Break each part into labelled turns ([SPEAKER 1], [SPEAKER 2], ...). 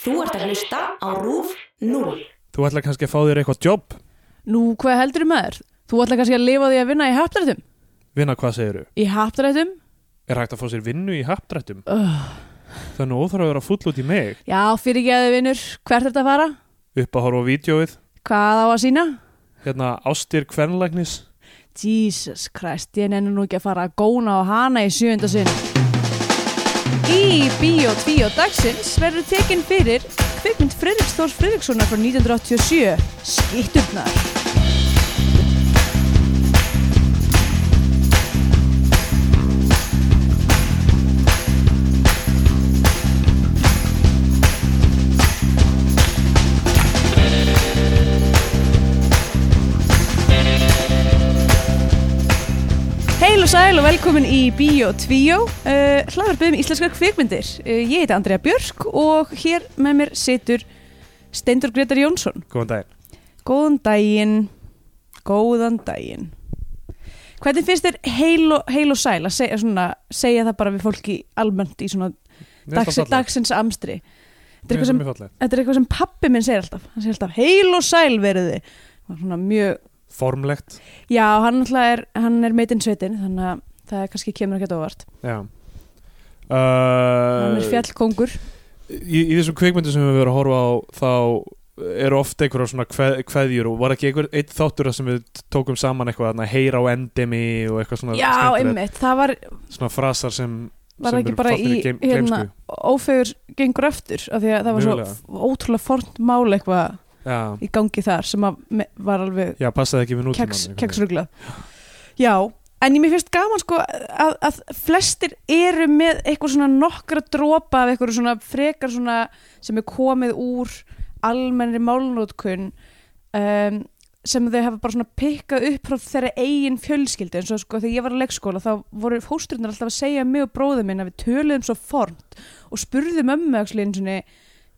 [SPEAKER 1] Þú ert að hlusta á RÚF 0.
[SPEAKER 2] Þú ætlar kannski að fá þér eitthvað jobb,
[SPEAKER 3] Nú, hvað heldur um maður? Þú ætla kannski að lifa því að vinna í haptarættum?
[SPEAKER 2] vinna hvað segiru?
[SPEAKER 3] Í haptarættum?
[SPEAKER 2] Er hægt að fá sér vinnu í haptrættum?
[SPEAKER 3] Uh,
[SPEAKER 2] Þannig óþarf að vera full út í mig,
[SPEAKER 3] já, fyrir ekki að þið vinnur, hvert er þetta að fara?
[SPEAKER 2] upp að horfa á vídjóið,
[SPEAKER 3] Hvað á að sína?
[SPEAKER 2] hérna ástir kvernlæknis.
[SPEAKER 3] Jesus Christ, ég nenni nú ekki að fara að góna á hana í sjönda sinn. Í Bíó 2 dagsins verður tekin fyrir kvikmynd Fredriks Þórs Fredrikssonar frá 1987, Skitturnar. Heil og sæl og velkomin í Bíó 2, uh, hlaðarbyrðum íslenskar kvikmyndir. Uh, ég heiti Andrea Björk og hér með mér situr Steindur Gretar Jónsson.
[SPEAKER 2] Góðan daginn.
[SPEAKER 3] Góðan daginn, góðan daginn. Hvernig finnst þér heil og, heil og sæl að segja, svona, segja það bara við fólki almennt í svona dags, dagsins amstri? Þetta er, eitthvað sem,
[SPEAKER 2] sem...
[SPEAKER 3] þetta er eitthvað sem pappi minn segir alltaf. Hann segir alltaf heil og sæl veriði. Og Svona mjög,
[SPEAKER 2] Formlegt,
[SPEAKER 3] já, hann, náttúrulega er, hann er meitinn sveitin, þannig að það er kannski kemur ekki óvart.
[SPEAKER 2] já. Uh,
[SPEAKER 3] hann
[SPEAKER 2] Eh,
[SPEAKER 3] er fjallkongur.
[SPEAKER 2] í, í þessum kvikmyndum sem við verðum að horfa á þá eru oft einhverjar svona kveð, kveðjur og var ekki einhver eitt þáttur þar sem við tókum saman eitthvað þarna, heyra á endemi og eitthvað svona
[SPEAKER 3] Já,
[SPEAKER 2] skemmtilegt,
[SPEAKER 3] einmitt, það var,
[SPEAKER 2] svona frasar sem sem
[SPEAKER 3] var það ekki
[SPEAKER 2] eru
[SPEAKER 3] bara
[SPEAKER 2] fallin
[SPEAKER 3] í
[SPEAKER 2] geim-
[SPEAKER 3] hérna,
[SPEAKER 2] gleymsku.
[SPEAKER 3] ófegur gengur eftir, af því að það var svo ótrúlega fornt mál eitthvað
[SPEAKER 2] já,
[SPEAKER 3] í gangi þar sem að me- var alveg
[SPEAKER 2] já, passaði ekki við nútímann
[SPEAKER 3] keks,
[SPEAKER 2] einhvern veginn.
[SPEAKER 3] keksrugla já, en ég mér finnst gaman sko að, að flestir eru með eitthvað svona nokkra dropa af eitthvað svona frekar svona sem er komið úr almennri málnótkun um, sem þau hafa bara svona pikkað upp frá þeirra eigin fjölskyldi eins og sko þegar ég var að leikskóla þá voru fósturnar alltaf að segja mig og bróðum minn að við töluðum svo formt og spurðum ömmu öxli eins og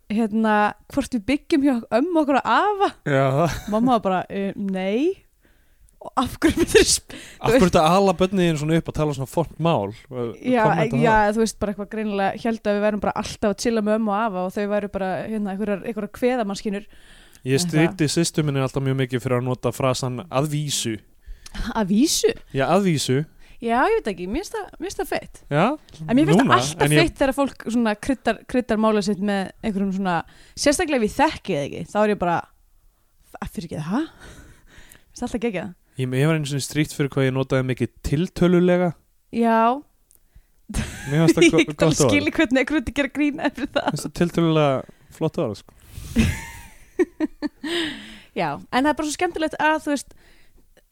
[SPEAKER 3] hérna hvort við byggjum hjá ömmu okkur að afa
[SPEAKER 2] já, það-
[SPEAKER 3] Mamma var bara, uh, nei og af hverju myndir
[SPEAKER 2] af hverju þetta ala bönniðin svona upp að tala svona formt mál
[SPEAKER 3] já, eh, já, þú veist bara eitthvað greinilega held að við værum bara alltaf að chilla með ömmu og afa og þau væru bara hérna, einhverjar, einhverjar kveðamannskynur
[SPEAKER 2] ég stýtti sýstu minni alltaf mjög mikið fyrir að nota frasan aðvísu
[SPEAKER 3] að vísu,
[SPEAKER 2] já, aðvísu,
[SPEAKER 3] já, ég veit ekki, mér finnst það, mér finnst það feitt
[SPEAKER 2] já,
[SPEAKER 3] en mér finnst það
[SPEAKER 2] Núna, en
[SPEAKER 3] alltaf
[SPEAKER 2] ég-
[SPEAKER 3] feitt þegar fólk svona kryddar, kryddar mála sitt með einhverjum svona, sérstaklega ef ég þekki það ekki, þá er ég bara að fyrir ekki það, hæ? finnst alltaf ekki það
[SPEAKER 2] ég, ég var einu svona stríkt fyrir hvað ég notaði mikið tiltölulega
[SPEAKER 3] já,
[SPEAKER 2] mér finnst það
[SPEAKER 3] ég
[SPEAKER 2] go-
[SPEAKER 3] get alveg
[SPEAKER 2] gott orð
[SPEAKER 3] skilið hvernig einhverjum þetta gera grína eftir það
[SPEAKER 2] finnst það tiltölulega flott orð sko.
[SPEAKER 3] Já, en það er bara svo skemmtilegt að þú veist,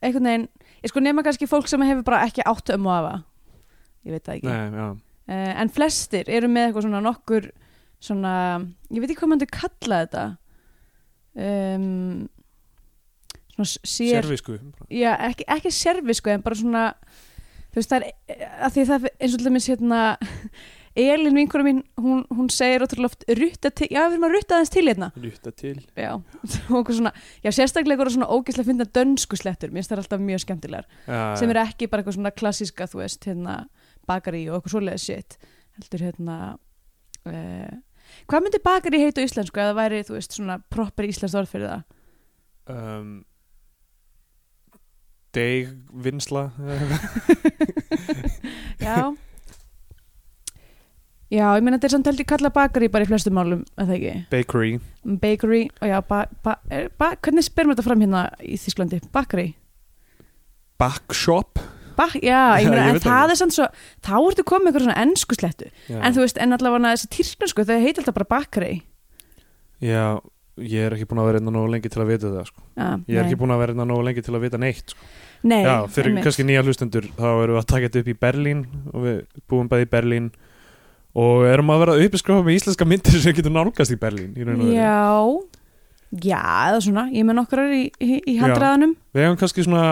[SPEAKER 3] einhvern veginn ég sko nema kannski fólk sem hefur bara ekki átt um og afa ég veit það ekki uh,
[SPEAKER 2] Nei, já.
[SPEAKER 3] en flestir eru með eitthvað svona nokkur svona, ég veit ekki hvað maður kalla þetta um, svona s- sér
[SPEAKER 2] Servisku
[SPEAKER 3] já, ekki, ekki servisku en bara svona þú veist það er að því það eins og til dæmis hérna Elin vinkona mín, hún, hún segir ótrúlega oft rutta til, já við erum að rutta aðeins til hérna
[SPEAKER 2] Lýta til
[SPEAKER 3] já, og eitthvað svona, já sérstaklega eitthvað svona ógeðslega finna dönsku slettur, mér finnst það alltaf mjög skemmtilegar,
[SPEAKER 2] já,
[SPEAKER 3] sem eru ekki bara eitthvað svona klassíska, þú veist, hérna bakari og eitthvað svoleiðið shit, heldur hérna uh, hvað myndi bakari heita á íslensku eða væri, þú veist, svona proper íslenskt orð fyrir það
[SPEAKER 2] um, Degvinnsla
[SPEAKER 3] já já, ég meina þetta er samt heldur kalla bakari bara í flestum málum, eða ekki
[SPEAKER 2] Bakery
[SPEAKER 3] bakery, og já, ba, ba, er, ba, hvernig spyrum þetta fram hérna í Þísklandi, bakari
[SPEAKER 2] Backshop
[SPEAKER 3] Bak, já, ég
[SPEAKER 2] Já,
[SPEAKER 3] meina,
[SPEAKER 2] ég
[SPEAKER 3] en
[SPEAKER 2] veit það
[SPEAKER 3] það er samt svo þá ertu komið eitthvað svona ennsku slettu
[SPEAKER 2] já.
[SPEAKER 3] en þú veist, en allavega þessi tyrknarsku þau heita alltaf bara bakri
[SPEAKER 2] já, ég er ekki búin að vera einna nógu lengi til að vita það sko.
[SPEAKER 3] ah,
[SPEAKER 2] Ég er ekki búin að vera einna nógu lengi til að vita neitt sko.
[SPEAKER 3] Nei,
[SPEAKER 2] Já, fyrir
[SPEAKER 3] einmitt.
[SPEAKER 2] kannski nýja hlustendur þá erum við að taka þetta upp í Berlín og við búum bæði í Berlín og erum að vera að uppiskráfa með íslenska myndir sem getur nálgast í Berlín í raun og veru.
[SPEAKER 3] Já, já, eða svona ég með nokkrar í, í, í
[SPEAKER 2] Já.
[SPEAKER 3] handraðanum
[SPEAKER 2] Við hefum kannski svona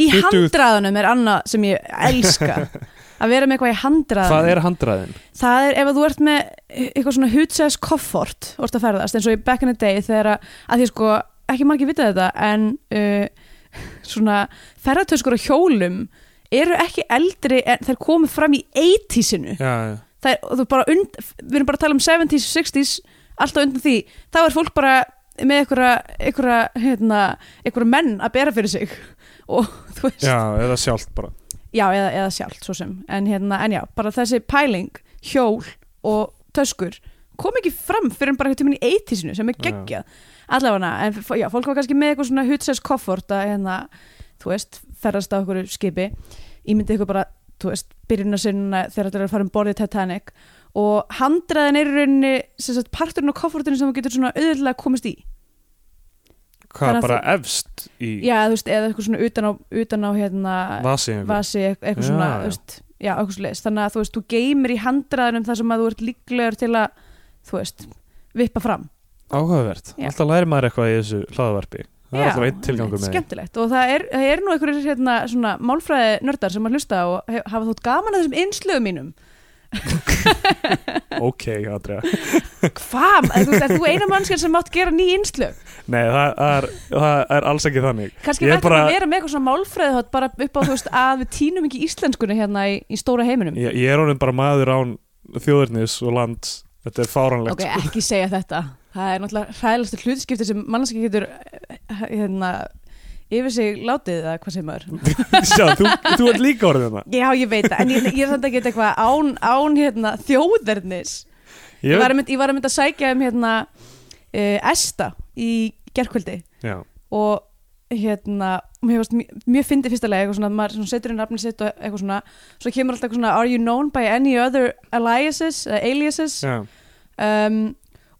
[SPEAKER 3] Í
[SPEAKER 2] 20
[SPEAKER 3] handraðanum er annað sem ég elska að vera með eitthvað í handraðanum
[SPEAKER 2] Hvað er handræðin?
[SPEAKER 3] Það er ef að þú ert með eitthvað svona hutsæðis koffort og ert að ferðast eins og í back in the day þegar að, að því sko ekki margir vita þetta en uh, svona ferðartöskur á hjólum eru ekki eldri en þær komið fram í 80-sinu
[SPEAKER 2] Já, já
[SPEAKER 3] Það er- og þú bara und, við erum bara að tala um 70s, 60s alltaf undan því þá er fólk bara með einhverja, einhverja, hérna, einhverja menn að bera fyrir sig og þú veist
[SPEAKER 2] já, eða sjálft bara
[SPEAKER 3] Já, eða, eða sjálft svo sem en, hérna, en já, bara þessi pæling hjól og töskur kom ekki fram fyrir en bara eitthvað tíminn í 80-sinu sem er
[SPEAKER 2] Já.
[SPEAKER 3] geggjað allavega, en f- já, fólk var kannski með eitthvað svona hutsess koffort að hérna, þú veist, ferðast á okkur skipi ímyndi ykkur bara, þú veist, byrjunna sinna þegar þetta er að fara um borðið Titanic og handraðin er í rauninni sem sagt, parturinn á koffortinu sem þú getur svona auðvitað komist í
[SPEAKER 2] hvað
[SPEAKER 3] Þannig að
[SPEAKER 2] bara efst í
[SPEAKER 3] já, þú veist, eða eitthvað svona utan á, utan á hérna,
[SPEAKER 2] vasi einhver.
[SPEAKER 3] vasi eit- eitthvað
[SPEAKER 2] Já,
[SPEAKER 3] svona
[SPEAKER 2] já.
[SPEAKER 3] þú veist, já, eitthvað svona þannig að þú veist, þú geymir í handraðinum þar sem að þú ert líklegur til að þú veist, vippa fram
[SPEAKER 2] áhugavert,
[SPEAKER 3] Já.
[SPEAKER 2] alltaf læri maður eitthvað í þessu hlaðavarpi það er
[SPEAKER 3] Já,
[SPEAKER 2] alltaf einn tilgangur með því.
[SPEAKER 3] skemmtilegt og það er, það er nú einhverjir hérna, svona málfræði nördar sem að hlusta og hef, hafa þótt gaman að þessum innslögum mínum
[SPEAKER 2] ok, Andrea
[SPEAKER 3] hvað, Eða þú veist, er þú eina mannskjörn sem mátt gera ný innslög
[SPEAKER 2] nei, það er, það er alls ekki þannig
[SPEAKER 3] kannski
[SPEAKER 2] Ég er
[SPEAKER 3] verður bara...
[SPEAKER 2] bara-
[SPEAKER 3] að vera með eitthvað svona málfræði þátt bara upp á þú veist að við tínum ekki íslenskunni hérna í, í stóra heiminum
[SPEAKER 2] ég, ég er honum bara maður án þjóðurnis og lands þetta er fáranlegt
[SPEAKER 3] ok, ekki segja þetta það er náttúrulega hræðilegstu hlutskipti sem mannskja getur eh, hérna, yfir sig látið eða hvað sem maður
[SPEAKER 2] Sjá, þú, þú ert líka orðið hérna
[SPEAKER 3] já ég veit það, en ég, ég er þetta ekki eitthvað án, án hérna, þjóðernis ég,
[SPEAKER 2] Ég
[SPEAKER 3] var einmitt- ég var að mynda að sækja um hérna, uh, Esta í gerkvöldi
[SPEAKER 2] Já,
[SPEAKER 3] og hérna mér varst mj- mjög fyndið fyrsta lega eitthvað svona, maður svona setur inn nafnið sitt og eitthvað svona svo kemur alltaf eitthvað svona, are you known by any other aliases, uh, aliases
[SPEAKER 2] já,
[SPEAKER 3] um,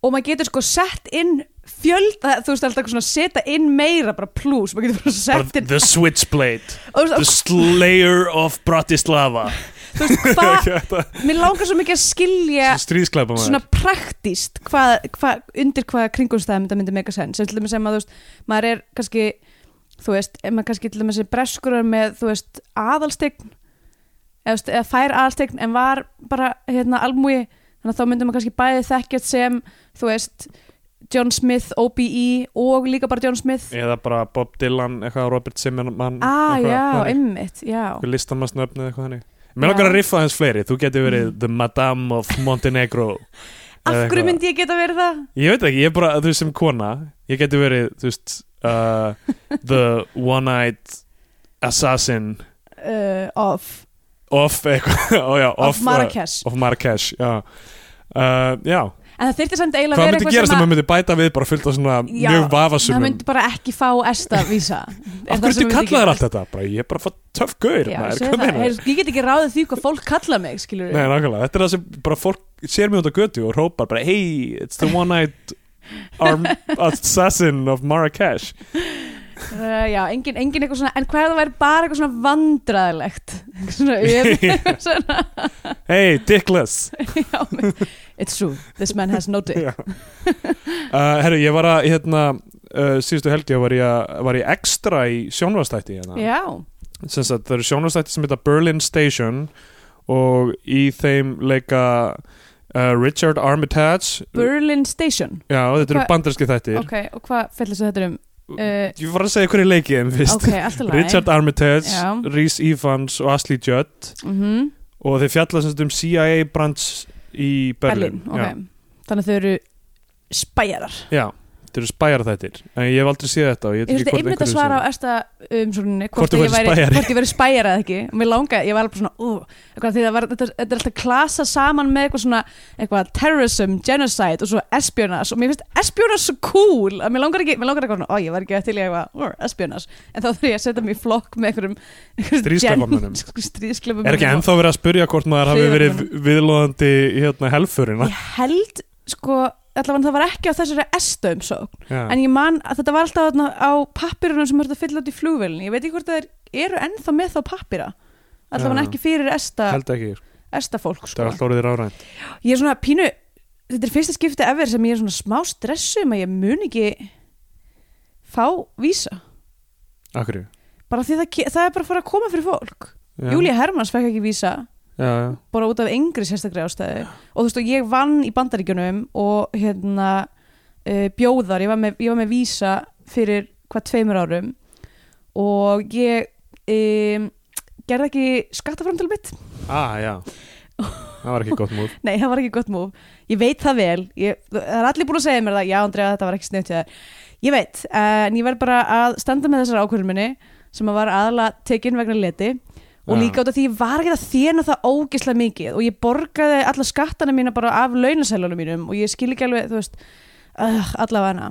[SPEAKER 3] og maður getur sko sett inn fjölda, þú veist alltaf svona setja inn meira bara plus, maður getur bara sett
[SPEAKER 2] bara
[SPEAKER 3] inn
[SPEAKER 2] the switchblade
[SPEAKER 3] og þú
[SPEAKER 2] The
[SPEAKER 3] veist,
[SPEAKER 2] slayer of Bratislava
[SPEAKER 3] þú veist hvað,
[SPEAKER 2] Þetta
[SPEAKER 3] mér langar svo mikið að skilja
[SPEAKER 2] er stríðsklæpa maður
[SPEAKER 3] svona praktíst hvað, hvað, undir hvaða kringumstæðum þetta myndi mega sens, sem til dæmis sem að þú veist, maður er kannski þú veist, ef maður kannski til dæmis er breskurar með, þú veist, aðalstegn eða, þú veist, eða fær aðalstegn en var bara, hérna, almúi þannig að þá myndum maður kannski bæði þekkjast sem þú veist, John Smith OBE og líka bara John Smith
[SPEAKER 2] Eða bara Bob Dylan, eitthvað Robert Zimmerman Mm,
[SPEAKER 3] ah,
[SPEAKER 2] eitthvað
[SPEAKER 3] já,
[SPEAKER 2] þannig.
[SPEAKER 3] einmitt, já
[SPEAKER 2] Eitthvað listamannsnöfni eða eitthvað þannig Mér
[SPEAKER 3] Já. Mm.
[SPEAKER 2] langar að riffa hans fleiri, þú getur verið The Madame of Montenegro
[SPEAKER 3] af
[SPEAKER 2] eða
[SPEAKER 3] hverju
[SPEAKER 2] eitthvað.
[SPEAKER 3] myndi ég geta verið það?
[SPEAKER 2] Ég veit ekki, ég er bara, þú veist, sem kona Ég getur verið, þú veist uh, The One-Eyed Assassin
[SPEAKER 3] Uh, of,
[SPEAKER 2] Of eitthvað, ó já,
[SPEAKER 3] of,
[SPEAKER 2] of uh,
[SPEAKER 3] Marrakesh
[SPEAKER 2] of Marrakesh já, uh, já.
[SPEAKER 3] en það þyrfti samt
[SPEAKER 2] hvað
[SPEAKER 3] eiginlega að vera
[SPEAKER 2] myndi gerast
[SPEAKER 3] eitthvað sem
[SPEAKER 2] ef
[SPEAKER 3] að-
[SPEAKER 2] maður myndi bæta við bara fullt af svona
[SPEAKER 3] Já,
[SPEAKER 2] mjög
[SPEAKER 3] það
[SPEAKER 2] vafasumum
[SPEAKER 3] myndi bara ekki fá esta vísa
[SPEAKER 2] af hverju þið kallaðir allt þetta bara, ég er bara að fá töff gaur
[SPEAKER 3] Já,
[SPEAKER 2] maður,
[SPEAKER 3] segðu
[SPEAKER 2] hvað
[SPEAKER 3] það,
[SPEAKER 2] meinar
[SPEAKER 3] Heyrðu, ég get ekki ráðið því hvað fólk kalla mig skilur
[SPEAKER 2] Nei, nákvæmlega, þetta er það sem bara fólk sér mjög út á götu og hrópar bara hey, it's the one-eyed arm assassin of Marrakesh
[SPEAKER 3] uh, já, engin, engin eitthvað svona en hvað ef það væri bara eitthvað svona vandræðilegt Eitthvað svona, öf- eitthvað svona
[SPEAKER 2] hey, dickless
[SPEAKER 3] já, men- it's true, this man has no dick
[SPEAKER 2] Já. uh, herru, ég var að hérna, uh, síðustu helgi var ég, að- var ég ekstra í sjónvastætti hérna.
[SPEAKER 3] já,
[SPEAKER 2] sem sagt, það eru sjónastætti sem heita Berlin Station og í þeim leika uh, Richard Armitage
[SPEAKER 3] Berlin Station
[SPEAKER 2] Já, þetta eru
[SPEAKER 3] Hva-
[SPEAKER 2] bandarski þættir
[SPEAKER 3] ok, og hvað fellur þetta um uh,
[SPEAKER 2] Ég var að segja hverju leikið þeim fyrst
[SPEAKER 3] ok, allt í lagi
[SPEAKER 2] Richard Armitage,
[SPEAKER 3] Já.
[SPEAKER 2] Rhys Evans og Ashley Judd
[SPEAKER 3] Mhm,
[SPEAKER 2] og þeir fjalla sem sagt um CIA branch í Berlin,
[SPEAKER 3] Berlin, ok þannig að þau eru spæjarar
[SPEAKER 2] Já, já þetta eru spæjar þættir En ég hef aldrei séð þetta og ég
[SPEAKER 3] Ég
[SPEAKER 2] veit
[SPEAKER 3] þurfti
[SPEAKER 2] ekki hvort
[SPEAKER 3] einmitt að
[SPEAKER 2] einhverju
[SPEAKER 3] svara á
[SPEAKER 2] séð
[SPEAKER 3] ersta umsókninni
[SPEAKER 2] Hvort
[SPEAKER 3] hvort,
[SPEAKER 2] þú
[SPEAKER 3] ég
[SPEAKER 2] værir
[SPEAKER 3] væri-
[SPEAKER 2] spæjari.
[SPEAKER 3] hvort ég verið spæjarað eða ekki og mér langaði, ég var alveg svona uh, eitthvað, því það var, þetta, þetta er alltaf klasa saman með eitthvað svona eitthvað, terrorism, genocide og svo espionage og mér finnst espionage svo cool að mér langar ekki, mér langar eitthvað svona, ó ég var ekki til í eitthvað, uh, espionage en þá þurfi ég að setja mig í flokk með einhverjum einhverjum
[SPEAKER 2] Stríðsglæpamönnum.
[SPEAKER 3] gen- stríðsglæpamönnum
[SPEAKER 2] Er ekki ennþá verið að spyrja hvort maður hafi verið viðlóðandi hérna helfurina
[SPEAKER 3] Ég held, sko, allavega það var ekki á þessari esta umsókn
[SPEAKER 2] Já.
[SPEAKER 3] en ég man að þetta var alltaf þarna á pappirunum sem höfðu að fylla út í flugvélni ég veit ekki hvort þeir eru ennþá með þá pappira alltaf hann
[SPEAKER 2] Já.
[SPEAKER 3] ekki fyrir esta,
[SPEAKER 2] Held ekki,
[SPEAKER 3] esta fólk
[SPEAKER 2] þetta
[SPEAKER 3] sko.
[SPEAKER 2] er alltaf orðið ráðrænt
[SPEAKER 3] ég er svona pínu þetta er fyrsta skipti efer sem ég er svona smá stressum að ég mun ekki fá vísa
[SPEAKER 2] Akkurju
[SPEAKER 3] bara því það, ke- það er bara að fara að koma fyrir fólk
[SPEAKER 2] Já.
[SPEAKER 3] Júlia Hermanns fekk ekki vísa
[SPEAKER 2] já, já.
[SPEAKER 3] bara út af yngri sérstaklega ástæði og þú veist og ég vann í bandaríkjunum og hérna uh, bjóðar, ég var, með, ég var með vísa fyrir hvað tveimur árum og ég um, gerði ekki skattaframtal mitt
[SPEAKER 2] Ah, já. það var ekki gott múf
[SPEAKER 3] Nei, það var ekki gott múf. Ég veit það vel. Ég, það er allir búin að segja mér það. Já, Andrea, þetta var ekki sniðt hjá þér. Ég veit, eh, en ég verð bara að standa með þessari ákvörðun minni sem að var aðalega tekin vegna leti og
[SPEAKER 2] Já.
[SPEAKER 3] líka út af því ég var ekki að þéna það ógislega mikið og ég borgaði alla skattana mína bara af launasælunum mínum og ég skil ekki alveg, þú veist, uh, allavega hana.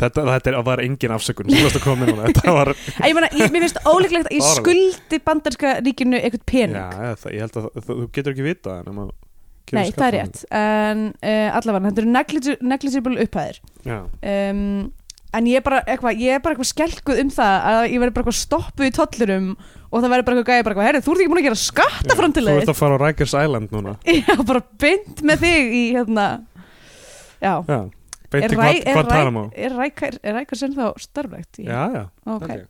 [SPEAKER 2] þetta, þetta er- var engin afsökun sem þú varst að koma með núna þetta var
[SPEAKER 3] En Ég, meina, ég, mér finnst ólíklegt að ég
[SPEAKER 2] Bara-
[SPEAKER 3] skuldi bandarska ríkinu eitthvað pening.
[SPEAKER 2] Já, já, það, ég held að það, þú getur ekki vita það nema að
[SPEAKER 3] Nei,
[SPEAKER 2] gefa
[SPEAKER 3] það er
[SPEAKER 2] skattanum.
[SPEAKER 3] rétt. En uh, allavega, þetta eru negligi- negligible upphæðir.
[SPEAKER 2] Já,
[SPEAKER 3] um, en ég er bara eitthvað ég er bara eitthvað skelkuð um það að ég verði bara eitthvað stoppuð í tollurum og það verði bara eitthvað gæði bara eitthvað herri, þú ert ekki búin að gera skatta fram til
[SPEAKER 2] Þú ert
[SPEAKER 3] þeir
[SPEAKER 2] að fara á Rikers Island núna
[SPEAKER 3] já, bara bynd með þig í hérna já,
[SPEAKER 2] Já, beinti
[SPEAKER 3] Rai-
[SPEAKER 2] hvað tarum á
[SPEAKER 3] er rækar er rækar sem þá starflegt
[SPEAKER 2] Já, já,
[SPEAKER 3] ok,
[SPEAKER 2] held ég.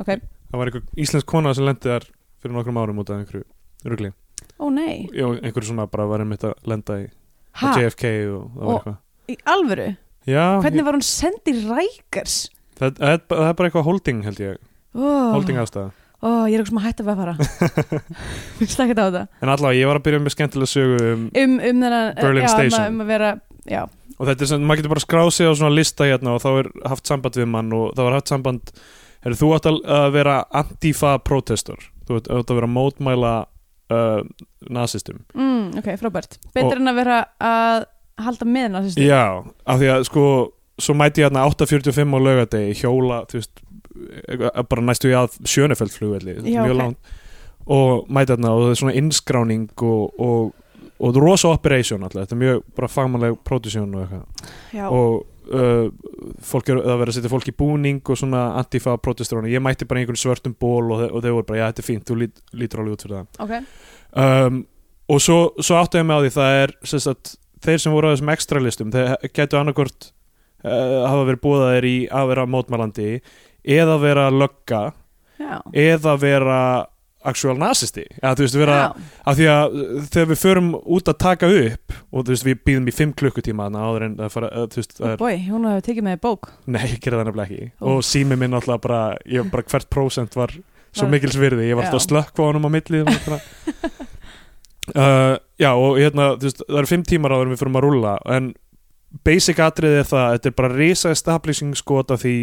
[SPEAKER 3] ok,
[SPEAKER 2] það var einhver íslensk kona sem lendi þar fyrir nokkrum árum út af einhverju rugli
[SPEAKER 3] ó nei
[SPEAKER 2] Já, einhverju svona bara var einmitt að lenda í
[SPEAKER 3] ha,
[SPEAKER 2] að JFK og það var
[SPEAKER 3] Og-
[SPEAKER 2] eitthvað
[SPEAKER 3] í alvöru
[SPEAKER 2] Já,
[SPEAKER 3] hvernig
[SPEAKER 2] ég,
[SPEAKER 3] var hún send í rækars
[SPEAKER 2] það, það, er bara- það er bara eitthvað holding held ég
[SPEAKER 3] ó,
[SPEAKER 2] Holding aðstæða
[SPEAKER 3] ó, ég er eitthvað sem að hætta við að fara við slakka þetta á þetta
[SPEAKER 2] En allavega, ég var að byrja með skemmtilega sögu um,
[SPEAKER 3] um, um þennan
[SPEAKER 2] Berlin
[SPEAKER 3] já, um,
[SPEAKER 2] Station.
[SPEAKER 3] að- um að vera já,
[SPEAKER 2] og þetta er sem, maður getur bara skráð sig á svona lista hérna og þá er haft samband við mann og það var haft samband er, þú átt að að vera antifa protestor þú átt átt að vera mótmæla uh, nazistum
[SPEAKER 3] Mm, ok, frábært. Betur en að vera að halda með nazistum.
[SPEAKER 2] já, af því að sko svo mæti ég hérna 8.45 á laugardegi hjóla, þú veist eh, bara næstu ég að sjönefeld flugvelli
[SPEAKER 3] Já,
[SPEAKER 2] mjög
[SPEAKER 3] ok.
[SPEAKER 2] langt og mæti hérna og það er svona innskráning og, og, og þetta er rosa operation alltaf, þetta er mjög bara fagmannleg production og eitthvað
[SPEAKER 3] Já,
[SPEAKER 2] og uh, fólk eru að vera að setja fólk í búning og svona antifa protestrónu ég mætti bara í einhvern svörtum ból og, þe- og þau voru bara, já þetta er fínt, þú lít, lítur alveg út fyrir
[SPEAKER 3] ok.
[SPEAKER 2] það um, og svo, svo áttu ég með á því það er sem sagt, þeir sem voru á þessum extra listum þeir gætu annarkvort uh, hafa verið búðaðir í að vera mótmælandi eða vera lögga
[SPEAKER 3] Já.
[SPEAKER 2] eða vera actual nazisti eða þú veist vera
[SPEAKER 3] Já.
[SPEAKER 2] af því að uh, þegar við förum út að taka upp og þú veist við býðum í fimm klukkutíma þarna áður en það fara, uh, þú veist, það
[SPEAKER 3] Oh
[SPEAKER 2] er
[SPEAKER 3] boy, hún hefur tekið með bók.
[SPEAKER 2] Nei, ég gerði það nefnilega ekki
[SPEAKER 3] Ó.
[SPEAKER 2] og sími minn alltaf bara, ég, bara hvert prósent var svo
[SPEAKER 3] Var-
[SPEAKER 2] mikils virði, ég var alltaf
[SPEAKER 3] Já.
[SPEAKER 2] að slökka á honum á milli og bara. uh, Já, og hérna, þú veist, það eru fimm tímar áður en við fyrir að rúlla en basic atriði er það, að þetta er bara risa establishing skot af því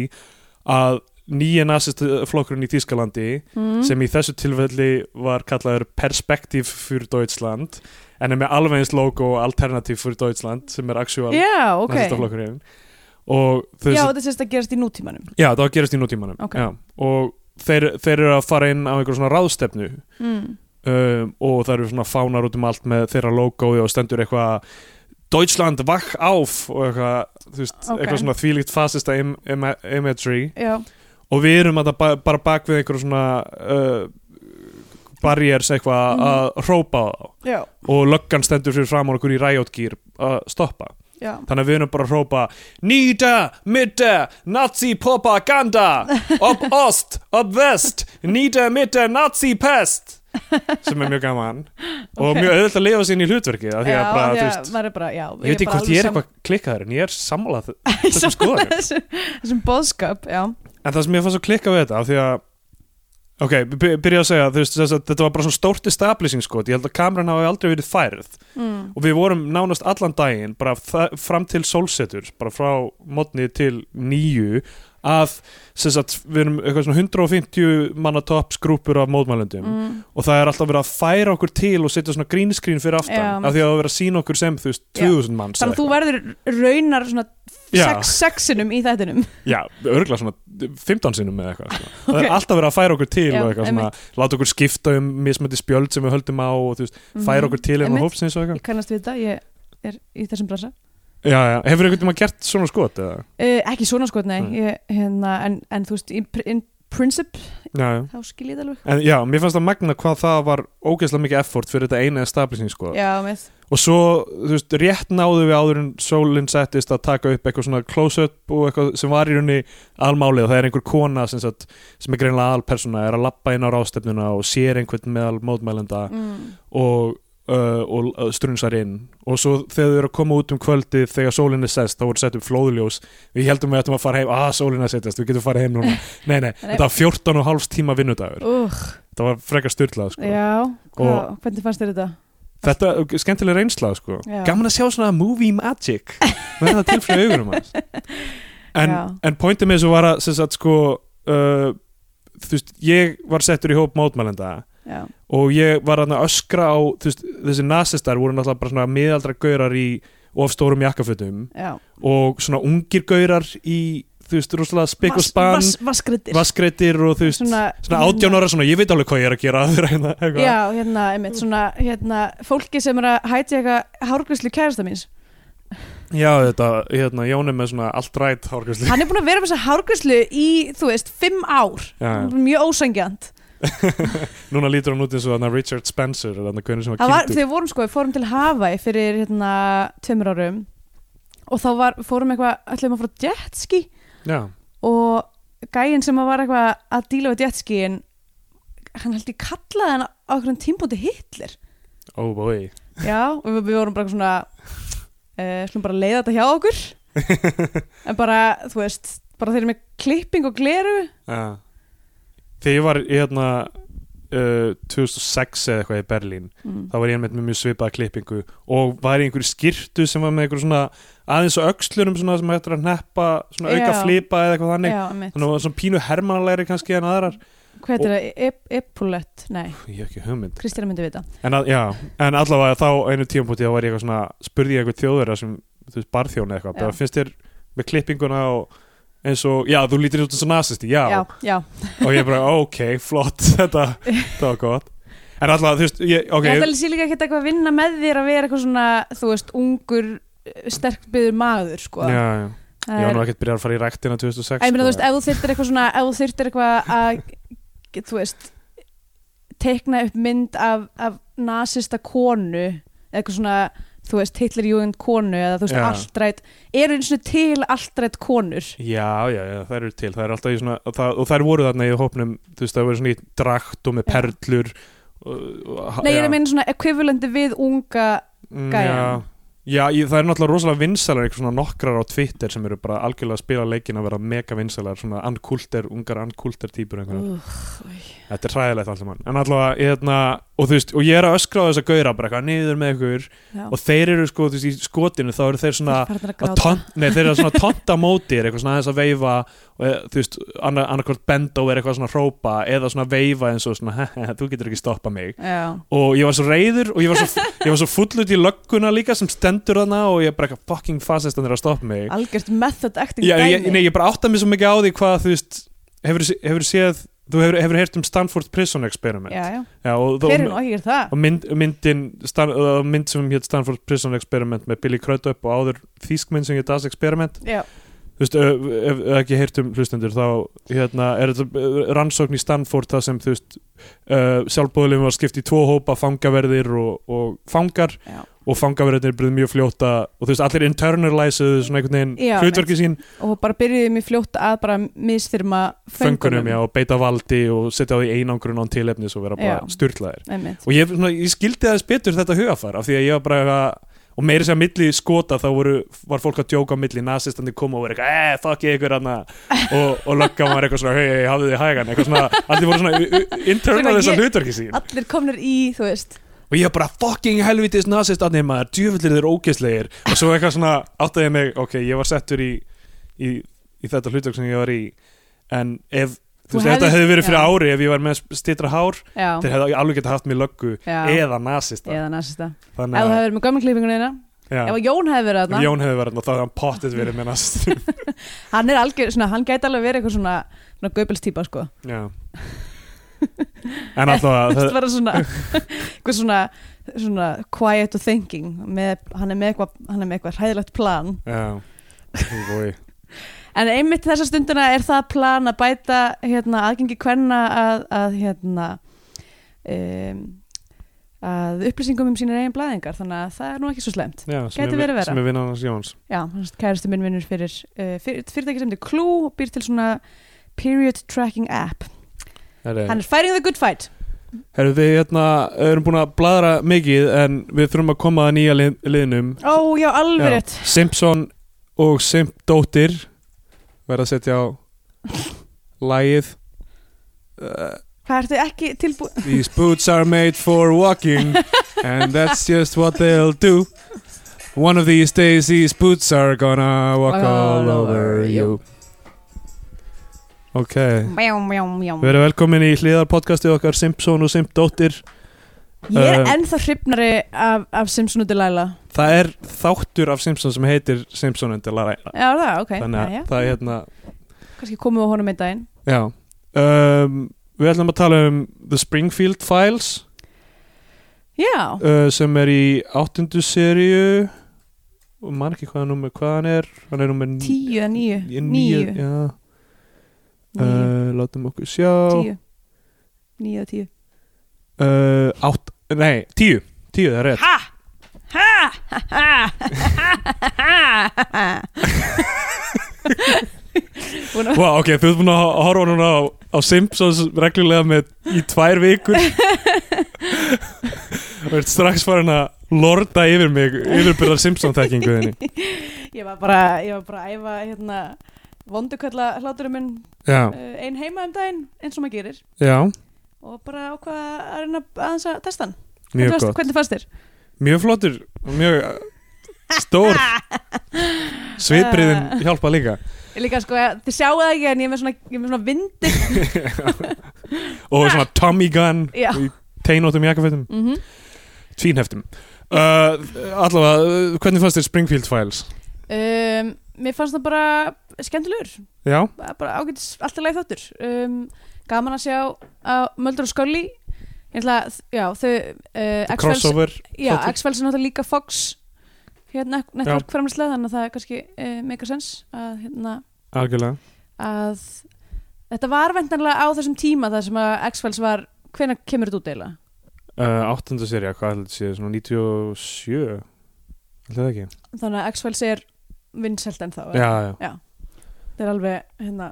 [SPEAKER 2] að nýja nasistflokkurinn í Þýskalandi
[SPEAKER 3] Mm.
[SPEAKER 2] sem í þessu tilfelli var kallaður Perspektiv fyrir Deutschland en er með alveg eins logo Alternativ fyrir Deutschland sem er actual
[SPEAKER 3] Já, ok.
[SPEAKER 2] nasistaflokkurinn og þú
[SPEAKER 3] Já,
[SPEAKER 2] veist,
[SPEAKER 3] þetta sést að gerast í nútímanum.
[SPEAKER 2] já, það var að gerast í nútímanum
[SPEAKER 3] Ok.
[SPEAKER 2] já, og þeir, þeir eru að fara inn á einhver svona ráðstefnu
[SPEAKER 3] Mm.
[SPEAKER 2] um, og það eru svona fánar út um allt með þeirra logoi og stendur eitthvað Deutschland vakk áf og eitthvað, þú veist,
[SPEAKER 3] Ok.
[SPEAKER 2] eitthvað svona þvílíkt fasista im, im, imagery
[SPEAKER 3] Já,
[SPEAKER 2] og við erum að ba bara bak við einhver svona uh, barriers eitthvað
[SPEAKER 3] Mhm.
[SPEAKER 2] að hrópa á þá
[SPEAKER 3] já,
[SPEAKER 2] og löggan stendur fyrir fram á okkur í ræjótgýr að stoppa
[SPEAKER 3] já.
[SPEAKER 2] Þannig að við erum bara að hrópa Nýta, midda, nazi propaganda Ob ost, ob vest Nýta, midda, nazi pest Sem er mjög gaman Og
[SPEAKER 3] Ok.
[SPEAKER 2] mjög auðvitað að lifa sér inn í hlutverki Því
[SPEAKER 3] já,
[SPEAKER 2] að bara,
[SPEAKER 3] já,
[SPEAKER 2] þú veist
[SPEAKER 3] maður er bara, já.
[SPEAKER 2] Ég veit ekki hvort ég er eitthvað klikkaður En ég er sammálað þessum skoðunum
[SPEAKER 3] Þessum, þessum boðskap, já.
[SPEAKER 2] En það sem ég fannst að klikka við þetta af Því að Ok, by- byrja að segja, þú veist, þess að þetta var bara svona stórt establishing skot, ég held að kameran hafi aldrei verið færð
[SPEAKER 3] Mm.
[SPEAKER 2] og við vorum nánast allan daginn bara þa- fram til sólsetur bara frá modni til nýju að sem sagt, við erum eitthvað svona 150 manna toppsgrúpur af mótmælendum
[SPEAKER 3] Mm.
[SPEAKER 2] og það er alltaf verið að færa okkur til og setja svona grínskrín fyrir aftan
[SPEAKER 3] Já,
[SPEAKER 2] af því að það er verið að sína okkur sem þú veist 2000 manns
[SPEAKER 3] Þannig að þú verður raunar svona
[SPEAKER 2] Já.
[SPEAKER 3] sex, sexinum í þættinum.
[SPEAKER 2] Já, örgulega svona 15 sinnum eða eitthvað sko. Það
[SPEAKER 3] Ok.
[SPEAKER 2] er alltaf verið að færa okkur til
[SPEAKER 3] Já,
[SPEAKER 2] og eitthvað svona láta okkur skipta um mismöndi spjöld sem við höldum á og þú veist, færa okkur til
[SPEAKER 3] einmitt.
[SPEAKER 2] einhvern hópsins og
[SPEAKER 3] Ég
[SPEAKER 2] eitthvað
[SPEAKER 3] kannast við þetta, ég er í þessum brasa.
[SPEAKER 2] Já, já, hefur einhvern tímann gert svona skot eða?
[SPEAKER 3] Uh, ekki svona sko, nei,
[SPEAKER 2] Nei.
[SPEAKER 3] ég, hérna, en, en þú veist, in, pr- in princip,
[SPEAKER 2] Já, já
[SPEAKER 3] þá skil ég það alveg.
[SPEAKER 2] En já, mér fannst það magna hvað það var ógeðslega mikið effort fyrir þetta eina establishing sko.
[SPEAKER 3] Já, með,
[SPEAKER 2] og svo, þú veist, rétt náðu við áður en sólinn settist að taka upp eitthvað svona close-up og eitthvað sem var í rauninni almálið og það er einhver kona sem, sagt, sem er greinlega alpersona, er að lappa inn á rástefnuna og sér einhvern meðal mótmælenda
[SPEAKER 3] mm,
[SPEAKER 2] og, uh, og uh, strunsar inn og svo þegar þau eru að koma út um kvöldið þegar sólinn er sest, þá voru sett upp flóðljós við heldum við ættum að fara heim, að sólinn er að setjast við getum að fara heim núna, nei nei, þetta var 14 og hálfs tíma vinnudagur
[SPEAKER 3] uh,
[SPEAKER 2] það var frekar styrlað sko.
[SPEAKER 3] já,
[SPEAKER 2] Og-
[SPEAKER 3] hvað, hvernig fannst þér þetta?
[SPEAKER 2] Þetta er skemmtileg reynsla sko.
[SPEAKER 3] Já.
[SPEAKER 2] Gaman að sjá svona movie magic verða til fyrir augurum hans En,
[SPEAKER 3] Já.
[SPEAKER 2] en pointið með þessu var að sem sagt, sko, uh, þú veist, ég var settur í hóp mótmælenda
[SPEAKER 3] já,
[SPEAKER 2] og ég var þarna að öskra á þú veist, þessi nasistar voru náttúrulega bara svona miðaldra gaurar í ofstórum jakkafutum
[SPEAKER 3] já.
[SPEAKER 2] og svona ungir gaurar í þú veist, rosalega spik og
[SPEAKER 3] Vas-
[SPEAKER 2] span
[SPEAKER 3] vas- vaskreiddir.
[SPEAKER 2] vaskreitir og þú veist svona,
[SPEAKER 3] Svona-
[SPEAKER 2] átján ára svona, ég veit alveg hvað ég er að gera þeirra hérna, eitthvað.
[SPEAKER 3] Já, hérna, einmitt, svona, hérna, fólki sem er að hæti eitthvað hárgrislu kærasta míns.
[SPEAKER 2] Já, þetta, hérna, Jón er með svona allt rætt hárgjörsli
[SPEAKER 3] Hann er búin að vera með þessa hárgrislu í, þú veist, fimm ár.
[SPEAKER 2] Já, já.
[SPEAKER 3] Mjög ósangjant.
[SPEAKER 2] Núna lítur hann út eins og þarna Richard Spencer eða þarna hvernig sem var
[SPEAKER 3] Það var,
[SPEAKER 2] kynntur
[SPEAKER 3] þegar við vorum sko, við fórum til Hawaii fyrir, hérna, tveimur árum og þá var, fórum eitthvað, ætlum að fara á jetski
[SPEAKER 2] Já,
[SPEAKER 3] og gæinn sem að var eitthvað að díla við jetskiin, hann held ég kallaði hann á einhverjum tímbúti Hitler.
[SPEAKER 2] oh boy
[SPEAKER 3] Já, og við, við vorum bara svona uh, slum bara leiða þetta hjá okkur en bara, þú veist bara þeir eru með klipping og gleru
[SPEAKER 2] Já. Þegar ég var í hérna uh, 2006 eða eitthvað í Berlín
[SPEAKER 3] mm.
[SPEAKER 2] þá var ég einmitt með mjög svipaða klippingu og var í einhverju skirtu sem var með einhverju svona aðeins og öxlurum svona sem hættur að neppa svona auka
[SPEAKER 3] Já.
[SPEAKER 2] flipa eða eitthvað þannig
[SPEAKER 3] Já,
[SPEAKER 2] þannig
[SPEAKER 3] mitt
[SPEAKER 2] að það var svona pínu hermanalegri kannski en aðrar
[SPEAKER 3] Hvað heitir það? Ep- Epulett? Nei,
[SPEAKER 2] ég hef ekki hugmynd
[SPEAKER 3] Kristina myndi vita
[SPEAKER 2] en, að, já, en allavega þá á einu tímpúti þá var ég eitthvað svona spurði ég eitthvað þjóðverða sem þú veist barþjón eða eitthvað
[SPEAKER 3] Já.
[SPEAKER 2] bara finnst þér með klippinguna og eins og já þú lítir út eins og nasisti já,
[SPEAKER 3] Já, já,
[SPEAKER 2] og ég bara ok flott þetta, þetta var gott en allavega þú veist ég,
[SPEAKER 3] okay.
[SPEAKER 2] okay,
[SPEAKER 3] þetta sé líka ekkert eitthvað að vinna með þér að vera eitthvað svona, þú veist, ungur eh, sterkt byður maður, sko
[SPEAKER 2] já, já.
[SPEAKER 3] Það
[SPEAKER 2] ég var
[SPEAKER 3] er-
[SPEAKER 2] nú ekkert byrjað að fara í ræktina 2006
[SPEAKER 3] Æ, ég meina,
[SPEAKER 2] sko.
[SPEAKER 3] þú veist, ef þú þyrtir eitthvað svona, ef þú þyrtir eitthvað að, þú veist, teikna upp mynd af, af nasista konu, eitthvað svona, þú veist, Hitlerjúgend konu eða þú veist,
[SPEAKER 2] Já.
[SPEAKER 3] alltrætt, eru eins og til alltrætt konur.
[SPEAKER 2] Já, já, já, það eru til það er alltaf í svona, það, og þær voru þarna í hópnum þú veist, það voru svona í drakt og með
[SPEAKER 3] Já.
[SPEAKER 2] perlur og, og,
[SPEAKER 3] Nei, ég er
[SPEAKER 2] já.
[SPEAKER 3] að meina svona ekvivalenti við unga,
[SPEAKER 2] Mm,
[SPEAKER 3] gæjan.
[SPEAKER 2] Já, já ég, það er náttúrulega rosalega vinsalar eitthvað svona nokkrar á Twitter sem eru bara algjörlega að spila leikin að vera mega vinsalar svona unkulter, ungar unkulter típur einhverja.
[SPEAKER 3] Úff,
[SPEAKER 2] Þetta er hræðilegt alltaf mann en allavega, ég, hérna, og þú veist, og ég er að öskra á þess að gauðra bara eitthvað niður með ykkur
[SPEAKER 3] já,
[SPEAKER 2] og þeir eru sko, þú veist, í skotinu þá eru þeir svona
[SPEAKER 3] farnir að
[SPEAKER 2] að
[SPEAKER 3] gráta.
[SPEAKER 2] ton, nei, þeir eru svona tonta mótir eitthvað svona aðeins að veifa og, eh, þú veist, annað- annarkvort benda og er eitthvað svona að hrópa eða svona veifa eins og svona þú getur ekki stoppa mig
[SPEAKER 3] Já,
[SPEAKER 2] og ég var svo reyður og ég var svo, ég var svo fullut í lögguna líka sem stendur þarna og ég bara eitthvað fucking fasist hann er að stoppa mig
[SPEAKER 3] algjört method acting
[SPEAKER 2] ég, ég,
[SPEAKER 3] dæmi.
[SPEAKER 2] nei, ég bara átta mig svo mikið á því hvað þú veist, hefur, hefur séð þú hefur, hefur heyrt um Stanford Prison Experiment
[SPEAKER 3] já, já,
[SPEAKER 2] Já, og,
[SPEAKER 3] hver er nú
[SPEAKER 2] og,
[SPEAKER 3] ekki að gera það?
[SPEAKER 2] og mynd, myndin stan, og mynd sem hétt Stanford Prison Experiment með Billy Crudup og áður þýskmynd sem hétt Das Experiment
[SPEAKER 3] Já,
[SPEAKER 2] þú veist, ef, ef ekki heyrt um hlustendur þá hérna, er þetta eh, rannsókn í Stanford það sem þú veist uh, sjálfbóðulegum var skipt í tvo hópa fangaverðir og, og fangar
[SPEAKER 3] já,
[SPEAKER 2] og fangaverðir byrðið mjög fljóta og þú veist, allir internalizuðu svona einhvern
[SPEAKER 3] Já,
[SPEAKER 2] veginn hlutverki sín
[SPEAKER 3] og bara byrjuði mér fljótt að bara misþyrma
[SPEAKER 2] föngunum já, og beita valdi og setja á því einangrun án tilefnis og vera
[SPEAKER 3] Já.
[SPEAKER 2] bara styrlaðir
[SPEAKER 3] Einmitt.
[SPEAKER 2] og ég, svona, ég skildi aðeins betur þetta hugafar af því að ég var bara eitthvað og meiri sem að milli skota þá voru, var fólk að djóka á milli nasistandi koma og verið eitthvað eh, fuck ég ykkur hann og, og löggan var eitthvað svona hei, hei, hafðu þið hægan eitthvað svona, allir voru svona u- u- internal
[SPEAKER 3] Svona,
[SPEAKER 2] þessar
[SPEAKER 3] ég-
[SPEAKER 2] hlutverki sín
[SPEAKER 3] allir komnir í, þú veist
[SPEAKER 2] og ég bara fucking helvitis nasistandi maður, djöfullir þeir ógeðslegir og svo eitthvað svona áttaði ég mig, ok, ég var settur í, í, í þetta hlutverk sem ég var í en ef,
[SPEAKER 3] Þú
[SPEAKER 2] þú veist, þetta
[SPEAKER 3] hefðir-
[SPEAKER 2] hefði verið fyrir
[SPEAKER 3] já.
[SPEAKER 2] ári ef ég var með stittra hár,
[SPEAKER 3] já,
[SPEAKER 2] þeir hefði alveg getað haft mér löggu
[SPEAKER 3] Já.
[SPEAKER 2] eða nasista
[SPEAKER 3] eða nasista ef
[SPEAKER 2] Þannig
[SPEAKER 3] þú
[SPEAKER 2] að,
[SPEAKER 3] hefur verið með gömulklippingunina
[SPEAKER 2] já,
[SPEAKER 3] ef að Jón hefur verið
[SPEAKER 2] ef
[SPEAKER 3] þarna
[SPEAKER 2] Jón hefði verið þarna, þá hefði hann pottið verið með næst
[SPEAKER 3] hann er algjör, svona, hann gæti alveg verið eitthvað svona, svona göbelstýpa sko
[SPEAKER 2] Já En alltaf
[SPEAKER 3] það
[SPEAKER 2] það,
[SPEAKER 3] var svona, eitthvað svona svona quiet og thinking með, hann er með eitthvað, hann er með eitthvað hræðilegt plan
[SPEAKER 2] Já Ó, boi.
[SPEAKER 3] en einmitt þessa stundina er það plan að bæta hérna, aðgengi kvenna að, að hérna um, að upplýsingum um sínir eigin blæðingar þannig að það er nú ekki svo slemt
[SPEAKER 2] Já, sem
[SPEAKER 3] Gæti
[SPEAKER 2] er-
[SPEAKER 3] verið verra.
[SPEAKER 2] Sem er vinnan hans Jóns
[SPEAKER 3] Já, hans kæristi minn vinnur fyrir, uh, fyrir fyrirtæki sem þetta er Clue og býr til svona period tracking app
[SPEAKER 2] Herru,
[SPEAKER 3] Hann er fighting the good fight
[SPEAKER 2] herru, við hérna erum búin að bladra mikið en við þurfum að koma að nýja lið, liðnum
[SPEAKER 3] Ó, já, alveg
[SPEAKER 2] Já,
[SPEAKER 3] rétt
[SPEAKER 2] Simpson og Simpdóttir verða að setja á lagið uh,
[SPEAKER 3] Hvað ertu ekki tilbúið?
[SPEAKER 2] These boots are made for walking and that's just what they'll do. One of these days these boots are gonna walk all over you. Ok,
[SPEAKER 3] Mjá, mjá, mjá.
[SPEAKER 2] Eh. við erum velkomin í hliðarpodcastið okkar Simpson og Simpdóttir.
[SPEAKER 3] Ég er
[SPEAKER 2] Eh,
[SPEAKER 3] ennþá hrifnari af, af Simpson og Delilah.
[SPEAKER 2] Það er þáttur af Simpson sem heitir Simpson undir Lara.
[SPEAKER 3] Já, það, ok.
[SPEAKER 2] Þannig
[SPEAKER 3] Jæja.
[SPEAKER 2] að það er hérna,
[SPEAKER 3] Kannski komum við á honum einn daginn.
[SPEAKER 2] já. Um, við ætlum að tala um The Springfield Files
[SPEAKER 3] Já,
[SPEAKER 2] uh, sem er í áttundu seríu og man ekki hvaða nummer, hvað hann er hann er nummer
[SPEAKER 3] tíu eða níu.
[SPEAKER 2] Ég-
[SPEAKER 3] Níu.
[SPEAKER 2] níu, já,
[SPEAKER 3] Níu,
[SPEAKER 2] uh, látum okkur sjá
[SPEAKER 3] tíu. Níu eða tíu.
[SPEAKER 2] uh, átt, nei, tíu tíu, það er rétt
[SPEAKER 3] Ha! Ha! Ha! Ha! Ha! Ha! Búin að-
[SPEAKER 2] wow, ok, þú ert búin að horfa núna á, á Simpsons reglulega með í tvær vikur og ert strax farin að lorda yfir mig yfirbyrðar Simpson-tekkingu þinni
[SPEAKER 3] Ég var bara, ég var bara að æfa hérna vondukalla hláturum minn
[SPEAKER 2] já,
[SPEAKER 3] uh, ein heima um daginn eins og maður gerir
[SPEAKER 2] já,
[SPEAKER 3] og bara ákvaða að reyna aðeins að testa hann.
[SPEAKER 2] mjög
[SPEAKER 3] Hvernig fannst-
[SPEAKER 2] gott
[SPEAKER 3] Hvernig fannst þér?
[SPEAKER 2] mjög flottur, mjög uh, stór
[SPEAKER 3] Ah.
[SPEAKER 2] svipriðin hjálpa líka
[SPEAKER 3] Ég Líka sko, þið sjáu það ekki en ég er með svona, ég er með svona vindir
[SPEAKER 2] og svona Tommy Gun
[SPEAKER 3] Já.
[SPEAKER 2] í teinóttum jakkafötum
[SPEAKER 3] mm
[SPEAKER 2] tvínheftum uh, allavega, uh, hvernig fannst þér Springfield Files?
[SPEAKER 3] um, Mér fannst það bara skemmtilegur
[SPEAKER 2] já,
[SPEAKER 3] bara ágætis alltaf leið þáttur um, gaman að sjá að Möldur og Scully ég ætla að, já, þau uh, X-Files-
[SPEAKER 2] crossover
[SPEAKER 3] já,
[SPEAKER 2] þáttur.
[SPEAKER 3] X-Files er náttúrulega líka Fox hérna, network framlýslega þannig að það er kannski uh, make a sense að, hérna,
[SPEAKER 2] algjörlega,
[SPEAKER 3] að þetta var vendanlega á þessum tíma þar sem að X-Files var hvenær kemur þetta út deila?
[SPEAKER 2] uh, 8. serja, hvað heldur þetta sé svona 97 heldur það ekki?
[SPEAKER 3] þannig að X-Files er vinsælt en þá
[SPEAKER 2] já, já,
[SPEAKER 3] það er alveg hérna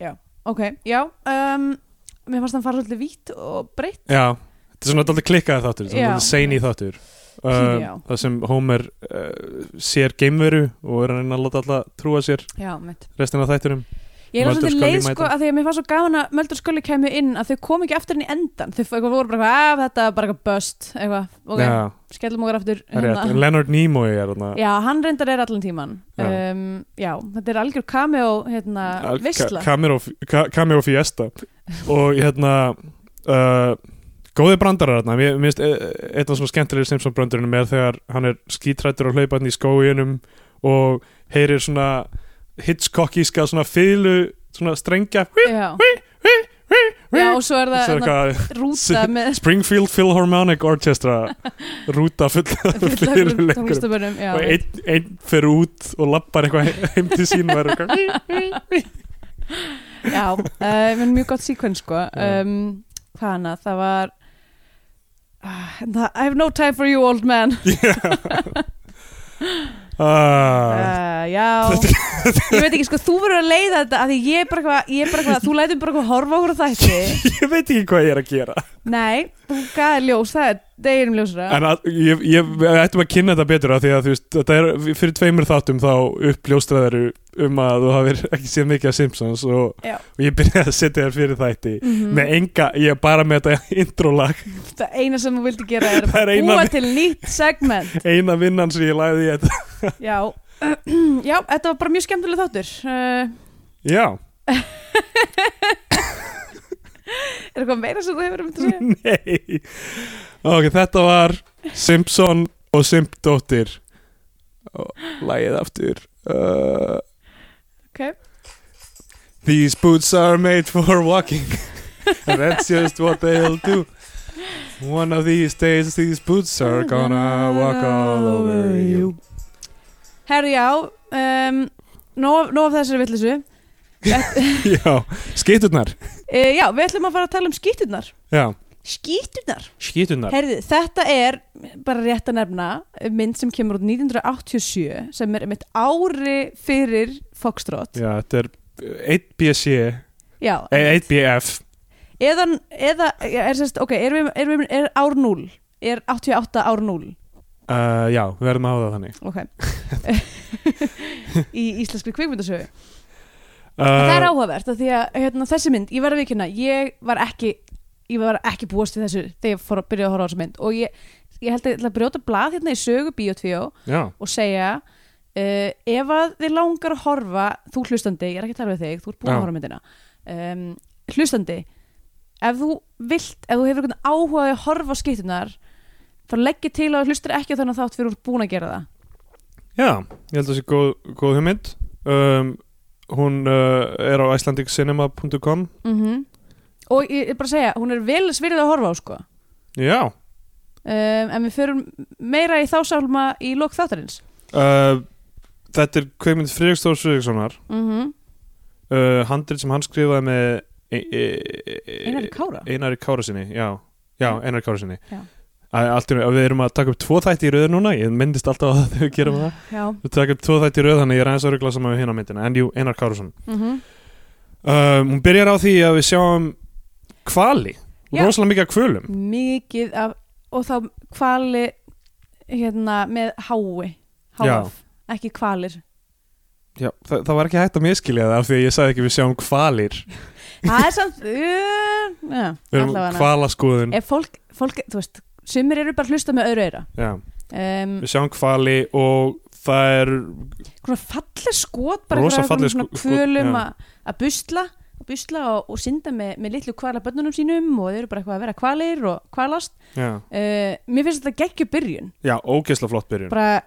[SPEAKER 3] já, ok, já um, mér fannst hann fara svolítið vít og breytt
[SPEAKER 2] já þetta er svona alltaf klikkaði þáttur,
[SPEAKER 3] Já.
[SPEAKER 2] svona seini þáttur Uh,
[SPEAKER 3] Já.
[SPEAKER 2] það sem Homer uh, sér geimveru og er að reyna að láta alltaf trúa sér
[SPEAKER 3] já, mitt
[SPEAKER 2] restina af þættinum
[SPEAKER 3] ég er
[SPEAKER 2] Mulder
[SPEAKER 3] svolítið
[SPEAKER 2] Scully
[SPEAKER 3] leið
[SPEAKER 2] mæta.
[SPEAKER 3] sko að því að mér fannst svo gaman að Möldur Skulli kemur inn að þau kom ekki aftur inn í endan þau f- voru bara eitthvað, af þetta er bara eitthvað bust eitthvað, ok,
[SPEAKER 2] já,
[SPEAKER 3] skellum okkur aftur
[SPEAKER 2] það er rétt. En Leonard Nimoy er þarna
[SPEAKER 3] Hérna. já, hann reyndar er allan tíman
[SPEAKER 2] Já.
[SPEAKER 3] um, já, þetta er algjör cameo hérna,
[SPEAKER 2] Ka-
[SPEAKER 3] visla
[SPEAKER 2] Camero Ka- Cameo Fiesta og hérna uh, góði brandarar hérna mér mér finnst e- einn af svona skemmtilegir Simpson brandurinn er þegar hann er skítrættur og hlaupa hann í skóinum og heyrir svona Hitchcockíska svona fýlu svona strengja
[SPEAKER 3] já. já, og svo er það
[SPEAKER 2] Svo er
[SPEAKER 3] hérna,
[SPEAKER 2] eitthvað
[SPEAKER 3] rúta með
[SPEAKER 2] Springfield Philharmonic Orchestra rúta fulla fyluleikur
[SPEAKER 3] tónlistabörum
[SPEAKER 2] og einn ein fer út og lappar eitthvað he- heim til sín og er eitthvað
[SPEAKER 3] Já, uh, menn mjög gott síkvens sko
[SPEAKER 2] Já.
[SPEAKER 3] um, Hvað hana, það var Ah, en það- I have no time for you old man
[SPEAKER 2] ah,
[SPEAKER 3] uh, Já Ég veit ekki, sko, þú verður að leiða þetta af Því ég er bara eitthvað, ég er bara eitthvað Þú lætum bara eitthvað horfa okkur á þætti
[SPEAKER 2] ég veit ekki hvað ég er að gera
[SPEAKER 3] Nei, þú gæði ljós, það er deginum ljósra
[SPEAKER 2] En að, ég, ég, við ættum að kynna þetta betur af því að þú veist, þetta er fyrir tveimur þáttum þá uppljóstraðar um að þú hafir ekki séð mikið af Simpsons og,
[SPEAKER 3] Já.
[SPEAKER 2] og ég byrjaði að setja þér fyrir þætti
[SPEAKER 3] Mhm.
[SPEAKER 2] með enga, ég er bara með þetta introlag,
[SPEAKER 3] Það eina sem þú vildi gera er að
[SPEAKER 2] Það er eina
[SPEAKER 3] búa
[SPEAKER 2] við-
[SPEAKER 3] til nýtt segment
[SPEAKER 2] eina vinnan sem ég lagði í þetta
[SPEAKER 3] Já, já þetta var bara mjög skemmtileg þáttur uh,
[SPEAKER 2] Já,
[SPEAKER 3] Er eitthvað meira sem þú hefur um þetta að segja?
[SPEAKER 2] nei Ok, þetta var Simpson og Simpdóttir og lagið aftur uh,
[SPEAKER 3] Okay.
[SPEAKER 2] These boots are made for walking And that's just what they'll do One of these days these boots are gonna walk all over you
[SPEAKER 3] Herri já um, Nó nó af þessari vittlisu
[SPEAKER 2] Já, skýturnar
[SPEAKER 3] uh, Já, við ætlum að fara að tala um skýturnar
[SPEAKER 2] Já,
[SPEAKER 3] Skýturnar?
[SPEAKER 2] skýturnar
[SPEAKER 3] Herði, þetta er bara rétt að nefna mynd sem kemur út 1987 sem er mitt ári fyrir Foxtrot
[SPEAKER 2] Já, þetta er 1BC
[SPEAKER 3] Já,
[SPEAKER 2] eh, 1BF
[SPEAKER 3] eða, eða er, sérst, ok, er, við, er, við, er ár 0 er 88 ár 0
[SPEAKER 2] uh, Já, við verðum að hafa það þannig
[SPEAKER 3] ok í íslenskri kvikmyndasögu það
[SPEAKER 2] Uh, Eh,
[SPEAKER 3] er áhugavert af því að hérna, þessi mynd, ég verði vikina ég var ekki ég var ekki búast við þessu þegar ég fór að byrja að horfa á þessu mynd og ég, ég held að ég ætla að brjóta blað hérna í sögu Bíotvíó
[SPEAKER 2] Já,
[SPEAKER 3] og segja uh, ef að þið langar að horfa þú hlustandi, ég er ekki að tala við þig, þú ert búin
[SPEAKER 2] Já.
[SPEAKER 3] að horfa á myndina um, hlustandi ef þú vilt, ef þú hefur einhvern áhuga á að horfa á skiptunar þá legg ég til að þú hlustir ekki á þannig þátt fyrir þú ert búin að gera það
[SPEAKER 2] já, ég held að það sé góð, góð hugmynd um, Hún uh, er á icelandiccinema.com
[SPEAKER 3] mm og ég er bara að segja, hún er vel svirðið að horfa á sko
[SPEAKER 2] Já,
[SPEAKER 3] um, en við förum meira í þásálma í lok þáttarins
[SPEAKER 2] uh, þetta er kveikmynd Friðrikstór Friðrikssonar
[SPEAKER 3] mm -hmm.
[SPEAKER 2] uh, Handrit sem hann skrifaði með e- e- e-
[SPEAKER 3] Einari Kára
[SPEAKER 2] Einari Kára sinni, já Já,
[SPEAKER 3] Já.
[SPEAKER 2] Einari Kára sinni
[SPEAKER 3] Já.
[SPEAKER 2] Að- Allt, í einu- að við erum að taka upp tvo þætti í röðu núna Ég myndist alltaf að þau gerum það
[SPEAKER 3] Já,
[SPEAKER 2] Við taka upp tvo þætti í röðu þannig að ég er aðeins að ruggla saman við hérna myndina En jú, Einar Kárasson
[SPEAKER 3] mm -hmm.
[SPEAKER 2] um, Hún byrjar á því að við sjáum Hvali,
[SPEAKER 3] Já.
[SPEAKER 2] rosalega mikið af kvölum
[SPEAKER 3] mikið af og þá hvali hérna með hái
[SPEAKER 2] Já.
[SPEAKER 3] háf, ekki hvalir
[SPEAKER 2] Já, það, það var ekki hægt að miskilja það af því að ég sagði ekki við sjáum hvalir
[SPEAKER 3] það er samt uh, já,
[SPEAKER 2] Við erum um
[SPEAKER 3] allavega.
[SPEAKER 2] hvalaskoðun
[SPEAKER 3] ef fólk, fólk, þú veist sumir eru bara að hlusta með öðru eira
[SPEAKER 2] Já,
[SPEAKER 3] um,
[SPEAKER 2] við sjáum hvali og það er
[SPEAKER 3] svona falleg skot bara
[SPEAKER 2] Rosa
[SPEAKER 3] einhverja-
[SPEAKER 2] falleg
[SPEAKER 3] svona
[SPEAKER 2] sko- skot,
[SPEAKER 3] kvölum
[SPEAKER 2] já.
[SPEAKER 3] að að busla að busla og, og synda með, með litlu kvala bönnunum sínum og þeir eru bara eitthvað að vera kvalir og kvalast
[SPEAKER 2] Já,
[SPEAKER 3] uh, mér finnst þetta geggju byrjun
[SPEAKER 2] já ógeðslega flott byrjun
[SPEAKER 3] bara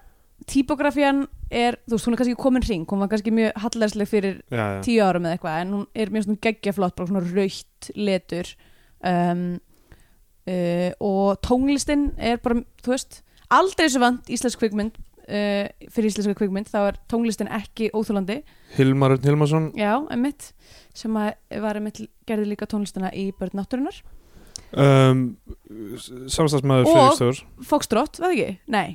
[SPEAKER 3] típografían er þú veist, hún er kannski komin hring hún var kannski mjög hallærsleg fyrir
[SPEAKER 2] já, já.
[SPEAKER 3] tíu árum eða eitthvað en hún er mjög svona geggja flott bara svona raukt letur um, uh, og tónlistin er bara, þú veist aldrei svo vant íslensk kvikmynd uh, fyrir íslenska kvikmynd, þá er tónlistin ekki óþúlandi,
[SPEAKER 2] Hilmar Örn Hilmarsson
[SPEAKER 3] já, emmitt sem að var einmitt gerði líka tónlistina í Börn náttúrunar
[SPEAKER 2] um, Samstagsmaður
[SPEAKER 3] Og-
[SPEAKER 2] Friðriksdórs
[SPEAKER 3] Fókstrótt, var það ekki? Nei,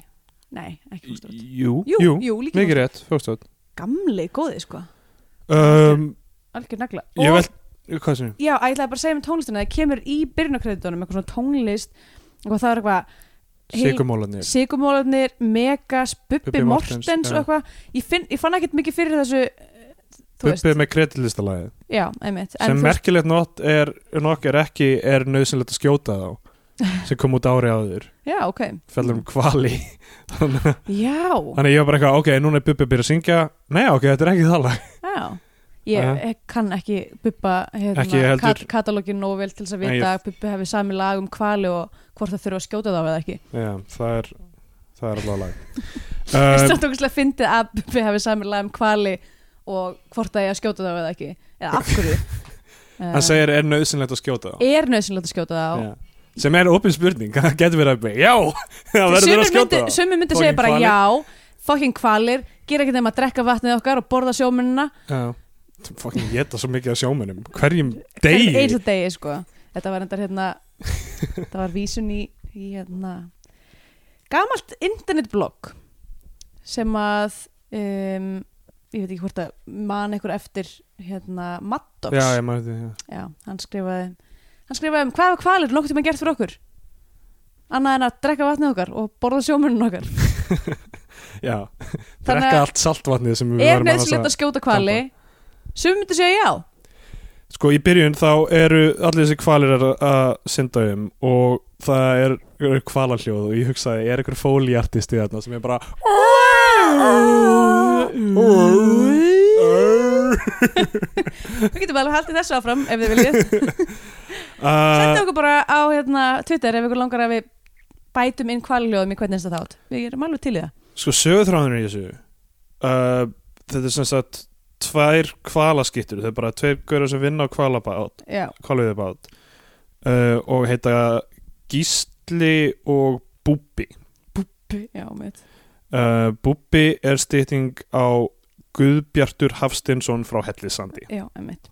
[SPEAKER 3] nei, ekki Fókstrótt
[SPEAKER 2] Jú,
[SPEAKER 3] Jú,
[SPEAKER 2] jú,
[SPEAKER 3] jú, líka
[SPEAKER 2] mikið rétt, fjóðstöð
[SPEAKER 3] gamli góði sko
[SPEAKER 2] um,
[SPEAKER 3] algjör nagla
[SPEAKER 2] Ég
[SPEAKER 3] Og-
[SPEAKER 2] vel, hvað sem
[SPEAKER 3] já, að ég ætlaði bara að segja með tónlistina það kemur í byrjunarkreditunum eitthvað svona tónlist og það er eitthvað
[SPEAKER 2] Sigurmólanir
[SPEAKER 3] Sigurmólarnir, Megas, Bubbi
[SPEAKER 2] Bubbi Morthens,
[SPEAKER 3] Mortens
[SPEAKER 2] já.
[SPEAKER 3] og eitthvað ég, finn, ég fann ekkert mikið fyrir þessu eh, þú veist,
[SPEAKER 2] Bubbi með kreditlistalagið
[SPEAKER 3] já, einmitt En
[SPEAKER 2] sem
[SPEAKER 3] þú veist-
[SPEAKER 2] merkilegt nokk er, nokk er ekki er nöðsynlegt að skjóta þá sem kom út ári áður
[SPEAKER 3] já, ok,
[SPEAKER 2] fellur
[SPEAKER 3] Mm.
[SPEAKER 2] um kvali þannig að-
[SPEAKER 3] já,
[SPEAKER 2] þannig að ég var bara eitthvað, ok, núna er Bubbi að byrja að syngja nei, ok, þetta er ekki það lag
[SPEAKER 3] já ég
[SPEAKER 2] Aha.
[SPEAKER 3] eh, kann ekki Bubba hérna,
[SPEAKER 2] Ekki ég heldur.
[SPEAKER 3] kat katalógin nóg vel til þess að
[SPEAKER 2] Nei,
[SPEAKER 3] vita að Bubbi hefði sami lag um kvali og hvort það þurfa að skjóta þá eða ekki
[SPEAKER 2] Já, það er það er alveg
[SPEAKER 3] Það er
[SPEAKER 2] lag um,
[SPEAKER 3] stókislega fyndið að Bubbi hefði samanlega um kvali og hvort að ég að skjóta það eða ekki eða af hverju Eh,
[SPEAKER 2] hann segir er nöðsynlegt að skjóta þá
[SPEAKER 3] er nöðsynlegt að skjóta það á
[SPEAKER 2] Já. sem er opin spurning, það getur verið að já, það verður að skjóta
[SPEAKER 3] myndi, sumir myndi segja
[SPEAKER 2] Fucking
[SPEAKER 3] bara
[SPEAKER 2] hvalir.
[SPEAKER 3] já fucking kvalir, gera ekki þeim að drekka vatnið okkar og borða sjómunina
[SPEAKER 2] það fokkin geta svo mikið af sjómennum hverjum
[SPEAKER 3] eins
[SPEAKER 2] degi
[SPEAKER 3] og degi sko þetta var endar hérna þetta var vísun í, í hérna gamalt internetblogg sem að um, ég veit ekki hvort að man einhver eftir hérna Maddox
[SPEAKER 2] já, ég maður þetta, já.
[SPEAKER 3] Já, hann skrifaði hann skrifaði um hvað var kvalir nokkuð tíma gert fyrir okkur annað en að drekka vatnið okkar og borða sjómunin okkar
[SPEAKER 2] já
[SPEAKER 3] Þannig að-
[SPEAKER 2] drekka allt saltvatnið sem við
[SPEAKER 3] er
[SPEAKER 2] varum annars
[SPEAKER 3] nöðsynlegt að skjóta hvali sum myndi segja já
[SPEAKER 2] Sko í byrjun þá eru allir þessi kvalir að, að synda um og það er, er kvalarhljóð og ég hugsaði, er einhver fóliartist í þarna sem er bara
[SPEAKER 3] við getum alveg haldið þessu áfram ef þið viljið senda
[SPEAKER 2] uh,
[SPEAKER 3] okkur bara á hérna, Twitter ef ykkur langar að við bætum inn kvaliljóðum í hvernig þetta þátt við erum alveg til í það
[SPEAKER 2] Sko sögurþráðunir í þessu uh, Þetta er sem sagt tvær kvalaskittur, það er bara tveir görður sem vinna á kvalabát,
[SPEAKER 3] já,
[SPEAKER 2] kvalviðabát uh, og heita Gísli og Búbbi
[SPEAKER 3] já, mitt
[SPEAKER 2] Uh, Búbbi er stýtting á Guðbjartur Hafstinsson frá Hellisandi
[SPEAKER 3] já, mitt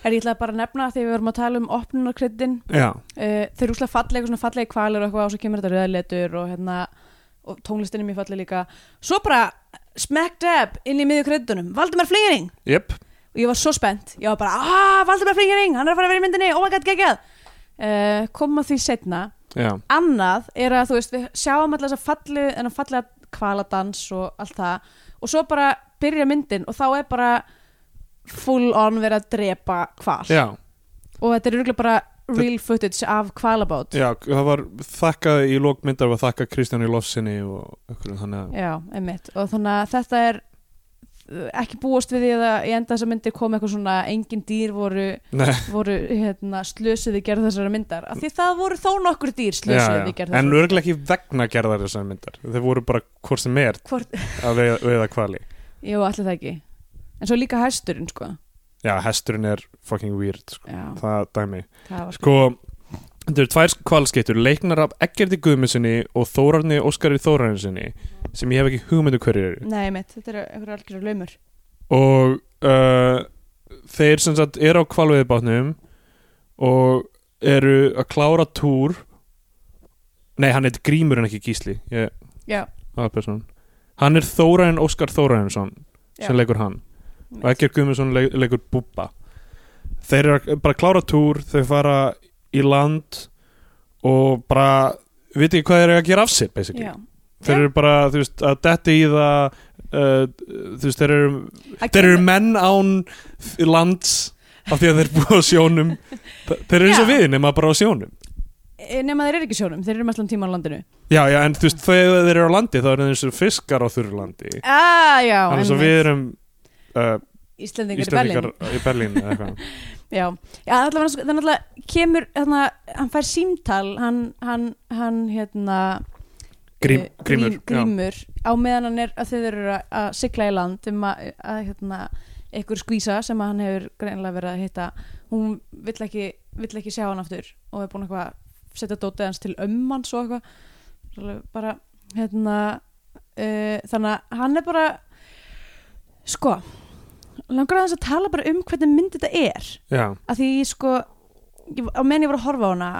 [SPEAKER 3] Herri, ég ætlaði bara að nefna þegar við vorum að tala um opnunarkryddin
[SPEAKER 2] Já,
[SPEAKER 3] uh, þeir eru úslega fallega svona fallega kvalur og eitthvað og svo kemur þetta röðletur og hérna og tónlistin er mjög fallega líka svo bara smack dab inn í miðju kreddunum Valdimar Flingering
[SPEAKER 2] jöp
[SPEAKER 3] og ég var svo spennt ég var bara aah Valdimar Flingering hann er að fara að vera í myndinni oh my god geggjað uh, koma því setna
[SPEAKER 2] Já,
[SPEAKER 3] annað er að þú veist við sjáum alltaf þess að falli en að fallega kvaladans og allt það og svo bara byrja myndin og þá er bara full on verið að drepa hval
[SPEAKER 2] já,
[SPEAKER 3] og þetta er örgulega bara real footage af hvalabát
[SPEAKER 2] já, það var þakkað í lókmyndar var þakkað Kristjáni Lofsinni og okkur þannig að
[SPEAKER 3] já, einmitt og þannig að þetta er uh, ekki búast við því að það- í enda þessar myndir kom eitthvað svona engin dýr voru,
[SPEAKER 2] Nei,
[SPEAKER 3] voru hérna, slösuði gerð þessara myndar af því það voru þó nokkur dýr
[SPEAKER 2] já, já.
[SPEAKER 3] slösuði gerð
[SPEAKER 2] en
[SPEAKER 3] þessara
[SPEAKER 2] örglega ekki vegna gerðar þessar myndar þeir voru bara hvort sem er
[SPEAKER 3] Hvort,
[SPEAKER 2] að veiða, veiða hvali
[SPEAKER 3] jú, allir það ekki en svo líka hæsturinn sko
[SPEAKER 2] já, hesturinn er fucking weird sko.
[SPEAKER 3] já,
[SPEAKER 2] það dæmi
[SPEAKER 3] það var
[SPEAKER 2] Sko, þetta eru tvær kvalskeittur leiknar af Eggerti Guðmundsinni og Þórarni Óskari Þórarinsinni sem ég hef ekki hugmyndu hverju eru
[SPEAKER 3] Nei, mitt, þetta eru einhverju algjörur laumur
[SPEAKER 2] og uh, þeir sem sagt eru á kvalveiðbátnum og eru að klára túr Nei, hann heit Grímur en ekki Gísli ég,
[SPEAKER 3] Já,
[SPEAKER 2] aðalpersónan. Hann er Þórarin Óskar Þórarinsson
[SPEAKER 3] já,
[SPEAKER 2] sem leikur hann og
[SPEAKER 3] einmitt.
[SPEAKER 2] Egger Guðmundsson le leikur Búbba þeir eru að- bara að klára túr þau fara í land og bara veit ekki hvað þeir eru að gera af sér basically
[SPEAKER 3] já.
[SPEAKER 2] þeir eru bara þú veist að detti í það uh, þú veist þeir eru,
[SPEAKER 3] Að
[SPEAKER 2] þeir eru
[SPEAKER 3] gera-
[SPEAKER 2] menn án lands af því að þeir eru búið á sjónum Þe- þeir eru eins og
[SPEAKER 3] Já.
[SPEAKER 2] við nema bara á sjónum
[SPEAKER 3] Eh, Nema þeir eru ekki í sjónum, þeir eru mest allan tíma á landinu
[SPEAKER 2] já já en þú veist þegar þeir eru á landi þá eru þeir eins og fiskar á þurru landi
[SPEAKER 3] ah, já,
[SPEAKER 2] þannig að
[SPEAKER 3] einmitt.
[SPEAKER 2] við erum uh,
[SPEAKER 3] Íslendingar í Berlin
[SPEAKER 2] Íslandingar í Berlín eða eitthvað
[SPEAKER 3] Já, já allavega, sko, þannig að kemur þarna, hann fær símtal hann, hann, hann hérna
[SPEAKER 2] Grím,
[SPEAKER 3] eh,
[SPEAKER 2] grímur,
[SPEAKER 3] grím,
[SPEAKER 2] já.
[SPEAKER 3] grímur á meðan hann er að þeir eru að- að sigla í land um að, að hérna, einhver skvísa sem að hann hefur greinlega verið að hitta hún vill ekki, vill ekki sjá hann aftur og er búin eitthvað að setja dótið hans til ömman svo eitthvað Alveg bara hérna uh, þannig að hann er bara sko langar aðeins að tala bara um hvernig mynd þetta er
[SPEAKER 2] já
[SPEAKER 3] að því sko ég, á meðan ég var að horfa á hana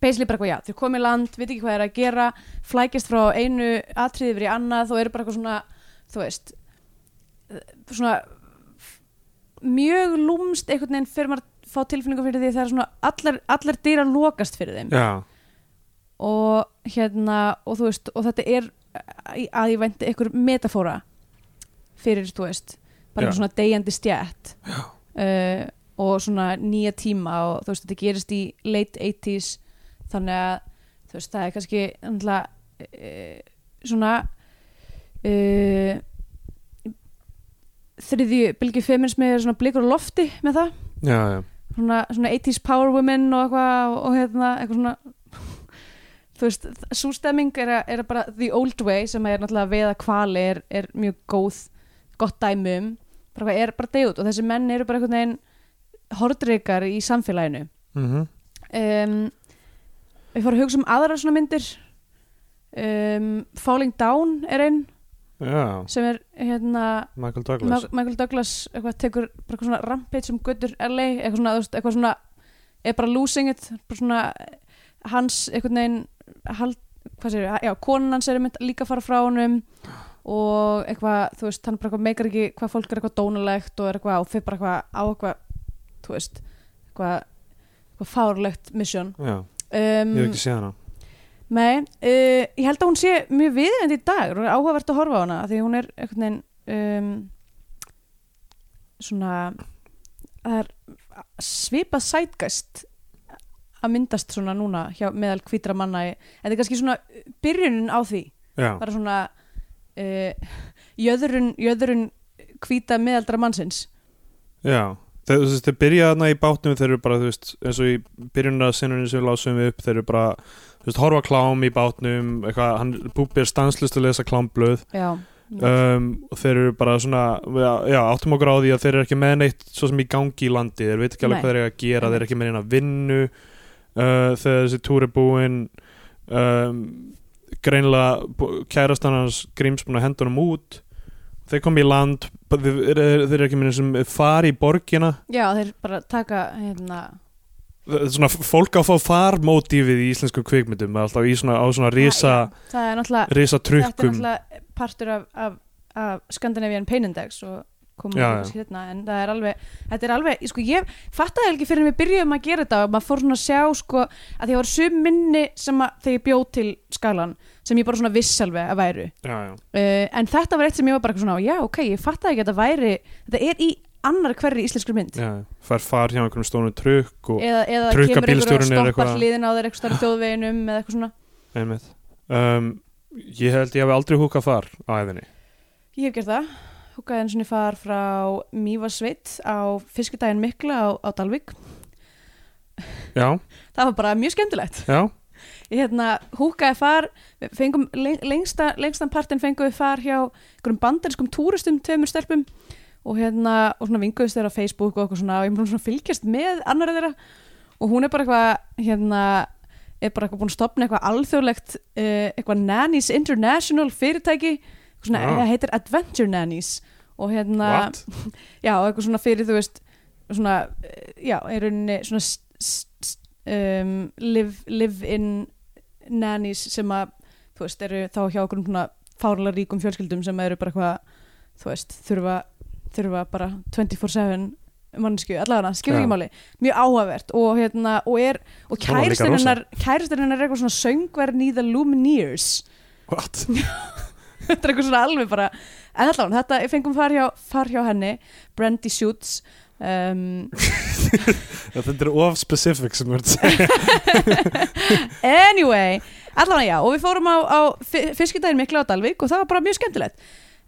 [SPEAKER 3] basically bara eitthvað já, þeir komið land, veit ekki hvað er að gera flækist frá einu atriði yfir í annað og eru bara eitthvað svona þú veist eh, svona mjög lúmst einhvern veginn fyrir maður að fá tilfinningu fyrir því það er svona allar, allar dýra lokast fyrir þeim
[SPEAKER 2] Já,
[SPEAKER 3] og hérna og þú veist og þetta er eh, í- að ég vænti einhver metafóra fyrir þú veist bara
[SPEAKER 2] Já.
[SPEAKER 3] einhver svona deyjandi stjætt uh, og svona nýja tíma og þú veist þetta gerist í late 80s þannig að þú veist það er kannski ennla, uh, svona uh, þriðju bylgi feminismi er svona blikur á lofti með það
[SPEAKER 2] já, já,
[SPEAKER 3] svona, svona 80s power women og eitthvað og, og hérna eitthvað svona þú veist, sústemming er, að- er að bara the old way sem er náttúrulega að veiða kvali er, er mjög góð, gott dæmi um bara hvað er bara deyjút og þessi menn eru bara einhvern veginn hordreikar í samfélaginu
[SPEAKER 2] mhm,
[SPEAKER 3] um, við fórum að hugsa um aðra svona myndir um, Falling Down er einn
[SPEAKER 2] já
[SPEAKER 3] sem er hérna
[SPEAKER 2] Michael Douglas
[SPEAKER 3] Ma- Michael Douglas eitthvað tekur bara eitthvað svona rampage um göttur LA, eitthvað svona, þú veist, eitthvað svona er bara losing it, bara svona hans einhvern veginn hald, hvað séu, já, konan hans er einmitt líka að fara frá honum og eitthvað, þú veist, hann bara eitthvað meikar ekki hvað fólk er eitthvað dónalegt og er eitthvað og fyrir bara eitthvað á eitthvað, þú veist eitthvað, eitthvað fárlegt mission
[SPEAKER 2] Já,
[SPEAKER 3] um,
[SPEAKER 2] ég hef ekki séð hana
[SPEAKER 3] Nei, uh, ég held að hún sé mjög viðjönd í dag og er áhugavert að horfa á hana af því að hún er einhvern veginn um, svona það er svipað sætgæst að myndast svona núna hjá, meðal hvítra manna í- en það er kannski svona byrjunin á því
[SPEAKER 2] Já,
[SPEAKER 3] bara svona uh, jöðrun, jöðrun hvíta meðaldra mannsins
[SPEAKER 2] já Þeir, þú veist, þeir byrja þarna í bátnum þeir eru bara, þú veist, eins og í byrjunna sinunni sem við lásum upp, þeir eru bara þú veist, horfa á klám í bátnum eitthvað, hann búbir stanslust að lesa klámblöð
[SPEAKER 3] Já,
[SPEAKER 2] um, og þeir eru bara svona, já, já, áttum okkur á því að þeir eru ekki með neitt svo sem í gangi í landi þeir veit ekki alveg
[SPEAKER 3] Nei.
[SPEAKER 2] hvað þeir eru að gera, þeir eru
[SPEAKER 3] Einmitt.
[SPEAKER 2] ekki með neina vinnu uh, þegar þessi túr er búin um, greinlega kærastan hans gríms búin að henda honum út þeir kom í land bara þeir, þeir, þeir eru ekki með sem fari í borgina
[SPEAKER 3] já þeir bara taka hérna,
[SPEAKER 2] Það er svona fólk á að fá farmótífið í íslenskum kvikmyndum alltaf í svona, á svona risa,
[SPEAKER 3] það er náttúrulega
[SPEAKER 2] risa
[SPEAKER 3] þetta er
[SPEAKER 2] trukkum
[SPEAKER 3] náttúrulega partur af, af, af Scandinavian Pain Index og komum
[SPEAKER 2] Já,
[SPEAKER 3] já,
[SPEAKER 2] já.
[SPEAKER 3] já. hérna en það er alveg, þetta er alveg, sko ég fattaði ekki fyrir en við byrjuðum að gera þetta og maður fór svona að sjá sko að því það var sum minni sem að þegar ég bjóð til skalan sem ég bara svona viss alveg að væru uh,
[SPEAKER 2] já, já,
[SPEAKER 3] en þetta var eitt sem ég var bara eitthvað svona já ok, ég fattaði ekki að þetta væri þetta er í annar hverri íslenskri mynd
[SPEAKER 2] já, fær far hjá einhverjum stónu trukk og
[SPEAKER 3] eða, eða
[SPEAKER 2] Trukka
[SPEAKER 3] kemur einhver
[SPEAKER 2] bílstjórinn
[SPEAKER 3] að
[SPEAKER 2] er
[SPEAKER 3] stoppa
[SPEAKER 2] eitthvað-
[SPEAKER 3] hliðin á þeir eitthvað starf þjóðveginum eða eitthvað svona
[SPEAKER 2] einmitt um, ég held ég hafi aldrei húkað þar á æðinni
[SPEAKER 3] Ég hef gert það Húkaði einu sinni far frá Mývasveit á fiskudaginn mikla á, á Dalvík
[SPEAKER 2] já,
[SPEAKER 3] Það var bara mjög skemmtilegt
[SPEAKER 2] já,
[SPEAKER 3] Ég hérna húkaði far við fengum leng, lengsta, lengstan partinn fengum við far hjá einhverjum bandarinskum túristum tveimur stelpum og hérna og svona vinguðist þeirra á Facebook og eitthvað svona og ég mér svona að fylgjast með annar þeirra og hún er bara eitthvað hérna er bara eitthvað búin að stopna eitthvað alþjóðlegt uh, eitthvað Nannies International fyrirtæki eitthvað svona,
[SPEAKER 2] Já.
[SPEAKER 3] það heitir Adventure Nannies og hérna
[SPEAKER 2] what?
[SPEAKER 3] já, og eitthvað svona fyrir, þú veist svona, eh, já, er rauninni svona s- s- s- um, live, live in nannies sem að, þú veist, eru þá hjá okkur um svona fárlega ríkum fjölskyldum sem eru bara eitthvað, þú veist, þurfa þurfa bara 24-7 mannsku, allavega, skilur
[SPEAKER 2] Já.
[SPEAKER 3] ekki máli mjög áhugavert og hérna og, er,
[SPEAKER 2] Svona
[SPEAKER 3] og
[SPEAKER 2] líka rosa.
[SPEAKER 3] kæristuninnar kæristuninnar er eitthvað svona söngverðin í The Lumineers
[SPEAKER 2] what?
[SPEAKER 3] þetta er eitthvað svona alveg bara en allan, þetta ég fengum far hjá, far hjá henni Brandy Shoots um,
[SPEAKER 2] þetta er of specific sem verður að segja
[SPEAKER 3] anyway, allan já og við fórum á, á fiskindaginn mikla á Dalvík og það var bara mjög skemmtilegt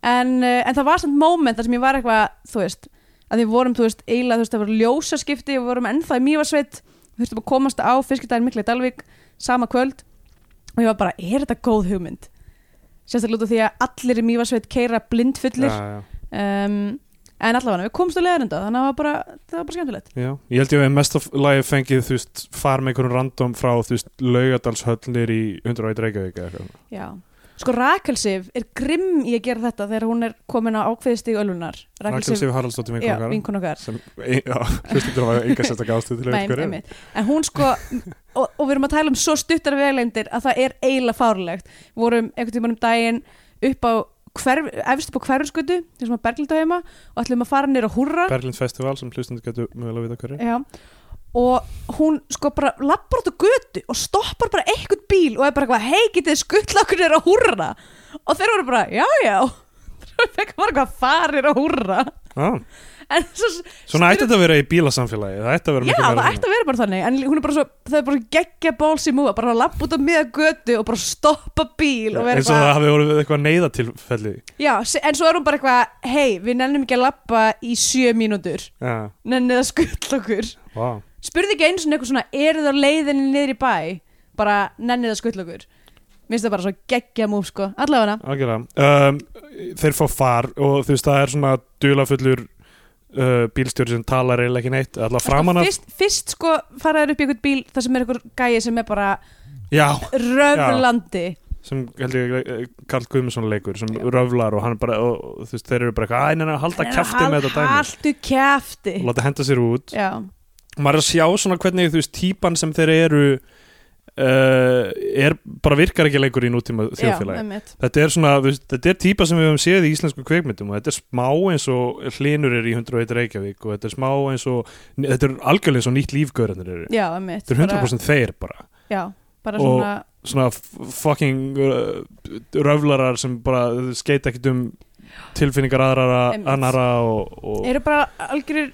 [SPEAKER 3] en, eh, en það var samt moment þar sem ég var eitthvað þú veist, að við vorum, þú veist, eiginlega þú veist, það voru ljósaskipti, við vorum ennþá í mývarsveit við þurftum að komast á fiskindaginn mikla í Dalvík sama kvöld og ég var bara, er þetta góð hugmynd? Sérstaklega út af því að allir í mývarsveit keira blindfullir
[SPEAKER 2] já, já.
[SPEAKER 3] um, en allavega við komst að leiðarenda þannig að það var bara, það var bara skemmtilegt
[SPEAKER 2] Já, ég held ég að mest af lagi fengið þú veist, far með einhverjum random frá þú veist, laugadalshöllir í 101 Reykjavík eða eitthvað.
[SPEAKER 3] já. sko Rakel Sif er grimm í að gera þetta þegar hún er komin á ákveðistig öllunar
[SPEAKER 2] Rakel Sif Haraldsdóttir
[SPEAKER 3] já,
[SPEAKER 2] vinkona okkar
[SPEAKER 3] vinkun okkar
[SPEAKER 2] sem, e, já, hlustum að enga sérstakka ástöð til
[SPEAKER 3] Nei,
[SPEAKER 2] einhverju.
[SPEAKER 3] einmitt. en hún sko og, og við erum að tala um svo stuttar vegleindir að það er eiginlega fárlegt við vorum einhvern tímann um daginn upp á hverf, efst upp á hverfskutu þessum að Berglind á heima og ætlum að fara nýra húrra
[SPEAKER 2] Berlind Festival sem hlustum getur mögulega að vita hverju.
[SPEAKER 3] Já, og hún sko bara lappar út á götu og stoppar bara einhvern bíl og er bara eitthvað, hei, getið þið skuttla okkur er að húrra og þeir voru bara, já, já þeir voru eitthvað farir að húrra
[SPEAKER 2] Ah,
[SPEAKER 3] en svo,
[SPEAKER 2] svona ætti þetta að vera í bílasamfélagi, það ætti að vera
[SPEAKER 3] já,
[SPEAKER 2] mikið
[SPEAKER 3] það
[SPEAKER 2] meira
[SPEAKER 3] ætti að vera bara þannig en hún er bara svo, það er bara geggja bálsi múa bara að lappa út á miða götu og bara stoppa bíl og
[SPEAKER 2] svona.
[SPEAKER 3] vera
[SPEAKER 2] eins og
[SPEAKER 3] eitthvað
[SPEAKER 2] það hafi voru eitthvað neyðatilfelli.
[SPEAKER 3] já, se- en svo er hún bara eitthvað, hei, við nennum ekki að lappa í sjö mínútur
[SPEAKER 2] Já,
[SPEAKER 3] nennið að skuttla okkur
[SPEAKER 2] vá.
[SPEAKER 3] spurði ekki eins og eitthvað svona eru það leiðinni niður í bæ bara nennið að skuttla okkur mér finnst það bara svo geggja múf sko allavega
[SPEAKER 2] Algjörlega. Um, þeir fá far og þú veist, það er svona dulafullur uh, bílstjóri sem talar eiginlega ekki neitt, allavega framan af.
[SPEAKER 3] fyrst, fyrst sko faraður upp í einhvern bíl þar sem er einhver gæi sem er bara
[SPEAKER 2] Já,
[SPEAKER 3] röflandi
[SPEAKER 2] sem held ég eh, Karl Guðmundsson leikur sem röflar og hann bara og, og, þú veist, þeir eru bara eitthvað, "Æ, nei, nei, halda kæfti með þetta dæmi
[SPEAKER 3] haldu kæfti
[SPEAKER 2] og láta henda sér út
[SPEAKER 3] já,
[SPEAKER 2] maður er að sjá svona hvernig þú veist típan sem þeir eru uh, er bara virkar ekki leikur í nútíma
[SPEAKER 3] já,
[SPEAKER 2] þjóðfélagi
[SPEAKER 3] einmitt
[SPEAKER 2] þetta er svona, þú veist, þetta er típa sem við höfum séð í íslensku kveikmyndum og þetta er smá eins og hlinur er í 101 Reykjavík og þetta er smá eins og þetta er algjörlega eins og nýtt lífgörðanir eru
[SPEAKER 3] já, einmitt
[SPEAKER 2] þetta er 100% þeir bara
[SPEAKER 3] bara, já, bara
[SPEAKER 2] Og-
[SPEAKER 3] svona
[SPEAKER 2] svona f- fucking uh, röflarar sem bara skeit ekkert um tilfinningar aðrara,
[SPEAKER 3] Einmitt.
[SPEAKER 2] annara og, og
[SPEAKER 3] eru bara algjörir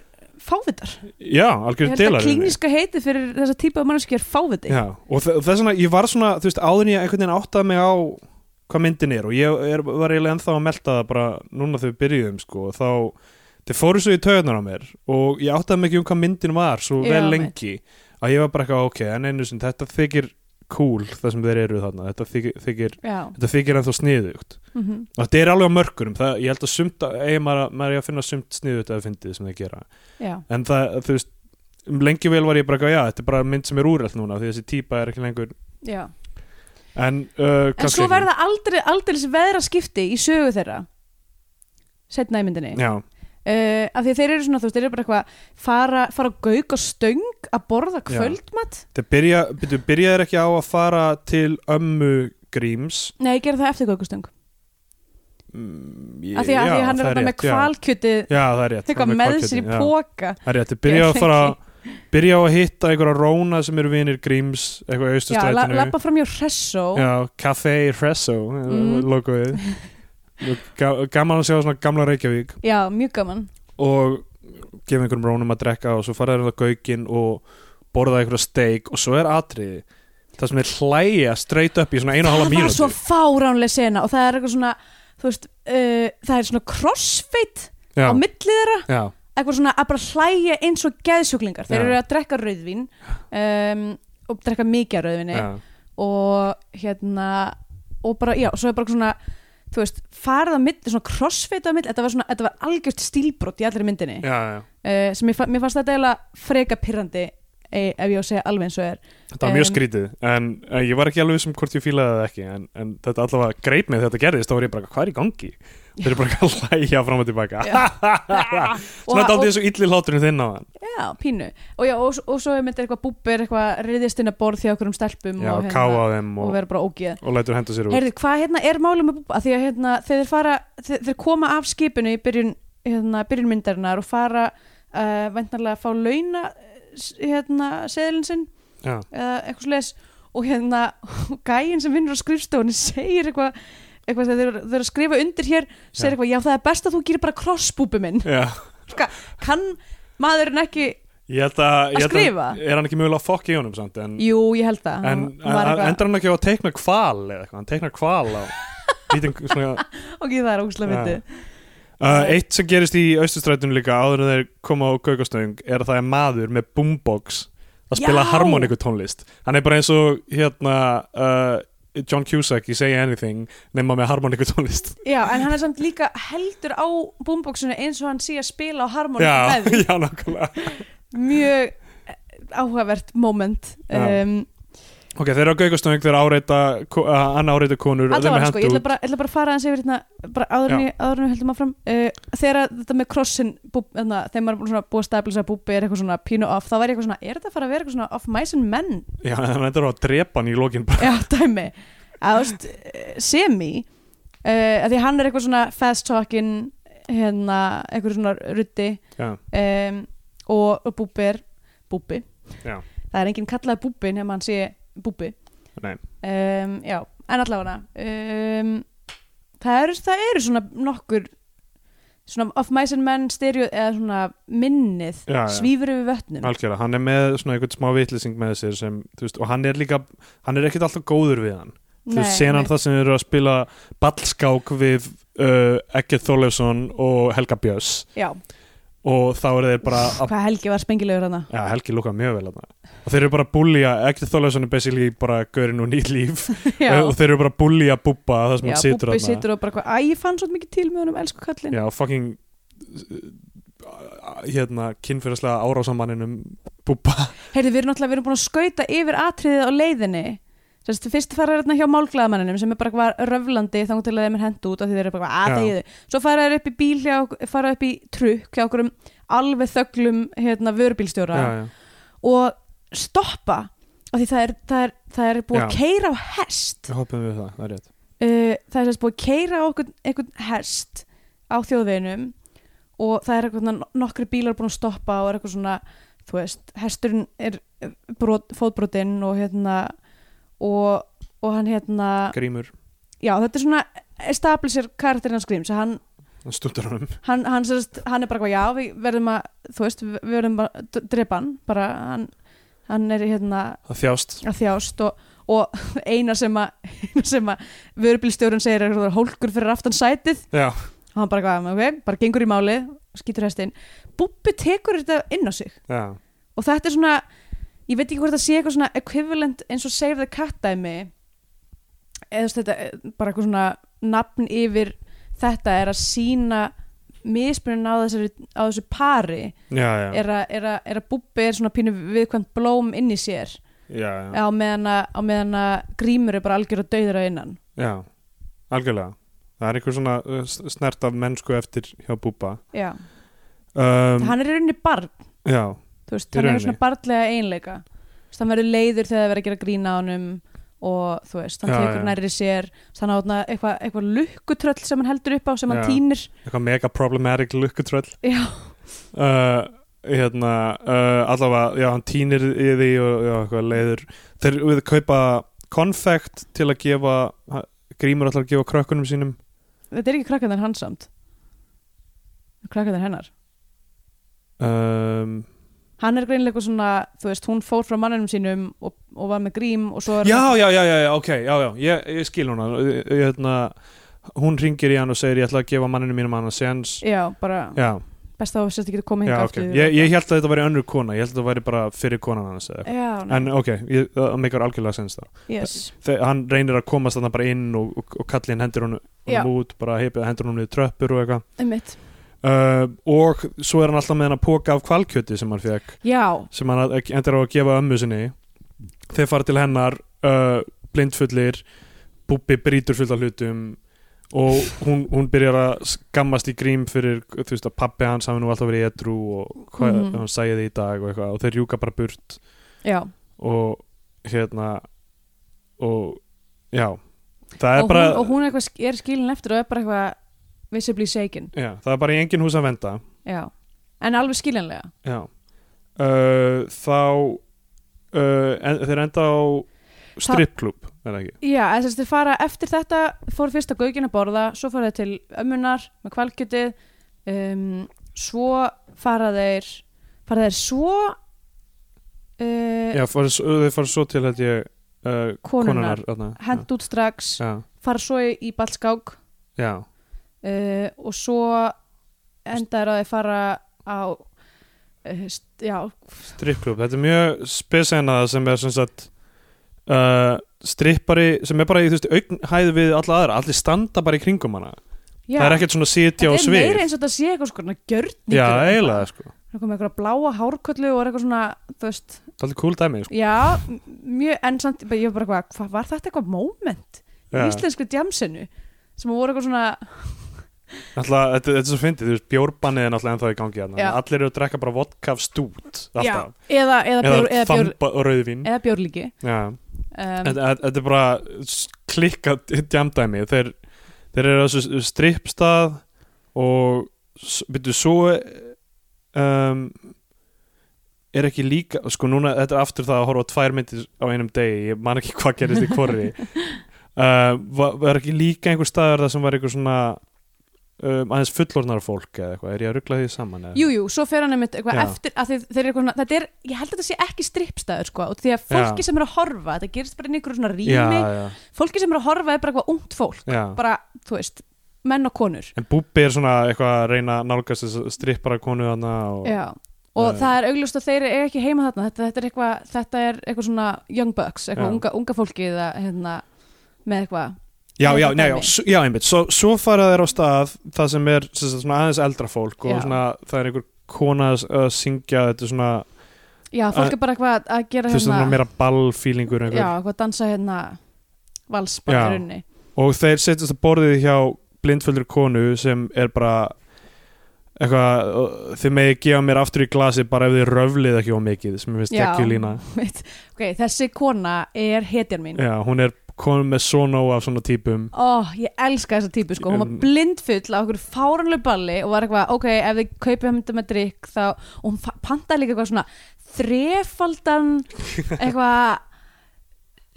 [SPEAKER 3] fávitar
[SPEAKER 2] já,
[SPEAKER 3] ég
[SPEAKER 2] algjörðu
[SPEAKER 3] held að
[SPEAKER 2] delar
[SPEAKER 3] klíniska heiti fyrir þessa típa af mannskjör fáviti
[SPEAKER 2] já, og þe- þess vegna, ég var svona þú veist, áður en ég einhvern veginn áttaði mig á hvað myndin er og ég er, var eiginlega ennþá að melta það bara núna þegar við byrjuðum sko, þá, þeir fóru svo í taugarnar á mér og ég áttaði mig ekki um hvað myndin var svo
[SPEAKER 3] Já,
[SPEAKER 2] vel
[SPEAKER 3] einmitt.
[SPEAKER 2] lengi að ég var bara eitthvað, ok, en einu sinni þetta þykir cool það sem þeir eru þarna þetta þykir, þykir,
[SPEAKER 3] já,
[SPEAKER 2] þetta þykir ennþá sniðugt
[SPEAKER 3] mhm,
[SPEAKER 2] Og Þetta er alveg á mörkunum, það, ég held að sumt eigi maður, að- maður eigi að finna sumt sniðut að fyndið sem þeir gera,
[SPEAKER 3] já,
[SPEAKER 2] en það, þú veist um lengi vel var ég bara, eitthvað, já, þetta er bara mynd sem er úrælt núna, því þessi típa er ekki lengur
[SPEAKER 3] já
[SPEAKER 2] en, uh,
[SPEAKER 3] En
[SPEAKER 2] kannski
[SPEAKER 3] svo
[SPEAKER 2] ekki.
[SPEAKER 3] verða aldrei, aldrei veðra skipti í sögu þeirra setna í myndinni
[SPEAKER 2] Já,
[SPEAKER 3] uh, af því að þeir eru svona, þú veist, þeir eru bara eitthvað fara, fara á gauk og stöng að borða
[SPEAKER 2] Já.
[SPEAKER 3] kvöldmatt
[SPEAKER 2] það byrja, byrju, byrjaðir ekki á að fara til ömmu Gríms
[SPEAKER 3] Nei, ég gera það eftir gaukastöng
[SPEAKER 2] Mm, ég-
[SPEAKER 3] af því að,
[SPEAKER 2] já,
[SPEAKER 3] já, hann er
[SPEAKER 2] það
[SPEAKER 3] þarna með
[SPEAKER 2] rétt, já.
[SPEAKER 3] kvalkjötið
[SPEAKER 2] Já, það er rétt,
[SPEAKER 3] eitthvað
[SPEAKER 2] hann
[SPEAKER 3] með
[SPEAKER 2] hvalkjötið,
[SPEAKER 3] sér í
[SPEAKER 2] já.
[SPEAKER 3] póka
[SPEAKER 2] Það er rétt, þið byrja á að fara byrja á að hitta einhverja róna sem eru vinir Gríms, eitthvað í
[SPEAKER 3] Já, la,
[SPEAKER 2] austurstrætinu
[SPEAKER 3] lappa fram hjá hressó
[SPEAKER 2] Já, Café Fresso
[SPEAKER 3] Mm.
[SPEAKER 2] logoið Ga- gaman að sjá svona gamla Reykjavík
[SPEAKER 3] Já, mjög gaman
[SPEAKER 2] og gefa einhverjum rónum að drekka og svo fara þeir á gaukinn og borða einhverja steik og svo er atriði það sem er hlæja straight up í svona einu og halva
[SPEAKER 3] það var
[SPEAKER 2] mínútu
[SPEAKER 3] svo fáránlega sena og það er eitthvað svona þú veist, uh, það er svona crossfit
[SPEAKER 2] já,
[SPEAKER 3] á milli þeirra,
[SPEAKER 2] já,
[SPEAKER 3] eitthvað svona að bara hlæja eins og geðsjúklingar, þeir
[SPEAKER 2] Já.
[SPEAKER 3] eru að drekka rauðvín um, og drekka mikið af rauðvinni
[SPEAKER 2] já,
[SPEAKER 3] og hérna og bara, já, svo er bara svona þú veist, farið á milli, svona crossfit á milli, þetta var svona, þetta var algjört stílbrot í allri myndinni
[SPEAKER 2] já, já.
[SPEAKER 3] uh, sem mér, fa- mér fannst þetta eiginlega freka pirrandi eh, ef ég á að segja alveg eins og er
[SPEAKER 2] þetta var mjög
[SPEAKER 3] Em.
[SPEAKER 2] skrítið en, en ég var ekki alveg sem hvort ég fílaði það ekki en, en þetta allavega greip mig þegar þetta gerðist þá var ég bara, hvað er í gangi? þeir eru bara eitthvað að hlæja fram og tilbaka svona
[SPEAKER 3] Og-
[SPEAKER 2] þetta aldrei svo illi hláturinn þinn á hann
[SPEAKER 3] Já, pínu og, já, og, og svo er myndið eitthvað búbir eitthvað riðist inn að borð því okkur um stelpum
[SPEAKER 2] já,
[SPEAKER 3] og,
[SPEAKER 2] káa á þeim
[SPEAKER 3] og
[SPEAKER 2] og,
[SPEAKER 3] vera bara ógeð
[SPEAKER 2] og lætur henda sér út
[SPEAKER 3] Heyrðu, hvað hérna er málið með búbba? Því að hérna, þegar þeir, fara, þeir, þeir koma af skipinu í byrjun, hérna, byrjun myndarinnar og fara uh, vendarlega að fá launa s- hérna, seðilinn sinn
[SPEAKER 2] já,
[SPEAKER 3] eða eitthvað sles og hérna gæinn sem vinnur á skrifstofunni segir eitthvað eitthvað þegar þeir eru- þeir eru að skrifa undir hér segir
[SPEAKER 2] Já.
[SPEAKER 3] eitthvað, já það er best að þú gerir bara krossbúbi minn
[SPEAKER 2] já
[SPEAKER 3] kann maðurinn ekki,
[SPEAKER 2] Ég held að, ég
[SPEAKER 3] Að
[SPEAKER 2] held
[SPEAKER 3] skrifa?
[SPEAKER 2] er hann ekki mögulega að fokka í honum samt en,
[SPEAKER 3] jú ég held að
[SPEAKER 2] en
[SPEAKER 3] hann var
[SPEAKER 2] en-
[SPEAKER 3] eitthvað,
[SPEAKER 2] endar hann ekki á að teikna kval eða eitthvað, hann teiknar kval á lítinn svona
[SPEAKER 3] ok það er ógustlega
[SPEAKER 2] Ja.
[SPEAKER 3] myndi
[SPEAKER 2] uh, Eitt sem gerist í austustrætunum líka áður en þeir koma á Gaukastöng er að það er maður með boombox að spila
[SPEAKER 3] Já!
[SPEAKER 2] harmonikutónlist Hann er bara eins og hérna uh, John Cusack í Say Anything nema með harmonikutónlist
[SPEAKER 3] já en hann er samt líka heldur á boomboxinu eins og hann sé að spila á harmonika
[SPEAKER 2] Já,
[SPEAKER 3] með því.
[SPEAKER 2] já, nákvæmlega
[SPEAKER 3] mjög eh, áhugavert moment
[SPEAKER 2] Já.
[SPEAKER 3] um,
[SPEAKER 2] Ok, þeir eru á Gaukastöng, þeir áreita uh, annar áreita konur og þeir
[SPEAKER 3] allavega
[SPEAKER 2] með
[SPEAKER 3] sko, ég ætla
[SPEAKER 2] hendút.
[SPEAKER 3] bara, ætla bara að fara aðeins yfir hérna, bara áður en
[SPEAKER 2] Já.
[SPEAKER 3] ég- áður en við höldum áfram uh, þegar að þetta með crossin búb, hérna, þegar maður er búinn svona búið að stabilisa búbi er eitthvað svona pínu off, þá væri eitthvað svona er þetta að fara að vera eitthvað svona off mice and men
[SPEAKER 2] Já, hann endur á að drepa hann í lokin bara
[SPEAKER 3] já, dæmi, að þú veist eh, semi, uh, að því hann er eitthvað svona fast talking hérna, eitthvað svona ruddi
[SPEAKER 2] Já,
[SPEAKER 3] um, og, og búbi er búbi,
[SPEAKER 2] Já.
[SPEAKER 3] það er enginn kallaði búbi nema hann sé búbi
[SPEAKER 2] nei
[SPEAKER 3] um, já, en allavega um, það eru það eru svona nokkur svona of mice and men stereo eða svona minnið
[SPEAKER 2] Já, já.
[SPEAKER 3] svífur yfir vötnum
[SPEAKER 2] Algjörlega, hann er með svona einhvern smá vitlýsing með sér sem, þú veist, og hann er líka hann er ekkert alltaf góður við hann þú veist, senan það sem eru að spila ballskák við uh, Egget Þorleifsson og Helga Björns
[SPEAKER 3] já,
[SPEAKER 2] og þá eru þeir bara að,
[SPEAKER 3] hvað Helgi var spengilegur hana
[SPEAKER 2] ja, Helgi lúka mjög vel þarna og þeir eru bara að búlja, Egget Þorleifsson er basically bara gaurinn og nýtt líf
[SPEAKER 3] já,
[SPEAKER 2] og þeir eru bara að búlja Bubba það sem
[SPEAKER 3] já
[SPEAKER 2] hann situr
[SPEAKER 3] Búbbi
[SPEAKER 2] þarna.
[SPEAKER 3] situr og bara hvað, æ, ég fann svo mikið til með honum elsku kallinn,
[SPEAKER 2] Já, fucking uh, hérna, kynfyrðislega árásamanninum Bubba
[SPEAKER 3] heyrðu, við erum náttúrulega við erum búin að skauta yfir atriðið á leiðinni Sest, fyrst fara hérna hjá málglaðamanninum sem er bara hvað röflandi þangur til að þeim er hend út af því þeir eru bara að
[SPEAKER 2] Já.
[SPEAKER 3] þegiðu svo fara þeir upp í bíl hjá, ok- fara upp í trukk hjá okkur um alveg þöglum hérna, vörubílstjóra
[SPEAKER 2] já, já.
[SPEAKER 3] og stoppa af því það er, það er, það er búið að
[SPEAKER 2] Já.
[SPEAKER 3] keira á hest uh,
[SPEAKER 2] Við hoppum við það, það er rétt
[SPEAKER 3] Eh, það er sérst búið að keira á okkur, einhvern hest á þjóðveginum og það er eitthvað nokkri bílar búin að stoppa og er eitthvað svona þú veist, hesturinn er brot, fótbrotinn og hérna og, og hann hérna
[SPEAKER 2] Grímur,
[SPEAKER 3] já, þetta er svona establisher karakterinn hans Gríms hann,
[SPEAKER 2] stundar honum
[SPEAKER 3] hann, hann, sérst, hann er bara eitthvað, já, við verðum að þú veist, við verðum bara að drepa hann bara hann, hann er hérna
[SPEAKER 2] að þjást
[SPEAKER 3] að þjást og, og eina sem að, eina sem að vörubílstjórun segir er að það er hólkur fyrir aftan sætið
[SPEAKER 2] Já,
[SPEAKER 3] og hann bara hvað, ok, bara gengur í máli skýtur hestinn, Bubbi tekur þetta inn á sig
[SPEAKER 2] já,
[SPEAKER 3] og þetta er svona ég veit ekki hvort það sé eitthvað svona equivalent eins og save the cat dæmi eða þú veist, þetta er bara eitthvað svona nafn yfir þetta er að sína mismunin á, þessari, á þessu pari
[SPEAKER 2] já, já,
[SPEAKER 3] er að, er, að, er að Bubbi er svona pínu viðkvæmt blóm inn í sér
[SPEAKER 2] já, já,
[SPEAKER 3] á meðan að, á meðan að grímur er bara algjör að dauður að innan
[SPEAKER 2] já. Algjörlega Það er einhver svona uh, s- snert af mennsku eftir hjá Búba
[SPEAKER 3] já.
[SPEAKER 2] um,
[SPEAKER 3] hann er í rauninni barn
[SPEAKER 2] Já,
[SPEAKER 3] þú veist,
[SPEAKER 2] Í
[SPEAKER 3] hann er
[SPEAKER 2] rauninni.
[SPEAKER 3] svona barnlega einleika Þú veist, hann verður leiður þegar það verður að gera grína á honum og þú veist, hann
[SPEAKER 2] Já,
[SPEAKER 3] tekur
[SPEAKER 2] já.
[SPEAKER 3] nærri sér hann á þarna eitthvað eitthva lukkutröll sem hann heldur upp á sem
[SPEAKER 2] Já.
[SPEAKER 3] hann týnir
[SPEAKER 2] eitthvað mega problematic lukkutröll
[SPEAKER 3] já,
[SPEAKER 2] uh, Hérna, uh, allavega, já, hann tínir í því og já, eitthvað leiður Þeir við kaupa konfekt til að gefa ha- Grímur allar að gefa krökkunum sínum
[SPEAKER 3] þetta er ekki krakkaðan hans samt krakkaðan hennar
[SPEAKER 2] um,
[SPEAKER 3] hann er greinilega eitthvað svona, þú veist, hún fór frá manninum sínum og, og var með grím og svo er
[SPEAKER 2] já, já, já, já, já, ok, já, já, ég, ég skil hún hérna, hún ringir í hann og segir ég ætla að gefa manninu mínum hann að sens
[SPEAKER 3] já, bara
[SPEAKER 2] já,
[SPEAKER 3] best að þú sérst ekki að koma
[SPEAKER 2] já,
[SPEAKER 3] hinga
[SPEAKER 2] ok ég, ég held að þetta væri önnur kona, ég held að þetta væri bara fyrir konan hans eða eitthvað.
[SPEAKER 3] já, nei,
[SPEAKER 2] en ok, ég- það meikar algjörlega sens þá
[SPEAKER 3] yes
[SPEAKER 2] Þe- hann reynir að komast þarna bara inn og, og, og kallin hendur hún
[SPEAKER 3] Já.
[SPEAKER 2] út, bara heipið hendur hún við tröppur og eitthvað
[SPEAKER 3] einmitt,
[SPEAKER 2] uh, og svo er hann alltaf með hann að póka af kvalkjöti sem hann fekk,
[SPEAKER 3] já,
[SPEAKER 2] sem hann að- endur á að gefa ömmu sinni þeir fara til hennar uh, blindfullir búbbi brýtur fullt af hlutum og hún, hún byrjar að skammast í grím fyrir þú veist að pappi hans hafi nú alltaf verið edru og hvað
[SPEAKER 3] Mhm.
[SPEAKER 2] hann sagði því í dag og eitthvað og þeir rjúka bara burt
[SPEAKER 3] já
[SPEAKER 2] og hérna og já það er
[SPEAKER 3] og,
[SPEAKER 2] bara
[SPEAKER 3] hún, og hún er, eitthvað, sk- er skilin eftir og er bara eitthvað visibly shaken
[SPEAKER 2] já, það er bara í engin hús að venda
[SPEAKER 3] já. en alveg skiljanlega
[SPEAKER 2] já uh, þá uh, en, þeir enda á strippklub er það ekki
[SPEAKER 3] já, eða þess að þeir fara eftir þetta fór fyrst að gaugin að borða, svo fara þeir til ömmunar með kvalkjötið um, svo fara þeir fara þeir svo uh,
[SPEAKER 2] já, fara, s- þeir fara svo til held ég uh,
[SPEAKER 3] konunar,
[SPEAKER 2] konunar þarna.
[SPEAKER 3] hent út strax
[SPEAKER 2] já,
[SPEAKER 3] fara svo í, í ballskák
[SPEAKER 2] já,
[SPEAKER 3] uh, og svo endaður að þeir fara á uh, st- já,
[SPEAKER 2] strippklub þetta er mjög spesena sem er sem sagt uh, strippari sem er bara í þú veist augnhæði við alla aðra, allir standa bara í kringum hana
[SPEAKER 3] já
[SPEAKER 2] það er ekkert svona sitja og
[SPEAKER 3] Þetta er
[SPEAKER 2] svið
[SPEAKER 3] meira eins og þetta sé eitthvað sko gjörningur
[SPEAKER 2] Já, eiginlega sko
[SPEAKER 3] Það kom eitthvað bláa hárköllu og er eitthvað svona, þú veist,
[SPEAKER 2] Það er cool dæmi sko.
[SPEAKER 3] já, m- mjög, en samt, bara- ég var bara eitthvað, hvað var þetta eitthvað moment í
[SPEAKER 2] Já.
[SPEAKER 3] íslensku djamsinu sem voru eitthvað svona,
[SPEAKER 2] Náttúrulega, þetta, þetta er svo fyndið, þú veist, bjórbannið er náttúrulega ennþá í gangi hérna.
[SPEAKER 3] Já.
[SPEAKER 2] Allir eru að drekka bara vodka af stút alltaf.
[SPEAKER 3] já, eða, eða,
[SPEAKER 2] Eða,
[SPEAKER 3] bjór, eða, bjór,
[SPEAKER 2] þamba og rauðvín
[SPEAKER 3] eða bjórlíki.
[SPEAKER 2] Já.
[SPEAKER 3] Um,
[SPEAKER 2] Þetta þetta- þetta er bara klikka djamdæmi þeir, þeir eru á þessu strippstað og s- byrju svo um, er ekki líka sko núna, þetta er aftur það að horfa á tvær myndir á einum degi, ég man ekki hvað gerist í korri uh, var, var ekki líka einhver staður það sem var einhver svona um, aðeins fullornar fólk eða eitthvað, er ég að ruggla því saman eða?
[SPEAKER 3] jú, jú, svo fer hann einmitt eitthvað
[SPEAKER 2] Já.
[SPEAKER 3] eftir, að þeir, þeir eru eitthvað svona, þetta er, ég held að þetta sé ekki strippstæður sko, og því að
[SPEAKER 2] Já.
[SPEAKER 3] fólki sem er að horfa, þetta gerist bara inn í einhverju svona rými,
[SPEAKER 2] já, já,
[SPEAKER 3] fólki sem er að horfa er bara eitthvað ungt fólk,
[SPEAKER 2] já.
[SPEAKER 3] bara, þú veist, menn og konur.
[SPEAKER 2] en Búbbi er svona eitthvað að reyna að nálgast þess strippara konu hana og
[SPEAKER 3] Já, og
[SPEAKER 2] Eh.
[SPEAKER 3] það er augljóst að þeir eru ekki heima þarna þetta, þetta, er, eitthvað, þetta er eitthvað svona young bucks,
[SPEAKER 2] Já.
[SPEAKER 3] eitthvað unga, unga fólki eða, hérna, með eitthvað
[SPEAKER 2] Já,
[SPEAKER 3] Eða
[SPEAKER 2] já,
[SPEAKER 3] eitthvað
[SPEAKER 2] nei, já,
[SPEAKER 3] dæmi.
[SPEAKER 2] s- já, einmitt Svo, svo fara þeir á stað það sem er sem sagt, svona aðeins eldra fólk og
[SPEAKER 3] Já.
[SPEAKER 2] svona, það er einhver kona að að syngja þetta er svona,
[SPEAKER 3] Já, fólk
[SPEAKER 2] Eh,
[SPEAKER 3] er bara eitthvað að gera
[SPEAKER 2] þú veist, svona
[SPEAKER 3] hérna
[SPEAKER 2] meira ballfílingur
[SPEAKER 3] Já,
[SPEAKER 2] einhver.
[SPEAKER 3] eitthvað að dansa hérna vals bara
[SPEAKER 2] Já.
[SPEAKER 3] í runni
[SPEAKER 2] og þeir setjast að borðið hjá blindföldur konu sem er bara eitthvað, uh, þið megi gefa mér aftur í glasi bara ef þið röflið ekki á mikið sem ég finnst
[SPEAKER 3] Já.
[SPEAKER 2] ekki lína
[SPEAKER 3] Mitt. Ok, þessi kona er hetjan mín
[SPEAKER 2] Já, hún er komin með sono af svona típum
[SPEAKER 3] Ó, ég elska þessa típu sko, hún var
[SPEAKER 2] Um.
[SPEAKER 3] blindfull á okkur fáranlega balli og var eitthvað, ok, ef þið kaupið hann með drikk þá, og hún fa- pantaði líka eitthvað svona þrefaldan eitthvað e,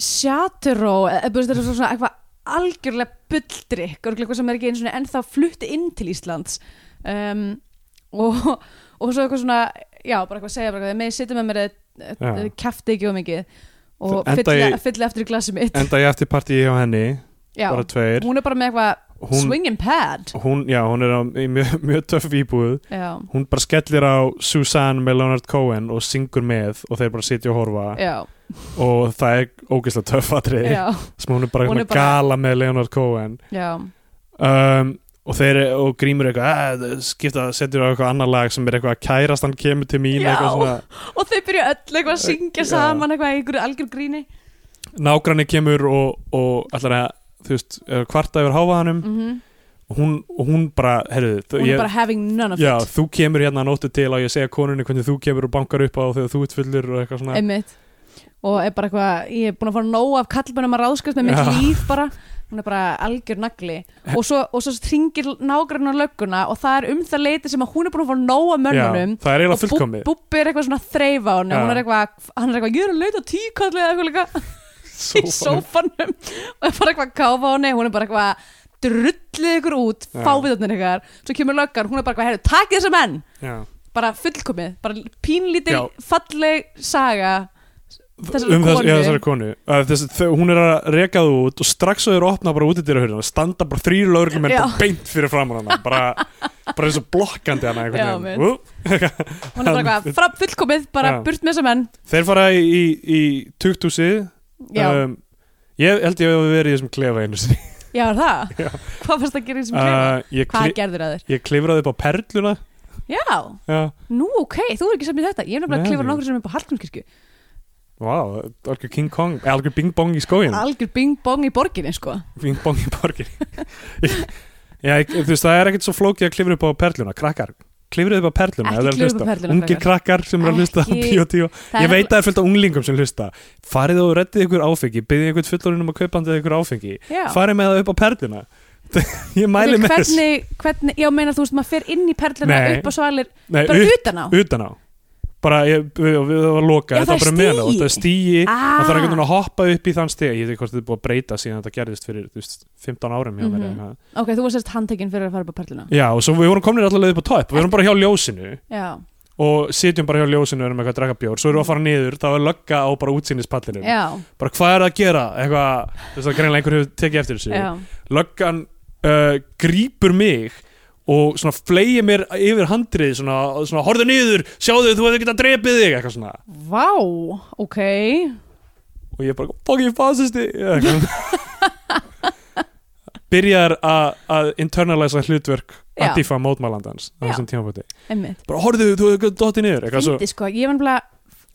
[SPEAKER 3] sjátturó, eða búist þetta svona eitthvað algjörlega bulldrykk og eitthvað sem er ekki einu svona ennþá flutt inn til Íslands um, og, og svo eitthvað svona já, bara eitthvað að segja, bara eitthvað, með sittum með mér
[SPEAKER 2] Já.
[SPEAKER 3] eða kæfti ekki um mikið og
[SPEAKER 2] Enda
[SPEAKER 3] fylla,
[SPEAKER 2] í-
[SPEAKER 3] fylla eftir í glasi mitt
[SPEAKER 2] enda ég eftir partíi hjá henni,
[SPEAKER 3] já,
[SPEAKER 2] bara tveir
[SPEAKER 3] hún er bara með eitthvað
[SPEAKER 2] hún,
[SPEAKER 3] Swingin' pad
[SPEAKER 2] hún, já, hún er á, í mjög, mjög töff íbúð
[SPEAKER 3] já,
[SPEAKER 2] hún bara skellir á Susanne með Leonard Cohen og syngur með og þeir bara sitja og horfa
[SPEAKER 3] já,
[SPEAKER 2] og það er ógeðslega töffatrið
[SPEAKER 3] já,
[SPEAKER 2] sem hún er bara,
[SPEAKER 3] Hún
[SPEAKER 2] hún
[SPEAKER 3] er bara-
[SPEAKER 2] gala með Leonard Cohen
[SPEAKER 3] já,
[SPEAKER 2] um, og þeir og grímur eitthvað "Ah, skipta, setjur á eitthvað annar lag sem er eitthvað kærast hann kemur til mín
[SPEAKER 3] Já.
[SPEAKER 2] eitthvað svona,
[SPEAKER 3] og þau byrju öll eitthvað að syngja
[SPEAKER 2] Já.
[SPEAKER 3] saman eitthvað í einhverju algjör gríni
[SPEAKER 2] nágranni kemur og, og allar að þú veist, eh, kvarta yfir háfaðanum
[SPEAKER 3] mm
[SPEAKER 2] og, hún, og hún bara, herðu
[SPEAKER 3] hún er bara having none of
[SPEAKER 2] já,
[SPEAKER 3] it
[SPEAKER 2] þú kemur hérna að nóttu til og ég segja konunni hvernig þú kemur og bankar upp á þegar þú ert fullur og eitthvað svona
[SPEAKER 3] einmitt og er bara eitthvað, ég er búin að fara nóg af kallmennum að ráðskast með mitt
[SPEAKER 2] Já.
[SPEAKER 3] líf bara hún er bara algjör nagli og svo, og svo tringir nágrann á lögguna og það er um það leiti sem að hún er búin að fara nóg af mönnunum
[SPEAKER 2] Já, það er
[SPEAKER 3] og
[SPEAKER 2] eiginlega
[SPEAKER 3] Bú-
[SPEAKER 2] fullkomið
[SPEAKER 3] Búbbi er eitthvað svona að þreifa á henni
[SPEAKER 2] Já.
[SPEAKER 3] hún er eitthvað, hann er eitthvað, ég er að leita tíkalli eða eitthvað líka í sófanum og er bara eitthvað að káfa á henni hún er bara eitthvað að drullið ykkur út
[SPEAKER 2] Já.
[SPEAKER 3] fáviðarnir ykkar, svo kemur löggan hún er bara eitthvað, heyrðu, takk þessu menn
[SPEAKER 2] Já.
[SPEAKER 3] bara fullkomið, bara pínlítil
[SPEAKER 2] Já.
[SPEAKER 3] falleg saga Þessari
[SPEAKER 2] um þess,
[SPEAKER 3] konu.
[SPEAKER 2] já, þessari konu uh, þess, þau, hún er að reka þú út og strax þau eru að opna bara út í dyrahurðina standa bara þrýr lögreglumenn
[SPEAKER 3] Já.
[SPEAKER 2] bara beint fyrir framan hana bara, bara eins og blokkandi hana
[SPEAKER 3] Já,
[SPEAKER 2] einhvern
[SPEAKER 3] mitt.
[SPEAKER 2] veginn. Ú,
[SPEAKER 3] hún er bara eitthvað, fra, fullkomið, bara
[SPEAKER 2] Já.
[SPEAKER 3] burt með þessa menn
[SPEAKER 2] þeir fara í, í, í tukthúsi
[SPEAKER 3] já,
[SPEAKER 2] um, ég held ég hef verið í þessum klefa einu sinni
[SPEAKER 3] já, er það
[SPEAKER 2] já.
[SPEAKER 3] hvað fannst það að gera eins og uh,
[SPEAKER 2] uh, ég,
[SPEAKER 3] hvað
[SPEAKER 2] kli,
[SPEAKER 3] gerður að þér?
[SPEAKER 2] ég klifraði upp á perluna
[SPEAKER 3] já,
[SPEAKER 2] já,
[SPEAKER 3] nú ok, þú er ekki sem í þetta ég er nefnilega
[SPEAKER 2] Nei.
[SPEAKER 3] að klifra nokkur sem er bara Hallgrímskirkju
[SPEAKER 2] wow, algjör King Kong eh, algjör Bing Bong í skóin
[SPEAKER 3] algjör bing bong í borginni sko
[SPEAKER 2] Bing Bong í borgin Já, ég, þú veist, það er ekkert svo flókið að klifra upp á perluna, krakkar klifrið upp á perluna, ef þið eru
[SPEAKER 3] Ekki
[SPEAKER 2] að
[SPEAKER 3] klifra upp á
[SPEAKER 2] hlusta.
[SPEAKER 3] perluna,
[SPEAKER 2] ungir krakkar sem eru að hlusta á
[SPEAKER 3] Ekki-
[SPEAKER 2] Bíó 10.
[SPEAKER 3] Það
[SPEAKER 2] ég
[SPEAKER 3] er
[SPEAKER 2] veit að það er fullt af unglingum sem hlusta farið og reddið ykkur áfengi, byggðið ykkur fullorinn um að kaupa handið ykkur áfengi,
[SPEAKER 3] Já.
[SPEAKER 2] farið með það upp á perluna ég mæli
[SPEAKER 3] Fyrir
[SPEAKER 2] með þess
[SPEAKER 3] hvernig, hvernig, já meinar þú veist maður fer inn í perluna
[SPEAKER 2] Nei.
[SPEAKER 3] upp á svalir
[SPEAKER 2] Nei,
[SPEAKER 3] bara
[SPEAKER 2] ut-
[SPEAKER 3] utan á
[SPEAKER 2] utan á bara, ég, við, við það var loka þetta
[SPEAKER 3] Já, það er
[SPEAKER 2] var bara meðan á,
[SPEAKER 3] stigi.
[SPEAKER 2] þetta er stíi ah.
[SPEAKER 3] Ah.
[SPEAKER 2] það þarf einhvern veginn að hoppa upp í þann stíi ég veit ekki hvort þetta er búið að breyta síðan þetta gerðist fyrir þú veist, 15 árum hjá mér
[SPEAKER 3] Mhm.
[SPEAKER 2] mm -hmm.
[SPEAKER 3] ok, þú varst sérst handtekinn fyrir að fara upp á perluna
[SPEAKER 2] Já, og svo við vorum komin allavega upp á topp, við vorum bara hjá ljósinu
[SPEAKER 3] já,
[SPEAKER 2] og sitjum bara hjá ljósinu og erum eitthvað að draka bjór, svo erum við að fara niður, þá er lögga á bara útsýnispallinum,
[SPEAKER 3] já,
[SPEAKER 2] bara hvað er það að gera eitthvað, þess að greinlega einhver hefur tekið eftir þessu
[SPEAKER 3] já
[SPEAKER 2] löggan uh, grípur mig og svona fleigi mér yfir handrið svona, svona horðu niður, sjáðu þú hefur getað drepið þig eitthvað svona,
[SPEAKER 3] vá, ok
[SPEAKER 2] og ég bara fucking fasisti eitthvað. byrjar að- að internaliza hlutverk
[SPEAKER 3] Já.
[SPEAKER 2] Antifa mótmælandans á
[SPEAKER 3] Já.
[SPEAKER 2] þessum tímabóti
[SPEAKER 3] einmitt,
[SPEAKER 2] bara horðu þú hefur getað dottið niður eitthvað svo
[SPEAKER 3] fyndi sko, ég var nefnilega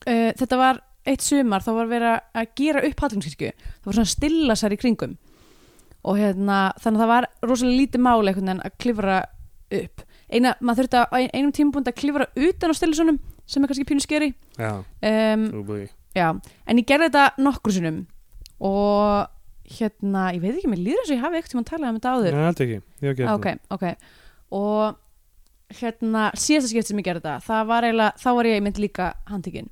[SPEAKER 3] uh, þetta var eitt sumar, þá var verið að gera upp Hallgrímskirkju, það var svona stilla sær í kringum og hérna þannig að það var rosalega lítið máli einhvern veginn að klifra upp Eina, maður þurfti að á einum tímabúnd að klifra utan á stillisunum sem er kannski pínu skeri
[SPEAKER 2] Já,
[SPEAKER 3] um,
[SPEAKER 2] þú búið í.
[SPEAKER 3] Já, en ég gerði þetta nokkur sinnum og hérna, ég veit ekki, mér líður þess að ég hafi ekkert tíma að tala um þetta áður. Ah,
[SPEAKER 2] Nei, allt ekki, ég hef ekki
[SPEAKER 3] ok, ok. Og hérna, síðasta skipt sem ég gerði þetta, það var eiginlega, þá var ég einmitt líka handtekinn.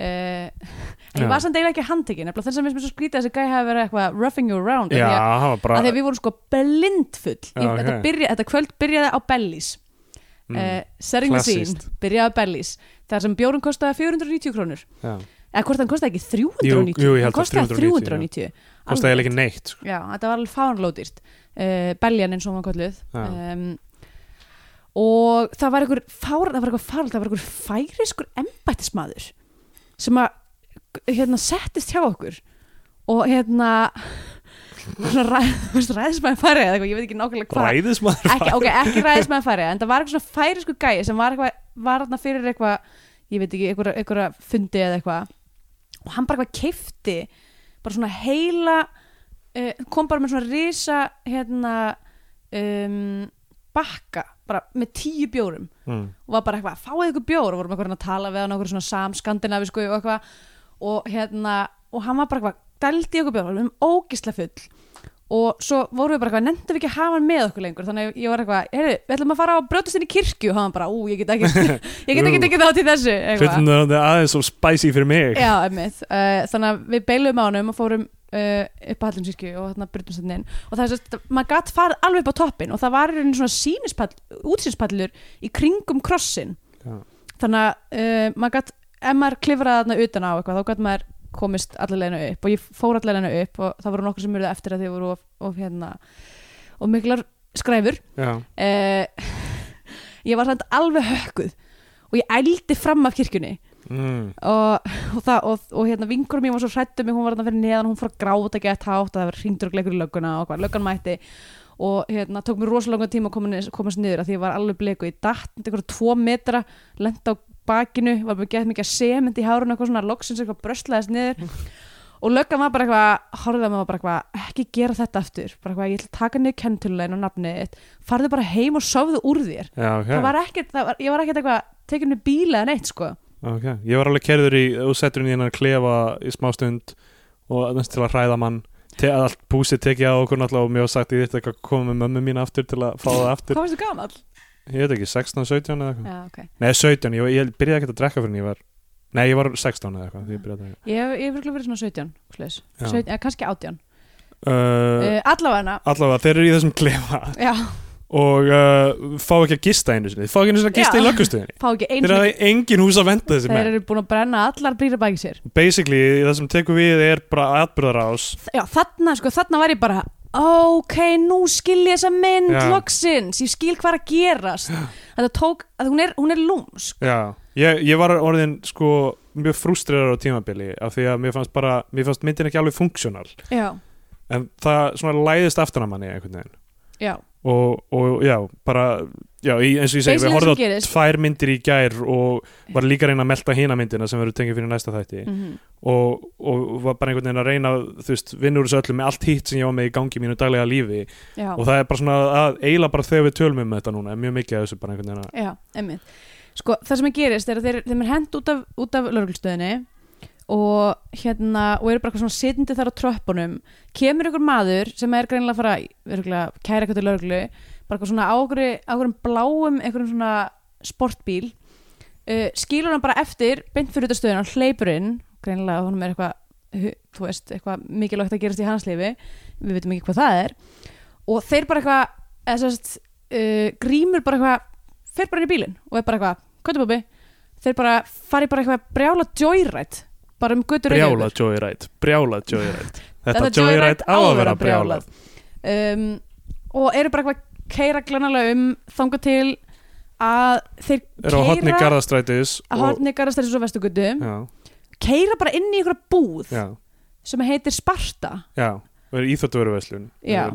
[SPEAKER 3] Uh, en
[SPEAKER 2] Já.
[SPEAKER 3] ég var samt eiginlega ekki handtekinn, nefnilega þess að mér sem svo skrítið að þessi gæi hafi verið eitthvað roughing you around.
[SPEAKER 2] Já,
[SPEAKER 3] af því að-
[SPEAKER 2] það var bara
[SPEAKER 3] af því að við vorum sko blindfull. Ég,
[SPEAKER 2] Já, ok.
[SPEAKER 3] þetta, byrja, þetta kvöld byrjaði á Bellis. Mm. Uh, setting the scene,
[SPEAKER 2] klassískt.
[SPEAKER 3] byrjaði á Bellis. Þar sem bjórun kostaði 490 krónur
[SPEAKER 2] Já,
[SPEAKER 3] eða hvort hann kostaði ekki 390
[SPEAKER 2] Jú, jú, ég held
[SPEAKER 3] hann
[SPEAKER 2] að
[SPEAKER 3] kostaði
[SPEAKER 2] 390,
[SPEAKER 3] 390
[SPEAKER 2] kostaði eiginlega
[SPEAKER 3] Alveg-
[SPEAKER 2] ekki neitt sko.
[SPEAKER 3] já, þetta var alveg fánlótýrt uh, beljan eins og hann var kolluð
[SPEAKER 2] Já.
[SPEAKER 3] um, og það var einhver fár, það var einhver fár, það var einhver færiskur embættismadur sem að hérna settist hjá okkur og hérna svona ræð, þú veist, ræðismæði færið eða eitthvað, ég veit ekki nákvæmlega hvað
[SPEAKER 2] Ræðismadur
[SPEAKER 3] ekki, ok, ekki ræðismæði færið en það var eitthvað svona færisku gæi sem var eitthvað var þarna fyrir eitthvað, ég veit ekki einhverja, einhverja fundi eða eitthvað og hann bara eitthvað keifti bara svona heila uh, kom bara með svona risa hérna um, bakka, bara með tíu bjórum
[SPEAKER 2] mm.
[SPEAKER 3] og var bara eitthvað, fáið ykkur bjór og vorum eitthvað að tala við hann okkur svona samskandinavisku og eitthvað og hérna, og hann var bara eitthvað dældi ykkur bjór, við erum ógisla full og svo vorum við bara eitthvað nefndum við ekki að hafa hann með okkur lengur þannig að ég var eitthvað, heyrðu, við ætlum að fara á brjótast inn í kirkju og hann bara, ú, ég get ekki ég get ekki
[SPEAKER 2] Ú.
[SPEAKER 3] tekið þátt í þessu eitthvað.
[SPEAKER 2] Hlutin er aðeins svo spicy fyrir mig
[SPEAKER 3] Já, einmitt. Uh, þannig að við beilum á honum og fórum uh, upp að Hallgrímskirkju og þarna brutum sættin inn og það er sérst, maður gatt farið alveg upp á toppin og það var einu svona sínispall, útsýnspallur í kringum krossin
[SPEAKER 2] Já.
[SPEAKER 3] þannig að uh, maður gatt ef maður klifraði þarna utan á eitthvað þá gatt maður komist allalegna upp og ég fór allalegna upp og það voru nokkur sem mjög eftir að þið voru of, of hérna og miklar skræfur
[SPEAKER 2] Já.
[SPEAKER 3] uh, ég var samt alveg hökkuð og ég ældi fram af kirkjunni
[SPEAKER 2] Mm.
[SPEAKER 3] og, og, það, og, og hérna vingurum ég var svo hrættum mig, hún var þarna fyrir neðan hún fór að gráta gett hátt og það var hringdur og gleikur í lögguna og hvað, löggan mætti og hérna tók mér rosalega langan tíma að koma, komast niður af því ég var alveg bleku, ég datt einhverja tvo metra, lent á bakinu var með gett mikið sement í hárun eitthvað svona loksins eitthvað bröstlaðist niður og löggan var bara eitthvað, horfði að maður bara eitthvað ekki gera þetta aftur, bara eitthvað ég ætla að taka niður kentulegin og nafnið þitt farðu bara heim og sofðu úr þér
[SPEAKER 2] Já, ok,
[SPEAKER 3] það var ekkert, það var, ég var ekkert eitthvað tekinu bíla en eitt sko
[SPEAKER 2] ok Ég var alveg kerður í, þú settur inn í hennar klefa í smástund og næst til að hræða mann Te, allt búsið tekið á okkur náttúrulega og mér var sagt ég þetta eitthvað að koma með mömmu mín aftur til að fá það aftur
[SPEAKER 3] hvað varstu gamall?
[SPEAKER 2] ég veit ekki, 16, 17 eða eitthvað
[SPEAKER 3] Já, ok.
[SPEAKER 2] nei, 17, ég, ég byrjaði ekkert að drekka fyrir en ég var nei, ég var 16 eða eitthvað þegar ég byrjaði að
[SPEAKER 3] Ég hef ég hef örugglega verið svona 17, slags.
[SPEAKER 2] Já.
[SPEAKER 3] 17 eða kannski 18.
[SPEAKER 2] drekka
[SPEAKER 3] Uh,
[SPEAKER 2] uh,
[SPEAKER 3] allavega,
[SPEAKER 2] allavega, þeir eru í þessum klefa
[SPEAKER 3] já,
[SPEAKER 2] og uh, fá ekki að gista einu sinni fá ekki einu sinni að gista í
[SPEAKER 3] Já.
[SPEAKER 2] löggustuðinni
[SPEAKER 3] fá ekki eins
[SPEAKER 2] þeir hafa engin hús að venda þessi
[SPEAKER 3] þeir
[SPEAKER 2] menn
[SPEAKER 3] eru búin að brenna allar brýra baki sér
[SPEAKER 2] basically það sem tekur við er bara atbyrðarás
[SPEAKER 3] já, þarna, sko, þarna var ég bara ok, nú skil ég þessa mynd
[SPEAKER 2] Já.
[SPEAKER 3] loksins, ég skil hvað er að gerast þetta tók, að hún er, hún er lúms
[SPEAKER 2] Já, ég, ég var orðin sko mjög frústrerar á tímabili af því að mér fannst bara, mér fannst myndin ekki alveg funksjónal
[SPEAKER 3] já,
[SPEAKER 2] en það svona læðist aftan að manni einhvern veginn
[SPEAKER 3] já,
[SPEAKER 2] og, og já, bara já, í- eins og ég segi,
[SPEAKER 3] Basically
[SPEAKER 2] við
[SPEAKER 3] það sem
[SPEAKER 2] horfðum á
[SPEAKER 3] gerist.
[SPEAKER 2] tvær myndir í gær og var líka að reyna að melta hina myndina sem verður tengið fyrir næsta þætti
[SPEAKER 3] mm
[SPEAKER 2] og, og var bara einhvern veginn að reyna þú veist, vinnur þessu öllu með allt hitt sem ég var með í gangi í mínu daglega lífi
[SPEAKER 3] já.
[SPEAKER 2] og það er bara svona að eila bara þegar við tölum um þetta núna, er mjög mikið af þessu bara einhvern veginn að
[SPEAKER 3] Já, einmitt. Sko, það sem er gerist er að þeir, þeim er hend út af, út af lörgulstöðinni og hérna, og eru bara eitthvað svona sitjandi þar á tröppunum, kemur ykkur maður sem er greinilega að fara, örgulega, kæra eitthvað til lörglu, bara eitthvað svona á okkur, á okkur bláum, eitthvað svona sportbíl, uh, skilur hann bara eftir, beint fyrir þetta stöðin, hann hleypur inn, greinilega, honum er eitthvað, hu- þú veist, eitthvað mikilvægt að gerast í hans lifi, við veitum ekki hvað það er, og þeir bara eitthvað, eða sérst, uh, grímur bara eitthvað, fer bara inn í bílinn og er bara eitthvað, hvað er búbi? Þeir bara fari bara eitthvað brjála joyrætt bara um götur
[SPEAKER 2] brjála Joey Wright, brjála Joey Wright þetta,
[SPEAKER 3] Þetta
[SPEAKER 2] Joey
[SPEAKER 3] Joey
[SPEAKER 2] Wright á að vera brjálað
[SPEAKER 3] um, og eru bara eitthvað keira glannalega um þanga til að þeir
[SPEAKER 2] er á hotni
[SPEAKER 3] keira
[SPEAKER 2] Garðastrætis
[SPEAKER 3] að hotni garðastæðis og vestugötu
[SPEAKER 2] já,
[SPEAKER 3] keira bara inn í einhverja búð
[SPEAKER 2] já,
[SPEAKER 3] sem heitir Sparta
[SPEAKER 2] já, og er íþjóttuveruverslun
[SPEAKER 3] Já.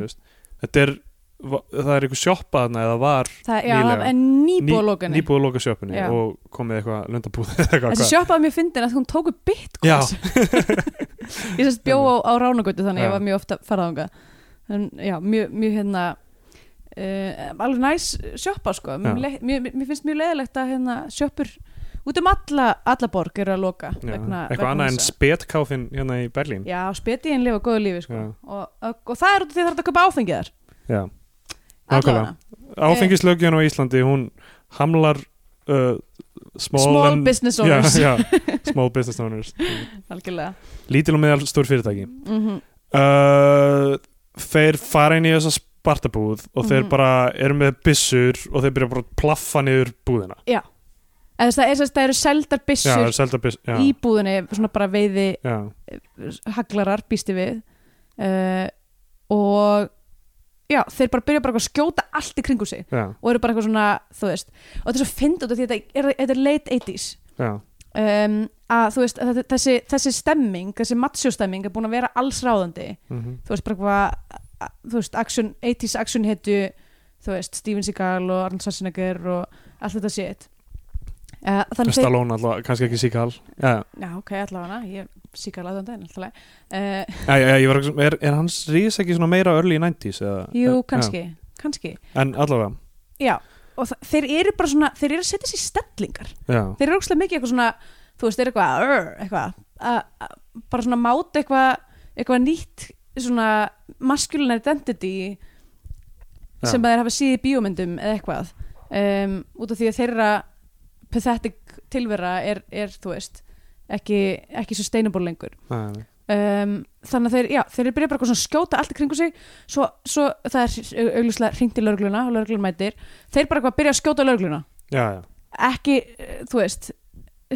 [SPEAKER 2] þetta er va- það er einhver sjoppa þarna eða var
[SPEAKER 3] það já,
[SPEAKER 2] Nýlega.
[SPEAKER 3] en nýbúðalókan
[SPEAKER 2] nýbúið að loka sjoppunni
[SPEAKER 3] Já.
[SPEAKER 2] og komið eitthvað löndabúð eitthvað,
[SPEAKER 3] þessi sjoppaði mér fyndin að hún tóku
[SPEAKER 2] Já.
[SPEAKER 3] bitcoins ég sérst bjó á, á ránagötu þannig
[SPEAKER 2] Já.
[SPEAKER 3] ég var mjög ofta farað ánga en já, mjög, mjög hérna uh, alveg næs sjoppa sko
[SPEAKER 2] Já.
[SPEAKER 3] mér, le- mér, mér finnst mjög leðilegt að hérna, sjoppur út um alla, alla borg eru að loka
[SPEAKER 2] Já,
[SPEAKER 3] vegna,
[SPEAKER 2] eitthvað
[SPEAKER 3] vegna
[SPEAKER 2] annað en
[SPEAKER 3] þessa.
[SPEAKER 2] spetkáfin hérna í Berlín
[SPEAKER 3] já, spetiðin lifa góðu lífi sko.
[SPEAKER 2] Já.
[SPEAKER 3] og, og, og það er út af því að það er að kaupa áfengið þar
[SPEAKER 2] já.
[SPEAKER 3] Allavega.
[SPEAKER 2] áfengislögjun á Íslandi hún hamlar uh, small,
[SPEAKER 3] small
[SPEAKER 2] and-
[SPEAKER 3] business owners
[SPEAKER 2] já, já, small business owners
[SPEAKER 3] algjörlega
[SPEAKER 2] lítil og meðal stór fyrirtæki
[SPEAKER 3] mm
[SPEAKER 2] uh, þeir fara inn í þessa spartabúð og þeir
[SPEAKER 3] Mhm.
[SPEAKER 2] bara eru með byssur og þeir byrja bara að plaffa niður búðina
[SPEAKER 3] eða það er sérst það eru seldar
[SPEAKER 2] já, þeir
[SPEAKER 3] byssur
[SPEAKER 2] selda byss já,
[SPEAKER 3] í búðinni svona bara veiði
[SPEAKER 2] já,
[SPEAKER 3] haglarar býsti við uh, og já, þeir bara byrja bara eitthvað að skjóta allt í kringu sig
[SPEAKER 2] já,
[SPEAKER 3] og eru bara eitthvað svona, þú veist og þetta er svo fynd út af því að þetta er, þetta er late 80s
[SPEAKER 2] já,
[SPEAKER 3] um, að þú veist, að þetta- þessi, þessi stemming þessi matsjóstemming er búin að vera alls ráðandi
[SPEAKER 2] mm
[SPEAKER 3] þú veist, bara eitthvað að- þú veist, action, 80s action hitu þú veist, Steven Seagal og Arnold Schwarzenegger og allt þetta shit uh, þannig þeir,
[SPEAKER 2] Stallone alltaf, kannski ekki síkal já,
[SPEAKER 3] já, ok, allavega ég Seagal að þannig, allavega uh,
[SPEAKER 2] já, já, ég var ekki, er, er hans rís ekki svona meira early 90s eða,
[SPEAKER 3] jú,
[SPEAKER 2] Já,
[SPEAKER 3] kannski, kannski
[SPEAKER 2] já. en allavega,
[SPEAKER 3] Já, og þa- þeir eru bara svona þeir eru að setja sér í stellingar
[SPEAKER 2] já,
[SPEAKER 3] þeir eru ókslega mikið eitthvað svona þú veist, þeir eru eitthvað, "Arr", eitthvað að- að- bara svona máta eitthvað eitthvað nýtt svona masculine identity
[SPEAKER 2] Já.
[SPEAKER 3] sem að þeir hafa síði í bíómyndum eða eitthvað um, út af því að þeirra pathetic tilvera er, er þú veist ekki, ekki sustainable lengur
[SPEAKER 2] já, já.
[SPEAKER 3] um, þannig að þeir, já, þeir byrja bara eitthvað svona að skjóta allt í kringu sig svo, svo það er augljóslega hringt í lörgluna og lörglun mætir þeir bara eitthvað byrja að skjóta lörgluna
[SPEAKER 2] já, já.
[SPEAKER 3] ekki, eh, þú veist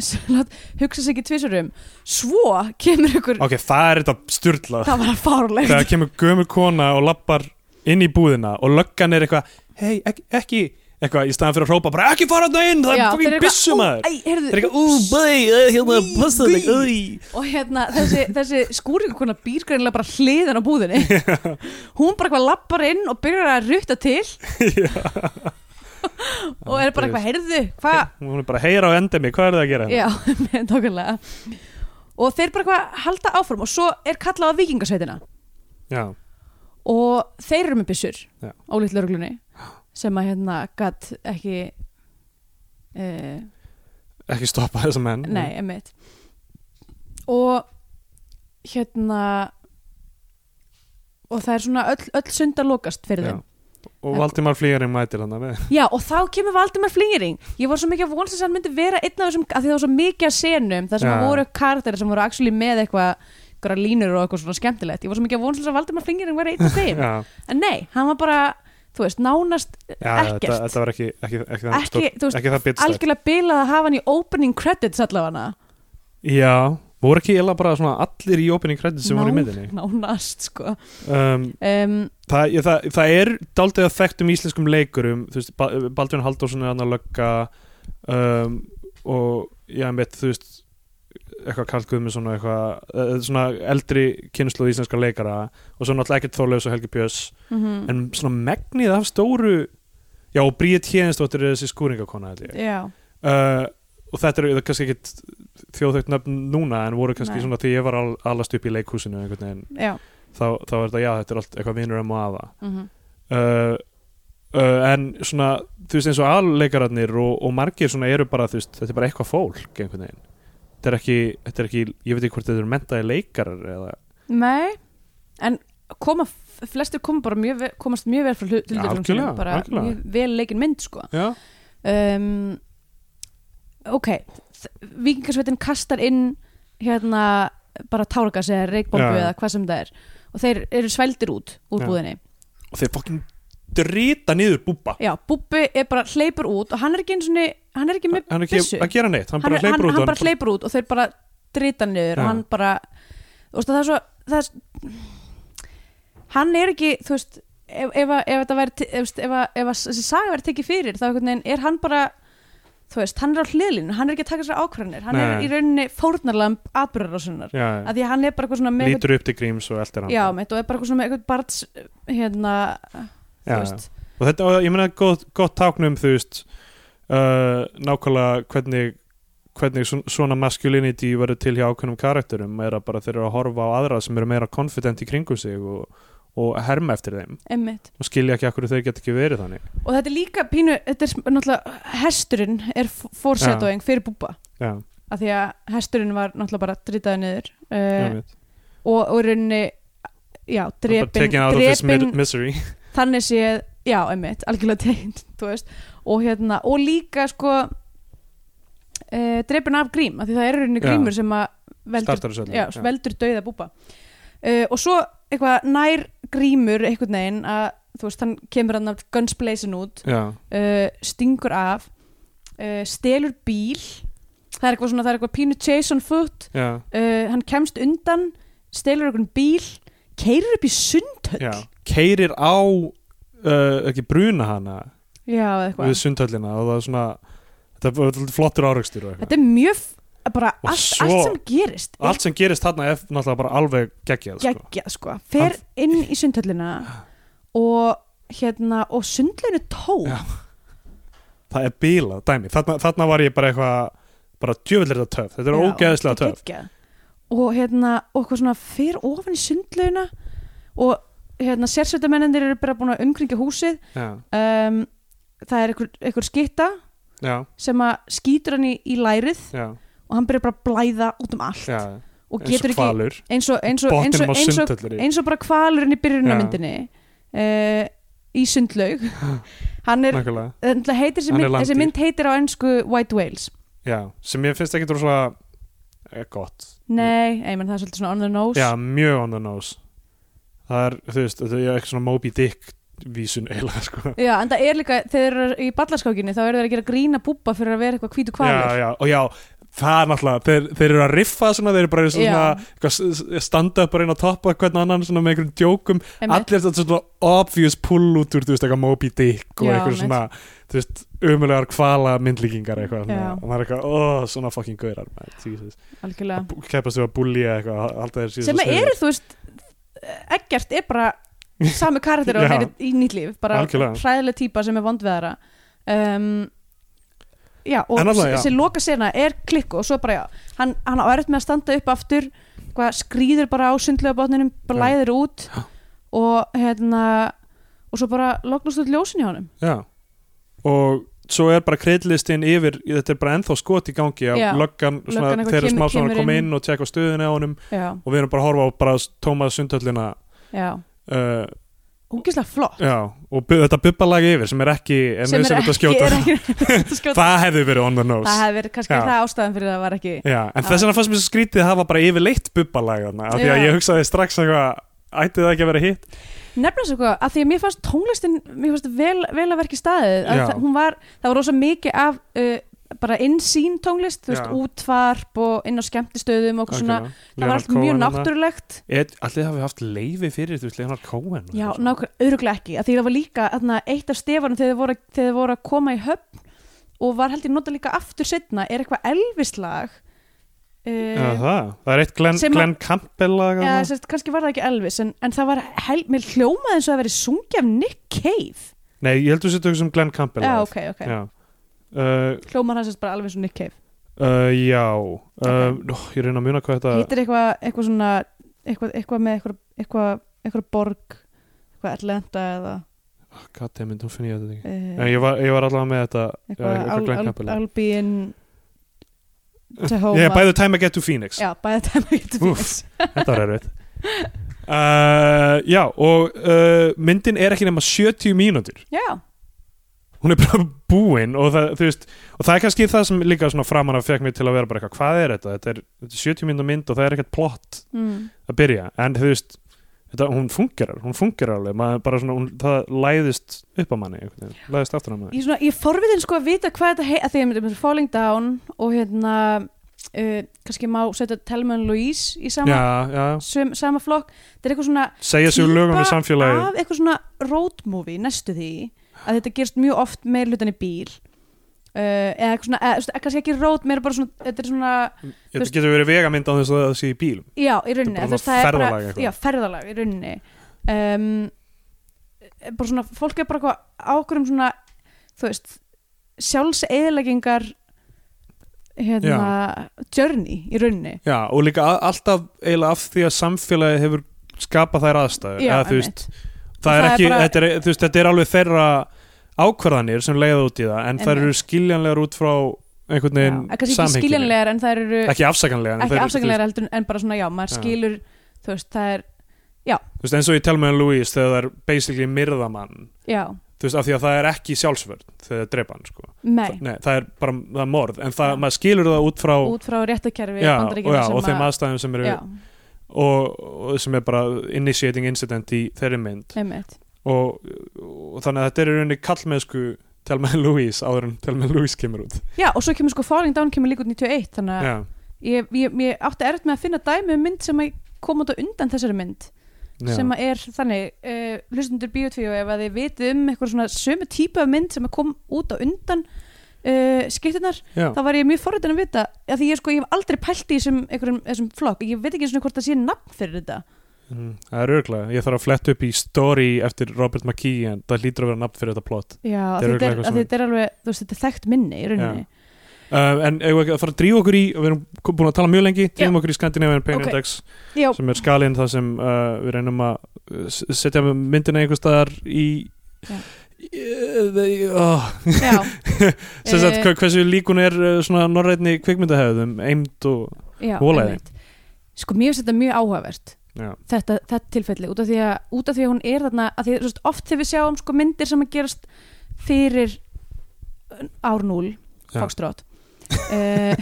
[SPEAKER 3] s- lát- hugsa sig ekki tvissurum svo kemur ykkur
[SPEAKER 2] ok, það er þetta styrlað
[SPEAKER 3] það var að fárlegt
[SPEAKER 2] þegar kemur gömur kona og lappar inn í búðina og löggan er eitthvað hei, ekki, ekki eitthvað í staðan fyrir að hrópa bara ekki fara þarna inn, það er
[SPEAKER 3] Já, þeir
[SPEAKER 2] fyrir
[SPEAKER 3] eru eitthvað,
[SPEAKER 2] byssum
[SPEAKER 3] "Ó,
[SPEAKER 2] aður
[SPEAKER 3] æ, heyrðu,
[SPEAKER 2] það er eitthvað, ú, bæ, hérna, passa þig æ."
[SPEAKER 3] og hérna þessi, þessi skúringakona býr greinlega bara hliðin á búðinni hún bara eitthvað lappar inn og byrjar að rutta til og er bara eitthvað heyrðu, hvað
[SPEAKER 2] hún er bara, heyra á endemi, hvað er það að gera hérna?
[SPEAKER 3] Já, nákvæmlega Og þeir bara eitthvað halda áfram og svo er kallað á vikingasveitina
[SPEAKER 2] já,
[SPEAKER 3] og þeir eru með byssur
[SPEAKER 2] Já.
[SPEAKER 3] ólíkt lögreglunni sem að hérna gatt ekki uh,
[SPEAKER 2] ekki stoppa þessa menn
[SPEAKER 3] nei, emitt og hérna og það er svona öll, öll sund að lokast fyrir
[SPEAKER 2] Já.
[SPEAKER 3] þeim
[SPEAKER 2] og Valdimar Flýjarinn mætir hann með
[SPEAKER 3] Já, og þá kemur Valdimar Flingering Ég var svo mikið að vonast þess að hann myndi vera einn af þessum af því það var svo mikið að senum þar sem
[SPEAKER 2] Já.
[SPEAKER 3] voru karakterir sem voru actually með eitthvað einhverjar línur og eitthvað svona skemmtilegt Ég var svo mikið að vonast þess að Valdimar Flingering væri einn af þeim
[SPEAKER 2] já,
[SPEAKER 3] En nei, hann var bara þú veist, nánast
[SPEAKER 2] Já,
[SPEAKER 3] Ekkert.
[SPEAKER 2] þetta, þetta var ekki, ekki, ekki, það
[SPEAKER 3] Ekki,
[SPEAKER 2] stór-
[SPEAKER 3] þú veist,
[SPEAKER 2] ekki það bitstætt
[SPEAKER 3] algjörlega bilað að hafa hann í opening credits allavega
[SPEAKER 2] Já, voru ekki eiginlega bara svona allir í opening credits sem voru í myndinni
[SPEAKER 3] nánast sko
[SPEAKER 2] um,
[SPEAKER 3] um,
[SPEAKER 2] það, ég, það, það er daldið að þekktum íslenskum leikurum þú veist, Ba- Baldvin Halldórsson er hann að lögga um, og já, mitt, þú veist eitthvað Karl Guðmundsson og eitthvað eh, svona eldri kynsluð íslenska leikara og svo náttúrulega ekkert Þorleifs og Helgi Björns
[SPEAKER 3] mm
[SPEAKER 2] en svona megnið af stóru já, og Bríet Héðinsdóttir er þessi skúringakona held ég
[SPEAKER 3] já,
[SPEAKER 2] uh, og þetta eru það er kannski ekkit þjóðhaugt nöfn núna en voru kannski
[SPEAKER 3] Nei.
[SPEAKER 2] svona þegar ég var al, allast upp í leikhúsinu einhvern veginn
[SPEAKER 3] já
[SPEAKER 2] þá, þá er þetta já þetta er allt eitthvað vinur um og aða
[SPEAKER 3] mm
[SPEAKER 2] uh, uh, en svona þú veist eins og aðleikararnir og, og margir svona eru bara þú veist þetta er bara eitthvað fólk einhvern veginn þetta er ekki, þetta er ekki ég veit ekki hvort þetta eru mentaði leikarar eða
[SPEAKER 3] Nei, en koma, flestir koma bara mjög, ve- komast mjög vel frá hlu- hlutlausunum
[SPEAKER 2] algjörlega,
[SPEAKER 3] sínum, bara
[SPEAKER 2] algjörlega.
[SPEAKER 3] mjög vel leikinn mynd sko
[SPEAKER 2] já,
[SPEAKER 3] um, ok vikingarsveitin kastar inn hérna bara táragas eða reikbombu
[SPEAKER 2] Já.
[SPEAKER 3] eða hvað sem það er og þeir eru svældir út úr
[SPEAKER 2] Já.
[SPEAKER 3] búðinni
[SPEAKER 2] og þeir fokkin drita niður búba
[SPEAKER 3] já, Bubbi er bara hleypur út og hann er ekki eins og hann er ekki með
[SPEAKER 2] hann er ekki
[SPEAKER 3] byssu
[SPEAKER 2] að gera neitt hann,
[SPEAKER 3] hann,
[SPEAKER 2] bara
[SPEAKER 3] er- hann,
[SPEAKER 2] hleypur út
[SPEAKER 3] hann
[SPEAKER 2] og
[SPEAKER 3] bara hleypur út og þeir bara drita hann niður
[SPEAKER 2] Já.
[SPEAKER 3] og hann bara þú veist, það er svo það er, s- hann er ekki þú veist ef, ef, að- ef þetta væri ti- ef, ef, að- ef að þessi saga væri tekið fyrir þá einhvern veginn er hann bara þú veist, hann er á hliðlínu, hann er ekki að taka sér ákvarðanir hann
[SPEAKER 2] Nei.
[SPEAKER 3] er í rauninni fórnarlamb atbyrðarásunar,
[SPEAKER 2] já,
[SPEAKER 3] að því að hann er bara eitthvað svona með
[SPEAKER 2] lítur upp til gríms og eldir
[SPEAKER 3] eitthvað,
[SPEAKER 2] hann
[SPEAKER 3] já, mitt, og er bara eitthvað svona með eitthvað barns hérna, þú
[SPEAKER 2] Já,
[SPEAKER 3] veist
[SPEAKER 2] og þetta, og ég meina gott, gott táknum þú veist uh, nákvæmlega hvernig hvernig sv- svona masculinity verður til hjá ákveðnum karakterum er að bara þeir eru að horfa á aðra sem eru meira confident í kringum sig og, og herma eftir þeim
[SPEAKER 3] einmitt
[SPEAKER 2] og skilja ekki akkur þeir get ekki verið þannig
[SPEAKER 3] og þetta er líka pínu, þetta er náttúrulega hesturinn er fórsetting fyrir búba
[SPEAKER 2] já,
[SPEAKER 3] af því að hesturinn var náttúrulega bara dritaði niður
[SPEAKER 2] já,
[SPEAKER 3] uh,
[SPEAKER 2] veit.
[SPEAKER 3] og, og í rauninni já,
[SPEAKER 2] bara
[SPEAKER 3] drepin,
[SPEAKER 2] taken out of this
[SPEAKER 3] drepin
[SPEAKER 2] mi- misery
[SPEAKER 3] þannig séð, já, einmitt, algjörlega tegint þú veist, og hérna, og líka sko uh, drepin af grím, af því það er í rauninni
[SPEAKER 2] Já.
[SPEAKER 3] grímur sem að veldur,
[SPEAKER 2] startar þessu öllu
[SPEAKER 3] já, veldur dauða búba uh, og svo eitthvað nær grímur einhvern veginn að þú veist, hann kemur hann af gunsblazin út
[SPEAKER 2] já,
[SPEAKER 3] uh, stingur af uh, stelur bíl það er eitthvað svona, það er eitthvað pínu Jason Foot
[SPEAKER 2] já,
[SPEAKER 3] uh, hann kemst undan stelur eitthvað bíl keirir upp í sundhöll
[SPEAKER 2] já keirir á uh, ekki bruna hana
[SPEAKER 3] Já, eða
[SPEAKER 2] við
[SPEAKER 3] eitthvað
[SPEAKER 2] sundhöllina og það er svona þetta var svolítið flottur áreikstur og eitthvað
[SPEAKER 3] þetta er mjög f- bara
[SPEAKER 2] Og
[SPEAKER 3] allt,
[SPEAKER 2] svo-
[SPEAKER 3] allt sem gerist er
[SPEAKER 2] allt sem gerist þarna er náttúrulega bara alveg geggjað sko.
[SPEAKER 3] geggjað sko, fer inn í sundhöllina og hérna og sundlögnu tó
[SPEAKER 2] Já. það er bílað dæmi, þarna, þarna var ég bara eitthvað bara djöfell er þetta töf, þetta er
[SPEAKER 3] Já,
[SPEAKER 2] ógeðslega
[SPEAKER 3] þetta er
[SPEAKER 2] töf
[SPEAKER 3] geggjað. og hérna, og eitthvað svona fer ofan í sundlauna og hérna, sérsveitamennir eru bara búin að umkringja húsið
[SPEAKER 2] já,
[SPEAKER 3] um, það er einhver, einhver skitta
[SPEAKER 2] já,
[SPEAKER 3] sem að skýtur hann í, í lærið
[SPEAKER 2] já,
[SPEAKER 3] og hann byrjar bara að blæða út um allt
[SPEAKER 2] já
[SPEAKER 3] og
[SPEAKER 2] eins og
[SPEAKER 3] getur ekki
[SPEAKER 2] kvalur,
[SPEAKER 3] eins og, eins, og, eins,
[SPEAKER 2] botninum
[SPEAKER 3] og,
[SPEAKER 2] á
[SPEAKER 3] eins, og,
[SPEAKER 2] sundhöllir
[SPEAKER 3] eins og bara kvalurinn í byrjunarmyndinni uh, í sundlaug hann er,
[SPEAKER 2] nákvæmlega,
[SPEAKER 3] þetta heitir þessi
[SPEAKER 2] Hann er
[SPEAKER 3] mynd, þessi
[SPEAKER 2] landdýr.
[SPEAKER 3] mynd heitir á ensku White Whales
[SPEAKER 2] já, sem ég finnst ekki rosalega eh, gott
[SPEAKER 3] nei, ég menn það er svolítið svona on the nose
[SPEAKER 2] já, mjög on the nose það er, þú veist, þetta er ekki svona Moby Dick vísun eiginlega sko
[SPEAKER 3] Já, en það er líka, þegar þeir eru í ballaskákinni þá eru þeir að gera grína búbba fyrir að vera eitthvað hvítu kvalur.
[SPEAKER 2] já, já, og já, það er náttúrulega þeir, þeir eru að riffa svona, þeir eru bara svona,
[SPEAKER 3] Já.
[SPEAKER 2] eitthvað s- s- standa upp og reyna að toppa hvern annan svona með einhverjum djókum
[SPEAKER 3] Einmitt.
[SPEAKER 2] allir þetta svona obvious pull út úr þú veist, eitthvað Moby Dick og
[SPEAKER 3] Já,
[SPEAKER 2] eitthvað
[SPEAKER 3] einmitt.
[SPEAKER 2] svona þú veist, umulegar kvala myndlíkingar eitthvað, svona,
[SPEAKER 3] Já.
[SPEAKER 2] og það er eitthvað, oh, svona fucking gaurar maður, Jesus.
[SPEAKER 3] algjörlega.
[SPEAKER 2] Að bú- keppast við að búlja eitthvað, að halda þeir
[SPEAKER 3] Sem að eru, þú veist, ekkert er bara sami karakter og
[SPEAKER 2] Já.
[SPEAKER 3] hann er í nýtt líf, bara
[SPEAKER 2] Algjörlega.
[SPEAKER 3] hræðileg típa sem er vondveðara. Um, já, og
[SPEAKER 2] En alltaf, já.
[SPEAKER 3] þessi loka sena er klikku og svo bara, já, hann, hann á erfitt með að standa upp aftur, hvað, skrýður bara á sundlöfabotninum, blæðir út
[SPEAKER 2] Já.
[SPEAKER 3] og hérna, og svo bara lognast út ljósin hjá honum.
[SPEAKER 2] Já, og svo er bara kreidlistin yfir, þetta er bara ennþá skot í gangi að
[SPEAKER 3] Já.
[SPEAKER 2] löggan, svona,
[SPEAKER 3] Löggan eitthvað
[SPEAKER 2] þeir eru smá
[SPEAKER 3] kemur-
[SPEAKER 2] svona
[SPEAKER 3] kemur
[SPEAKER 2] að koma
[SPEAKER 3] inn.
[SPEAKER 2] inn og tjekka stöðuna á honum
[SPEAKER 3] Já,
[SPEAKER 2] og við erum bara að horfa á bara tómaða sundhöllina
[SPEAKER 3] já.
[SPEAKER 2] uh,
[SPEAKER 3] Ógislega flott.
[SPEAKER 2] já, og bu þetta bubbalag yfir sem er ekki er
[SPEAKER 3] sem er
[SPEAKER 2] nauðsynlegt
[SPEAKER 3] ekki,
[SPEAKER 2] að skjóta
[SPEAKER 3] er ekki nauðsynlegt að skjóta.
[SPEAKER 2] það hefði verið on the nose
[SPEAKER 3] það hefði verið kannski
[SPEAKER 2] Já.
[SPEAKER 3] það ástæðan fyrir að það var ekki
[SPEAKER 2] já, en þess vegna fannst mér svo skrítið að hafa bara yfirleitt bubbalag þarna, af því að
[SPEAKER 3] Já.
[SPEAKER 2] ég hugsaði strax eitthvað ætti það ekki að vera hitt
[SPEAKER 3] nefna svo eitthvað að því að mér fannst tónlistin mér fannst vel, vel að verki staðið að
[SPEAKER 2] Já.
[SPEAKER 3] það, hún var, það var rosa mikið af uh, bara innsýn tónlist þú veist,
[SPEAKER 2] Já.
[SPEAKER 3] útvarp og inn á skemmtistöðum og eitthvað svona,
[SPEAKER 2] Algjörlega.
[SPEAKER 3] það var
[SPEAKER 2] Leonard
[SPEAKER 3] allt mjög
[SPEAKER 2] Cohen þarna.
[SPEAKER 3] náttúrulegt
[SPEAKER 2] Ed- Allir hafi haft leifi fyrir, þú veist, Leonard Cohen og
[SPEAKER 3] já,
[SPEAKER 2] eitthvað svona.
[SPEAKER 3] nákvæmlega, öruglega ekki að því það var líka þarna, eitt af stefanum þegar þið voru, þegar þið voru að koma í höfn og var held ég nota líka aftur setna er eitthvað elvislag
[SPEAKER 2] Já,
[SPEAKER 3] uh,
[SPEAKER 2] það. það er eitt Glenn,
[SPEAKER 3] Sem að-
[SPEAKER 2] Glenn Campbell lag
[SPEAKER 3] ja,
[SPEAKER 2] þarna.
[SPEAKER 3] sérst, kannski var það ekki Elvis en, en það var, hel, mér hljómaði eins og það verið sungið af Nick Cave
[SPEAKER 2] Nei, ég heldur sér tökum sem um Glenn Campbell
[SPEAKER 3] já,
[SPEAKER 2] lag.
[SPEAKER 3] ok, ok,
[SPEAKER 2] Já. Uh,
[SPEAKER 3] hljómar hann sérst bara alveg eins og Nick Cave
[SPEAKER 2] uh, já. Uh, ó, Ég reyna að muna hvað þetta
[SPEAKER 3] hittir eitthvað eitthvað svona eitthvað, eitthvað með eitthvað, eitthvað, eitthvað borg eitthvað Atlanta eða
[SPEAKER 2] Goddammit, nú finn ég þetta ekki En
[SPEAKER 3] uh,
[SPEAKER 2] ég var, ég var allavega með þetta já, eitthvað
[SPEAKER 3] eitthvað
[SPEAKER 2] Glenn
[SPEAKER 3] al,
[SPEAKER 2] Campbell.
[SPEAKER 3] al, Albion Tahoma
[SPEAKER 2] Ég er bæðu time I get to Phoenix
[SPEAKER 3] já, bæði tæma getur
[SPEAKER 2] Úff.
[SPEAKER 3] Phoenix.
[SPEAKER 2] Þetta var erfitt uh, Já, og uh, myndin er ekki nema 70 mínútur
[SPEAKER 3] já,
[SPEAKER 2] Hún er bara búin og það, þú veist, og það er kannski það sem líka svona framan af fekk mig til að vera bara eitthvað Hvað er þetta? Þetta er, þetta er 70 mínútur mynd og það er ekkert plott
[SPEAKER 3] mm.
[SPEAKER 2] að byrja En þú veist, þetta, hún fungerar, hún fungerar alveg maður bara svona, hún, það læðist upp að manni, einhvern veginn, læðist aftur að manni
[SPEAKER 3] ég, svona, ég forviðin sko að vita hvað þetta hei að því að myndum Falling Down og hérna uh, kannski má setja Thelma and Louise í sama,
[SPEAKER 2] Já, já,
[SPEAKER 3] sem, sama flokk þetta er eitthvað svona
[SPEAKER 2] segja sig úr lögum við
[SPEAKER 3] Týpa
[SPEAKER 2] samfélagið
[SPEAKER 3] af eitthvað svona road movie næstu því að þetta gerst mjög oft meir hlutan í bíl uh, eða eitthvað svona, eða, þú veist, kannski ekki road meira bara svona, þetta er svona
[SPEAKER 2] Þetta getur verið vegamynd á þess að það sé í bílum
[SPEAKER 3] já, í rauninni,
[SPEAKER 2] bara
[SPEAKER 3] þú
[SPEAKER 2] svona
[SPEAKER 3] veist, það er
[SPEAKER 2] ferðalag
[SPEAKER 3] bara
[SPEAKER 2] eitthvað.
[SPEAKER 3] já, ferðalag í rauninni um, bara svona, fólk er bara eitthvað ákveðum svona, þú veist sjálfseðleggingar hérna journey í rauninni
[SPEAKER 2] Já, og líka a- alltaf eiginlega af því að samfélagi hefur skapað þær aðstæður
[SPEAKER 3] Já,
[SPEAKER 2] eða, þú veist,
[SPEAKER 3] einmitt.
[SPEAKER 2] það er
[SPEAKER 3] Það er
[SPEAKER 2] ekki,
[SPEAKER 3] bara-
[SPEAKER 2] þetta, er, þú veist, þetta er alveg þeirra ákvarðanir sem leiða út í það en þær
[SPEAKER 3] Einmitt.
[SPEAKER 2] eru skiljanlegar út frá einhvern
[SPEAKER 3] já,
[SPEAKER 2] veginn
[SPEAKER 3] kannski ekki
[SPEAKER 2] samhenginu.
[SPEAKER 3] skiljanlegar en það eru
[SPEAKER 2] ekki afsakanlegar en þær
[SPEAKER 3] ekki
[SPEAKER 2] eru,
[SPEAKER 3] afsakanlegar heldur en bara svona já, maður
[SPEAKER 2] Já.
[SPEAKER 3] skilur þú veist, það er,
[SPEAKER 2] þú veist, eins og ég tel með Louise þegar það er basically myrðamann
[SPEAKER 3] já,
[SPEAKER 2] þú veist, af því að það er ekki sjálfsvörn þegar það drepa hann, sko
[SPEAKER 3] nei
[SPEAKER 2] Nei, það er bara, það er morð en það,
[SPEAKER 3] Já.
[SPEAKER 2] maður skilur það út frá
[SPEAKER 3] út frá réttakerfi
[SPEAKER 2] já, og,
[SPEAKER 3] Bandaríkjanna
[SPEAKER 2] já,
[SPEAKER 3] sem
[SPEAKER 2] og þeim
[SPEAKER 3] að-
[SPEAKER 2] aðstæðum sem eru
[SPEAKER 3] já,
[SPEAKER 2] og, og sem er bara initiating incident í þeirri mynd
[SPEAKER 3] einmitt,
[SPEAKER 2] og, og þannig að þetta er í rauninni kallmennsku Telma Louise áður en Telma Louise kemur út
[SPEAKER 3] já, og svo kemur sko Falling Down kemur líka út 91, þannig að
[SPEAKER 2] Já,
[SPEAKER 3] ég, ég, ég átti erfitt með að finna dæmi um mynd sem að kom út á undan þessari mynd
[SPEAKER 2] já.
[SPEAKER 3] sem að er þannig, uh, hlustundur Bíotvíu ef að þið vitið um eitthvað svona sömu típa af mynd sem að kom út á undan uh, skiptunar
[SPEAKER 2] já.
[SPEAKER 3] þá var ég mjög forritin að vita að því ég sko, ég hef aldrei pælt í þessum, einhverjum, þessum flokk, ég veit ekki einu sinni hvort það sé nafn fyrir þetta
[SPEAKER 2] Mm, það er örgulega, ég þarf að fletta upp í story eftir Robert McKee en það hlýtur að vera nafn fyrir þetta plot
[SPEAKER 3] já,
[SPEAKER 2] Þetta er
[SPEAKER 3] þetta
[SPEAKER 2] örugglega
[SPEAKER 3] er,
[SPEAKER 2] eitthvað
[SPEAKER 3] að
[SPEAKER 2] svona.
[SPEAKER 3] þetta er alveg, þú veist, þetta er þekkt minni í rauninni,
[SPEAKER 2] uh, en eigum við ekki að fara að drífa okkur í við erum kom- búin að tala mjög lengi, drífum okkur í Scandinavian Pain
[SPEAKER 3] Ok.
[SPEAKER 2] Index
[SPEAKER 3] já, já,
[SPEAKER 2] sem er skalinn þar sem uh, við reynum að uh, s- setja myndina einhver staðar í
[SPEAKER 3] Já.
[SPEAKER 2] Í- uh, sem sagt
[SPEAKER 3] Eh.
[SPEAKER 2] hva- hversu líkun er uh, svona norrænni kvikmyndahefðum eimt og
[SPEAKER 3] já,
[SPEAKER 2] Volaði.
[SPEAKER 3] einmitt. sko, mér finnst þetta mjög áhugavert
[SPEAKER 2] já,
[SPEAKER 3] þetta, þetta tilfelli, út af því að, út af því að hún er þarna, að því, þú veist, oft þegar við sjáum sko, myndir sem að gerast fyrir uh, ár
[SPEAKER 2] Já.
[SPEAKER 3] 0 fokstrót uh,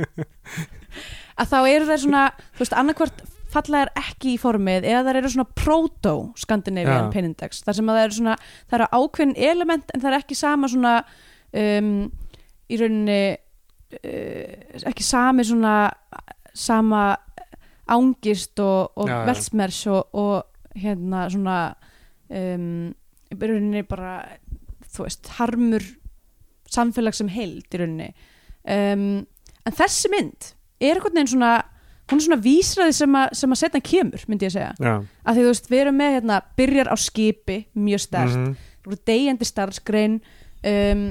[SPEAKER 3] að þá eru þær svona þú veist, annarkvart falla þær ekki í formið eða þær eru svona proto-Scandinavian
[SPEAKER 2] Já.
[SPEAKER 3] penindex, þar sem að það eru svona það eru ákveðin element en það er ekki sama svona um, í rauninni uh, ekki sami svona sama ángist og, og
[SPEAKER 2] Já, já.
[SPEAKER 3] velsmers og, og hérna svona um, í rauninni bara þú veist, harmur samfélag sem heild í rauninni um, en þessi mynd er einhvern veginn svona hún er svona vísraði sem að, sem að setna kemur myndi ég segja,
[SPEAKER 2] já.
[SPEAKER 3] af því þú veist, við erum með hérna, byrjar á skipi, mjög stert
[SPEAKER 2] Mhm.
[SPEAKER 3] mm -hmm. deyjandi starfsgrein um,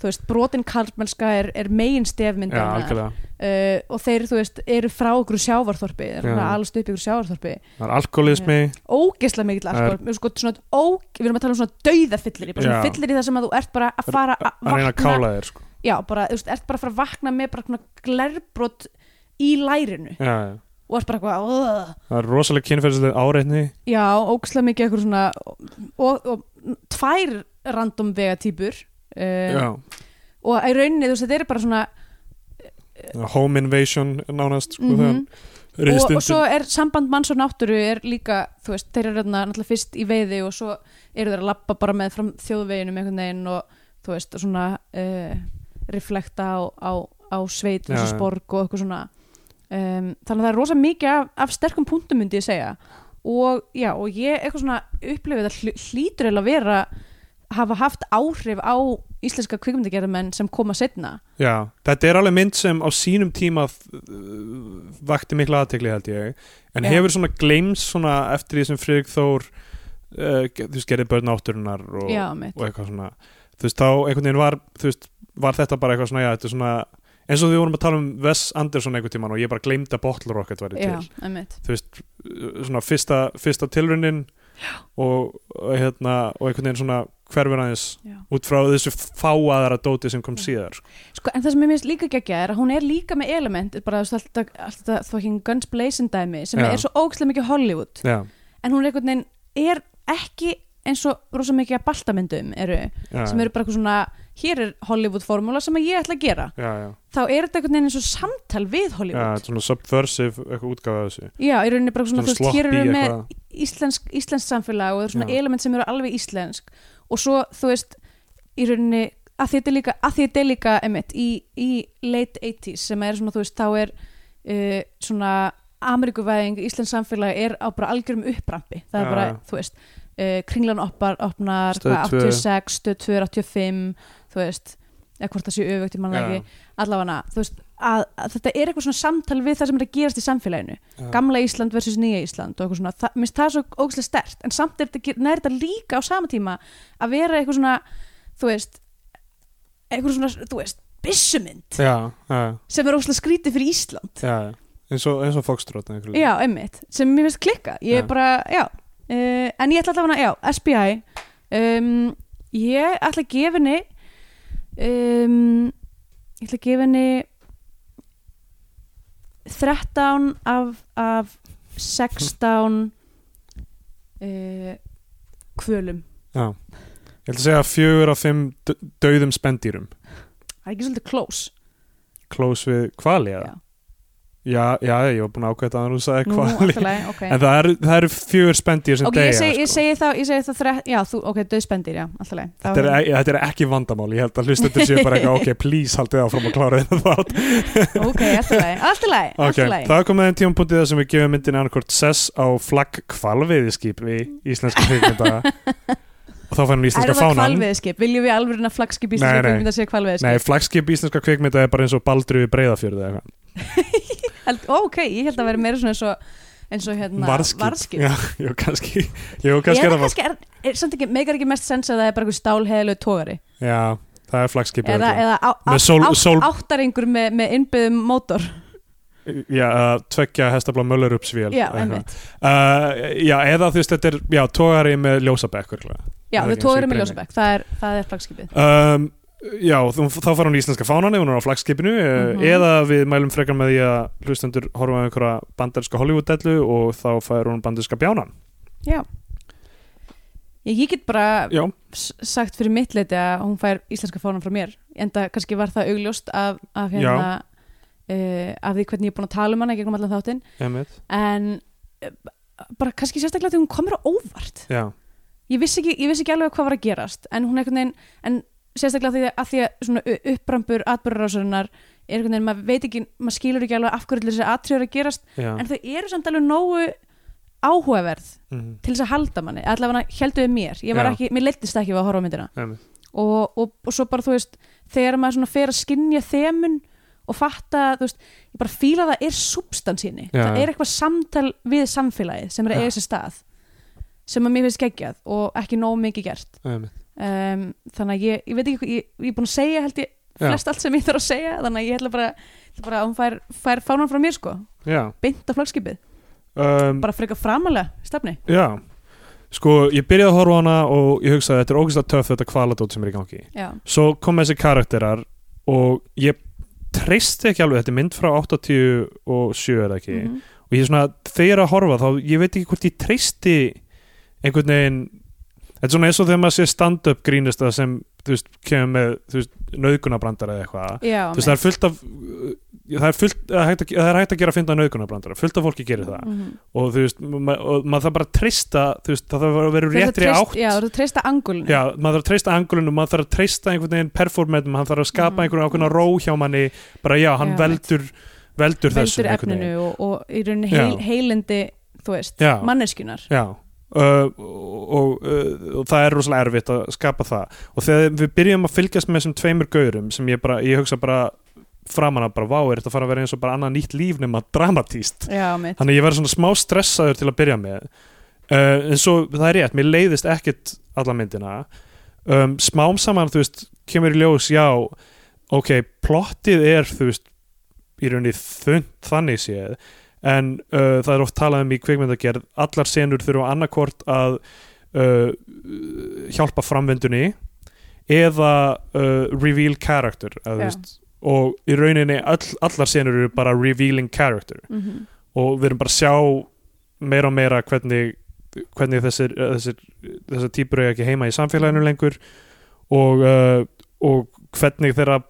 [SPEAKER 3] þú veist, brotin karlmennska er, er megin
[SPEAKER 2] Já,
[SPEAKER 3] stefmyndana
[SPEAKER 2] algjörlega.
[SPEAKER 3] uh, og þeir, þú veist, eru frá okkur sjávarþorpi, þeir eru
[SPEAKER 2] Já.
[SPEAKER 3] alast upp í okkur sjávarþorpi
[SPEAKER 2] Það er alkoholismi,
[SPEAKER 3] ógeðslega mikill
[SPEAKER 2] Það er-
[SPEAKER 3] alkohol við, erum sko, svona, óg, við erum að tala um svona dauðafyllir bara svona
[SPEAKER 2] Já.
[SPEAKER 3] fyllir í það sem að þú ert bara að fara að
[SPEAKER 2] að reyna að
[SPEAKER 3] vakna
[SPEAKER 2] kála þér sko.
[SPEAKER 3] já, bara, þú veist, ert bara að fara að vakna með bara svona glerbrot í lærinu
[SPEAKER 2] já, já.
[SPEAKER 3] og ert bara eitthvað "Ugh."
[SPEAKER 2] Það er rosalega kynferðislega áreitni
[SPEAKER 3] já, ógeðslega mikið eitthvað svona og, og tvær random vegatýpur um,
[SPEAKER 2] já.
[SPEAKER 3] og í rauninni, þú veist, þetta er bara svona
[SPEAKER 2] Home invasion nánast sko,
[SPEAKER 3] mhm,
[SPEAKER 2] Rauði
[SPEAKER 3] og, og
[SPEAKER 2] stundin.
[SPEAKER 3] svo er samband manns og náttúru er líka, þú veist, þeir eru þarna náttúrulega fyrst í veiði og svo eru þeir að lappa bara með fram þjóðveginum einhvern veginn og þú veist, og svona uh, reflekta á, á, á sveit
[SPEAKER 2] Já,
[SPEAKER 3] og
[SPEAKER 2] já.
[SPEAKER 3] sporg og eitthvað svona um, þannig að það er rosa mikið af, af sterkum punktum myndi ég segja og já, og ég eitthvað svona upplifið að hl- hlýtur eiginlega að vera hafa haft áhrif á íslenska kvikmyndagerðamenn sem koma setna
[SPEAKER 2] Já, þetta er alveg mynd sem á sínum tíma uh, vakti mikla aðtekli held ég en
[SPEAKER 3] Já.
[SPEAKER 2] hefur svona gleims svona eftir því sem Friðrik Þór uh, ge- þú veist, gerði börn átturinnar og,
[SPEAKER 3] já, mitt
[SPEAKER 2] og eitthvað svona þú veist, þá einhvern veginn var, þú veist, var þetta bara eitthvað svona, já, þetta er svona eins og við vorum að tala um Wes Anderson einhvern tíman og ég bara gleymdi að botlur okkar væri
[SPEAKER 3] já,
[SPEAKER 2] til
[SPEAKER 3] einmitt
[SPEAKER 2] þú veist, uh, svona fyrsta, fyrsta tilrunin og, og hérna, og einhvern veginn svona hverfur aðeins
[SPEAKER 3] Já.
[SPEAKER 2] út frá þessu fáaðara dóti sem kom síðar sko.
[SPEAKER 3] Sko, en það sem ég minnst líka geggja er að hún er líka með element bara þú veist, alltaf, alltaf fucking Guns Blazing dæmi sem
[SPEAKER 2] Já.
[SPEAKER 3] er svo ógæslega mikið Hollywood
[SPEAKER 2] já,
[SPEAKER 3] en hún er einhvern veginn er ekki eins og rosa mikið að baltamyndum eru,
[SPEAKER 2] já,
[SPEAKER 3] sem eru bara eitthvað svona hér er Hollywood formúla sem að ég ætla að gera
[SPEAKER 2] já, já,
[SPEAKER 3] þá er þetta einhvern veginn eins og samtal við
[SPEAKER 2] já, þetta
[SPEAKER 3] Hollywood
[SPEAKER 2] er svona subversive eitthvað útgáfa af þessu
[SPEAKER 3] Já, í rauninni bara svona,
[SPEAKER 2] Svona
[SPEAKER 3] þú veist,
[SPEAKER 2] sloppy
[SPEAKER 3] hér eru við með
[SPEAKER 2] eitthvað.
[SPEAKER 3] íslensk, íslensk samfélag og það eru svona
[SPEAKER 2] Já.
[SPEAKER 3] element sem eru alveg íslensk og svo, þú veist, í rauninni að því þetta er líka, að því þetta er líka emitt, í, í late 80s sem er svona, þú veist, þá er uh, svona Ameríkuvæðing íslensk samfélag er á bara algjörum upprampi það er
[SPEAKER 2] Já,
[SPEAKER 3] bara,
[SPEAKER 2] já.
[SPEAKER 3] þú veist, uh, kringlan oppar, opnar,
[SPEAKER 2] Stöð
[SPEAKER 3] hvað,
[SPEAKER 2] tvö.
[SPEAKER 3] 86 stöð 2, 85, þú veist eða hvort það sé öfugt í
[SPEAKER 2] Já.
[SPEAKER 3] mannlegi allavega, þú veist, að, að þetta er eitthvað svona samtal við það sem er að gerast í samfélaginu
[SPEAKER 2] Já.
[SPEAKER 3] gamla Ísland versus nýja Ísland og eitthvað svona, Þa- mér finnst það svo ógæslega stert en samt er þetta, nær þetta líka á sama tíma að vera eitthvað svona, þú veist eitthvað svona, þú veist byssumynd
[SPEAKER 2] já, já,
[SPEAKER 3] sem er ógæslega skrítið fyrir Ísland
[SPEAKER 2] já eins og, eins og Foxtrot já,
[SPEAKER 3] já, einmitt, sem mér finnst klikka ég
[SPEAKER 2] Já.
[SPEAKER 3] er bara, já uh, en ég ætla allavega, já, SBI um, ég ætla að gefa henni um, ég ætla að gefa henni 13 af, af 16 uh, kvölum
[SPEAKER 2] ég ætla að segja fjögur af fimm d- dauðum spendýrum
[SPEAKER 3] það er ekki svolítið close
[SPEAKER 2] close við kvali eða?
[SPEAKER 3] Já.
[SPEAKER 2] já, já, ég var búin að ákveða það að þú sagði
[SPEAKER 3] Nú,
[SPEAKER 2] kvali
[SPEAKER 3] allt í lagi, ok.
[SPEAKER 2] Eh, en það eru, það eru fjögur spendýr sem
[SPEAKER 3] ok,
[SPEAKER 2] deyja
[SPEAKER 3] ég segi,
[SPEAKER 2] sko.
[SPEAKER 3] ég segi þá, ég segi þá þre- já, þú, ok, döðspendir, já, alltaf leið
[SPEAKER 2] Þetta er, e- þetta er ekki vandamál, ég held að hlustendur séu bara eitthvað, ok, please haldið áfram að klára þetta þátt.
[SPEAKER 3] ok, alltaf leið, alltaf leið,
[SPEAKER 2] Ok,
[SPEAKER 3] alltaf leið
[SPEAKER 2] það er komið þeim tímapunktið þar sem við gefum myndin annarkort sess á flagg kvalveiðiskip í íslenska kvikmynda og þá fær hún íslenska
[SPEAKER 3] það
[SPEAKER 2] fánan.
[SPEAKER 3] kvalveðskip? Viljum við alveg að flaggskip
[SPEAKER 2] Nei,
[SPEAKER 3] íslenska
[SPEAKER 2] nei.
[SPEAKER 3] kvikmynda sé kvalveðskip?
[SPEAKER 2] Nei, flaggskip íslenska kvikmynda er bara eins og baldru við breyðafjörðu eða eitthvað.
[SPEAKER 3] Held, ó, ok, ég held að vera meira svona eins og, eins og hérna,
[SPEAKER 2] Varðskip. Já, jú, kannski, jú,
[SPEAKER 3] Ég
[SPEAKER 2] kannski
[SPEAKER 3] held
[SPEAKER 2] er
[SPEAKER 3] að
[SPEAKER 2] það var.
[SPEAKER 3] kannski, er, er, samt ekki, meikar ekki mest sens að það er bara einhver stálheðlu tógari
[SPEAKER 2] Já, það er flaggskip.
[SPEAKER 3] eða, eða á, á,
[SPEAKER 2] Með sól-
[SPEAKER 3] á,
[SPEAKER 2] sól-
[SPEAKER 3] áttaringur með, með innbyðum mótor
[SPEAKER 2] Já, eða tveggja hestafla möllur uppsvél.
[SPEAKER 3] Já, einmitt
[SPEAKER 2] Uh, já, eða þú veist, þetta er, já, tógari með ljósabekk, virkulega. Það
[SPEAKER 3] Já,
[SPEAKER 2] er
[SPEAKER 3] þau
[SPEAKER 2] ekki eins og í
[SPEAKER 3] tógari með
[SPEAKER 2] brenni.
[SPEAKER 3] ljósabæk, það er, það er flagskipið
[SPEAKER 2] um, Já, þú, þá fara hún í íslenska fánan ef hún er á flagskipinu eh,
[SPEAKER 3] Mhm.
[SPEAKER 2] eða við mælum frekar með því að hlustendur horfa á einhverja bandarska Hollywood-dellu og þá fær hún bandarska bjánan
[SPEAKER 3] Já Ég, ég get bara
[SPEAKER 2] Já,
[SPEAKER 3] s- sagt fyrir mitt leiti að hún fær íslenska fánan frá mér enda kannski var það augljóst af, af, hérna, uh, af því hvernig ég er búin að tala um hana gegnum allan þáttinn
[SPEAKER 2] emitt
[SPEAKER 3] en eh, b- bara kannski sérstaklega því hún komur á óvart
[SPEAKER 2] Já,
[SPEAKER 3] ég vissi, ekki, ég vissi ekki alveg hvað var að gerast en hún einhvern veginn en sérstaklega því að því að svona u- uppbrambur atbyrðarásarinnar er einhvern veginn maður veit ekki, maður skilur ekki alveg af hverju allir þessi atriður að gerast
[SPEAKER 2] já
[SPEAKER 3] en þau eru samt alveg nógu áhugaverð
[SPEAKER 2] mhm,
[SPEAKER 3] til þess að halda manni allavega helduðu mér, ég
[SPEAKER 2] Já.
[SPEAKER 3] var ekki, mér leittist ekki við að horfa á myndina
[SPEAKER 2] einmitt.
[SPEAKER 3] og, og, og svo bara þú veist þegar maður svona fer að skinja þemun og fatta, þú veist, ég bara fíla að það er substans inni,
[SPEAKER 2] Já,
[SPEAKER 3] það
[SPEAKER 2] já.
[SPEAKER 3] er eitthvað samtal við samfélagið sem er að
[SPEAKER 2] Já.
[SPEAKER 3] eiga sér stað sem að mér finnst geggjað og ekki nóg mikið gert
[SPEAKER 2] einmitt.
[SPEAKER 3] um, þannig að ég, ég veit ekki, hvað- ég, ég er búin að segja held ég
[SPEAKER 2] Já,
[SPEAKER 3] flest allt sem ég þarf að segja þannig að ég ætla bara, ætla bara að hún fær, fær fánan frá mér sko,
[SPEAKER 2] já
[SPEAKER 3] beint á flagskipið
[SPEAKER 2] um,
[SPEAKER 3] bara frekar framalega, stefni
[SPEAKER 2] Já, sko, ég byrjaði að horfa á hana og ég hugsaði þetta er ógæslega töff þetta kvaladót sem er í gangi
[SPEAKER 3] já,
[SPEAKER 2] Svo kom þessi karakterar og ég treysti ekki alveg þetta er mynd frá 87 eða ekki
[SPEAKER 3] Mhm.
[SPEAKER 2] og ég er svona, þegar að horfa þá ég veit ekki hvort ég treysti einhvern veginn þetta er svona eins og þegar maður sé stand-up grínist sem, þú veist, kemur með þú veist, nöðgunabrandar eða eitthvað
[SPEAKER 3] já
[SPEAKER 2] þú veist, það er fullt af uh, það er, fullt, það er hægt að, það er hægt að gera að finna nöðgunarbrandara, fullt af fólki gerir það
[SPEAKER 3] Mhm.
[SPEAKER 2] og þú veist, ma og maður þarf bara að treysta þú veist, það þarf að vera
[SPEAKER 3] Þú
[SPEAKER 2] úr
[SPEAKER 3] ert að
[SPEAKER 2] réttri
[SPEAKER 3] treysta-
[SPEAKER 2] átt
[SPEAKER 3] Já, þú ert að treysta angulinu
[SPEAKER 2] Já, maður þarf að treysta angulunum, maður þarf að treysta einhvern veginn performantum, hann þarf að skapa
[SPEAKER 3] Mhm.
[SPEAKER 2] einhvern ákveðna ró hjá manni, bara já, hann
[SPEAKER 3] Já,
[SPEAKER 2] veldur, veldur þessu
[SPEAKER 3] veldur efninu og, og í rauninni
[SPEAKER 2] Já.
[SPEAKER 3] heil, heilindi þú veist,
[SPEAKER 2] Já.
[SPEAKER 3] manneskunar
[SPEAKER 2] Já, uh, og, uh, og það er rosalega erfitt að skapa það og þegar við byrjum að fylgjast með þessum tveimur gaurum sem ég bara, ég hugsa bara framan að bara, vá, er þetta að fara að vera eins og bara annað nýtt líf nema dramatíst
[SPEAKER 3] Já, mitt
[SPEAKER 2] þannig að ég verði svona smá stressaður til að byrja með uh, en svo það er rétt, mér leiðist ekkit alla myndina um, smám saman, þú veist, kemur í ljós já, ok, plottið er þú veist, í rauninni þund þannig séð en uh, það er oft talað um í kvikmyndagerð allar senur þurfa annarkvort að uh, hjálpa framvendunni eða uh, reveal character að, þú
[SPEAKER 3] Já.
[SPEAKER 2] veist, og í rauninni all, allar senur eru bara revealing character
[SPEAKER 3] mm
[SPEAKER 2] og við erum bara að sjá meira og meira hvernig, hvernig þessir, þessir, þessir típur eru ekki heima í samfélaginu lengur og, uh, og hvernig þeirra,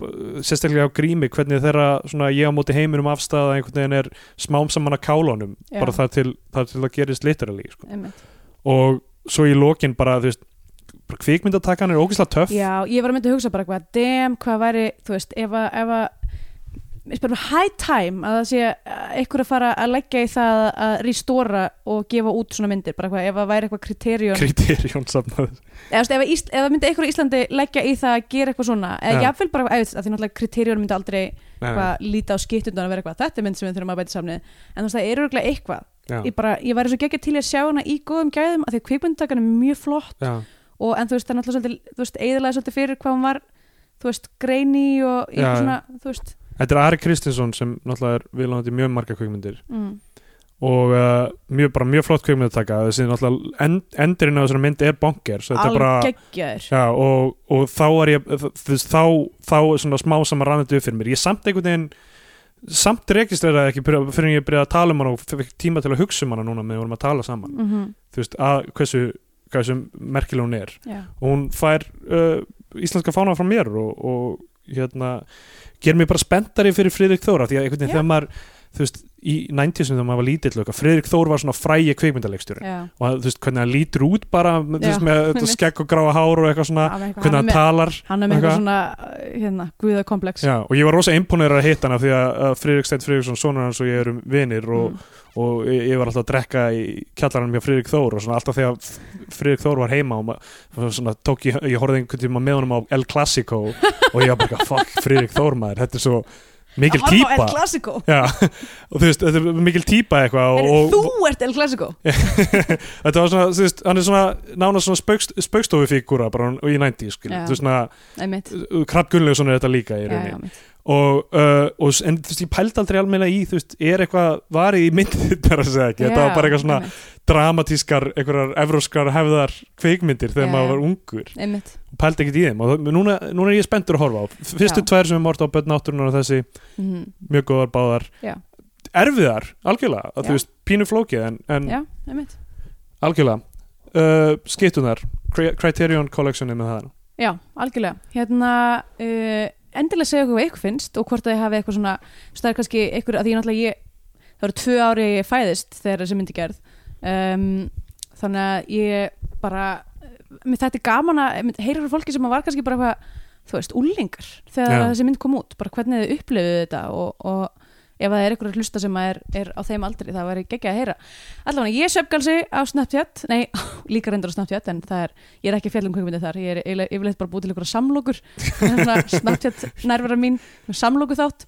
[SPEAKER 2] sérstaklega á grími hvernig þeirra, svona ég á móti heiminum afstæða einhvern veginn er smám saman að kálunum
[SPEAKER 3] Já.
[SPEAKER 2] bara þar til, þar til það gerist literally sko.
[SPEAKER 3] Einmitt.
[SPEAKER 2] og svo í lokin bara, þú veist bara kvikmyndatakan er ógeðslega töff
[SPEAKER 3] Já, ég var að mynda að hugsa bara hvað dem, hvað væri, þú veist, ef að, ef að ég spyr bara high time að það sé eitthvað að fara að leggja í það að restóra og gefa út svona myndir, bara hvað, ef að væri eitthvað kriterjón
[SPEAKER 2] kriterjón samnaður
[SPEAKER 3] eða, þú veist, ef, að Ísl, ef að myndi eitthvað í Íslandi leggja í það að gera eitthvað svona, eða
[SPEAKER 2] Já.
[SPEAKER 3] jafnvel bara eða, þú veist, að því náttúrulega kriterjón myndi aldrei eitthvað, líta á skiptundan að vera eitthvað, þetta er mynd sem við þurfum að bæta samnið en þú veist, það er örgulega eitthvað
[SPEAKER 2] já,
[SPEAKER 3] ég, bara, ég væri svo geggja til í að sjá hana í góðum gæðum af því að kvikmyndagan er mjög flott
[SPEAKER 2] já,
[SPEAKER 3] og, en þú veist, það er náttúrulega svolítið, þú veist, eiðilega svolítið fyrir hvað hún var þú veist, greini og
[SPEAKER 2] Já,
[SPEAKER 3] eitthvað svona, þú veist
[SPEAKER 2] þetta er Ari Kristinsson sem náttúrulega er viðlóðandi mjög marga kvikmyndir
[SPEAKER 3] mm,
[SPEAKER 2] og uh, mjög, bara mjög flott kvikmynd að taka þessi náttúrulega end, endurinn á þessari mynd er bonger svo þetta er bara
[SPEAKER 3] algeggjaður
[SPEAKER 2] já, og, og þá er ég þú veist, þá, þá er svona smá saman rannandi upp fyrir mér ég samt einhvern veginn samt registreraði ekki byrja- fyrir en ég byrjaði að tala um hana og fekk tíma til að hugsa um hana núna með við vorum að tala saman
[SPEAKER 3] mm -hmm,
[SPEAKER 2] þú veist að hversu, hversu merkileg hún er
[SPEAKER 3] já,
[SPEAKER 2] og hún fær uh, íslenska fána frá mér og, og hérna ger mér bara spenntari fyrir Friðrik Þóra því að einhvern veginn
[SPEAKER 3] Já.
[SPEAKER 2] þegar maður þú veist, í 90-sum þegar maður var lítill og eitthvað, Friðrik Þór var svona frægi kveikmyndaleikstjóri
[SPEAKER 3] já
[SPEAKER 2] og hann, þú veist, hvernig hann lítur út bara þú veist,
[SPEAKER 3] Já,
[SPEAKER 2] með þetta
[SPEAKER 3] einmitt.
[SPEAKER 2] skegg og gráa hár og eitthvað svona
[SPEAKER 3] Hann með eitthvað-
[SPEAKER 2] hvernig
[SPEAKER 3] hann
[SPEAKER 2] hann
[SPEAKER 3] með-
[SPEAKER 2] talar
[SPEAKER 3] hann er með
[SPEAKER 2] eitthvað.
[SPEAKER 3] eitthvað svona hérna, guðakomplex
[SPEAKER 2] Já, og ég var rosa imponerður að hitta hann af því að að Friðrik Steinn Friðriksson, sonur hans og ég erum vinir og,
[SPEAKER 3] mm,
[SPEAKER 2] og ég ég var alltaf að drekka í kjallaranum hjá Friðrik Þór og svona alltaf þegar F- Friðrik Þór var heima og ma- og svona tók ég, ég horfði einhvern tíma með honum á El Clasico og ég var bara eitthvað, fuck Friðrik Þór maður, þetta er svo mikil
[SPEAKER 3] Að horfa á
[SPEAKER 2] típa
[SPEAKER 3] El Clasico
[SPEAKER 2] Já, og þú veist, þetta er mikil típa eitthvað
[SPEAKER 3] Heyrðu,
[SPEAKER 2] og,
[SPEAKER 3] þú
[SPEAKER 2] og,
[SPEAKER 3] ert El Clasico
[SPEAKER 2] þetta var svona, þú veist, hann er svona nána svona spaukst, spaukstofufígúra bara í 90 skil,
[SPEAKER 3] Já.
[SPEAKER 2] þú veist, svona
[SPEAKER 3] einmitt,
[SPEAKER 2] Krabb Gunnlaugsson er þetta líka í
[SPEAKER 3] já,
[SPEAKER 2] rauninni
[SPEAKER 3] já, mitt.
[SPEAKER 2] og, uh, og s- en þú veist, ég pældi aldrei almennilega í, þú veist, er eitthvað varið í myndið þar að segja ekki, þetta var
[SPEAKER 3] Já,
[SPEAKER 2] bara eitthvað svona
[SPEAKER 3] einmitt,
[SPEAKER 2] dramatískar, einhverjar evróskar hefðar kveikmyndir þegar
[SPEAKER 3] Já.
[SPEAKER 2] maður var ungur
[SPEAKER 3] einmitt.
[SPEAKER 2] og pældi ekkert í þeim og það- núna, núna er ég spenntur að horfa á fyrstu
[SPEAKER 3] Já.
[SPEAKER 2] tvær sem við mórta á börn náttúrunar og þessi,
[SPEAKER 3] Mm,
[SPEAKER 2] mjög góðar báðar
[SPEAKER 3] Já.
[SPEAKER 2] erfiðar, algjörlega að
[SPEAKER 3] Já.
[SPEAKER 2] þú veist, pínu flókið en, en
[SPEAKER 3] já, einmitt
[SPEAKER 2] algjörlega uh, skiptunar, Cri- Criterion Collection er með það
[SPEAKER 3] Já, algjörlega. Hérna, uh, endilega segja okkur hvað ykkur finnst og hvort að þið hafi eitthvað svona, þú veist, það er kannski ykkur, að því ég náttúrulega ég, það eru tvö ári ég fæðist þegar þessi myndi gerð. Um, þannig að ég bara, mér þetta er gaman að einmitt heyra frá fólki sem var kannski bara eitthvað, þú veist, úlingar þegar
[SPEAKER 2] Já.
[SPEAKER 3] þessi mynd kom út, bara hvernig þið upplifið þetta og, og ef það er ykkur að hlusta sem að er, er á þeim aldri, það væri geggja að heyra. Allavega, ég er söpgalsi á Snapchat, nei, líka reyndur á Snapchat, en það er ég er ekki að fjalla um kvikmyndið þar ég er eiginlega- yfirleitt bara búið til ykkur samlokur snartjátt nærvera mín samloku þátt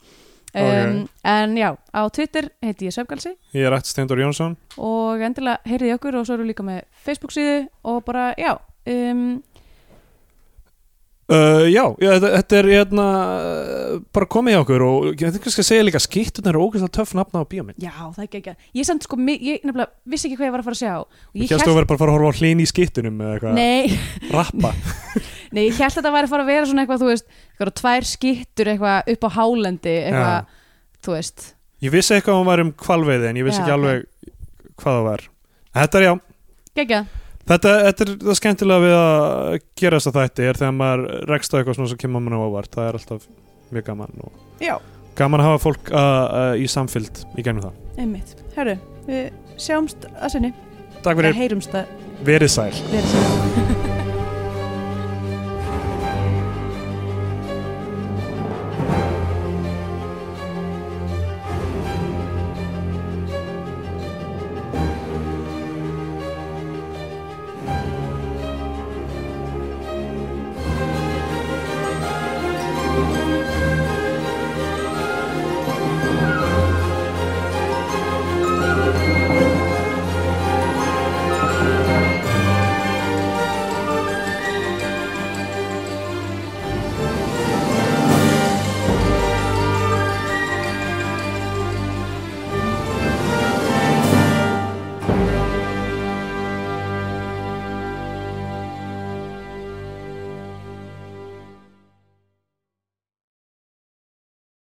[SPEAKER 3] um, en já, á Twitter heiti ég Söfgalsi
[SPEAKER 2] ég er ætti Steindor Jónsson
[SPEAKER 3] og endilega heyrið í okkur og svo erum við líka með Facebook síðu og bara, já um,
[SPEAKER 2] Uh, já, já, þetta, þetta er hérna, uh, bara komið hjá okkur og ég þetta kannski að segja líka skittunar eru ógeðslega töff nafna á bíómynd
[SPEAKER 3] já, það er ekki ekki ég samt sko, mi- ég nefnilega vissi ekki hvað ég var að fara að sjá og
[SPEAKER 2] Ég hérstu að vera bara að fara að horfa á hlýn í skittunum eða eitthvað,
[SPEAKER 3] Nei,
[SPEAKER 2] rappa
[SPEAKER 3] nei, ég held að þetta væri að fara að vera svona eitthvað, þú veist, eitthvað tvær skittur eitthvað upp á hálendi, eitthvað, þú veist,
[SPEAKER 2] Ég vissi eitthvað að hún var um kvalveiði en ég vissi
[SPEAKER 3] Já,
[SPEAKER 2] ekki alveg hvað það var Þetta er já,
[SPEAKER 3] geggjað.
[SPEAKER 2] þetta, þetta er það skemmtilega við að gera þess að þætti er þegar maður rekst á eitthvað svona sem kemur mann á óvart, það er alltaf mjög gaman og,
[SPEAKER 3] Já.
[SPEAKER 2] gaman að hafa fólk uh, uh, í samfylgd í gegnum það
[SPEAKER 3] einmitt Herru, við sjáumst að sinni
[SPEAKER 2] Takk
[SPEAKER 3] Eða
[SPEAKER 2] fyrir,
[SPEAKER 3] heyrumst að
[SPEAKER 2] verið sæl
[SPEAKER 3] verið sinni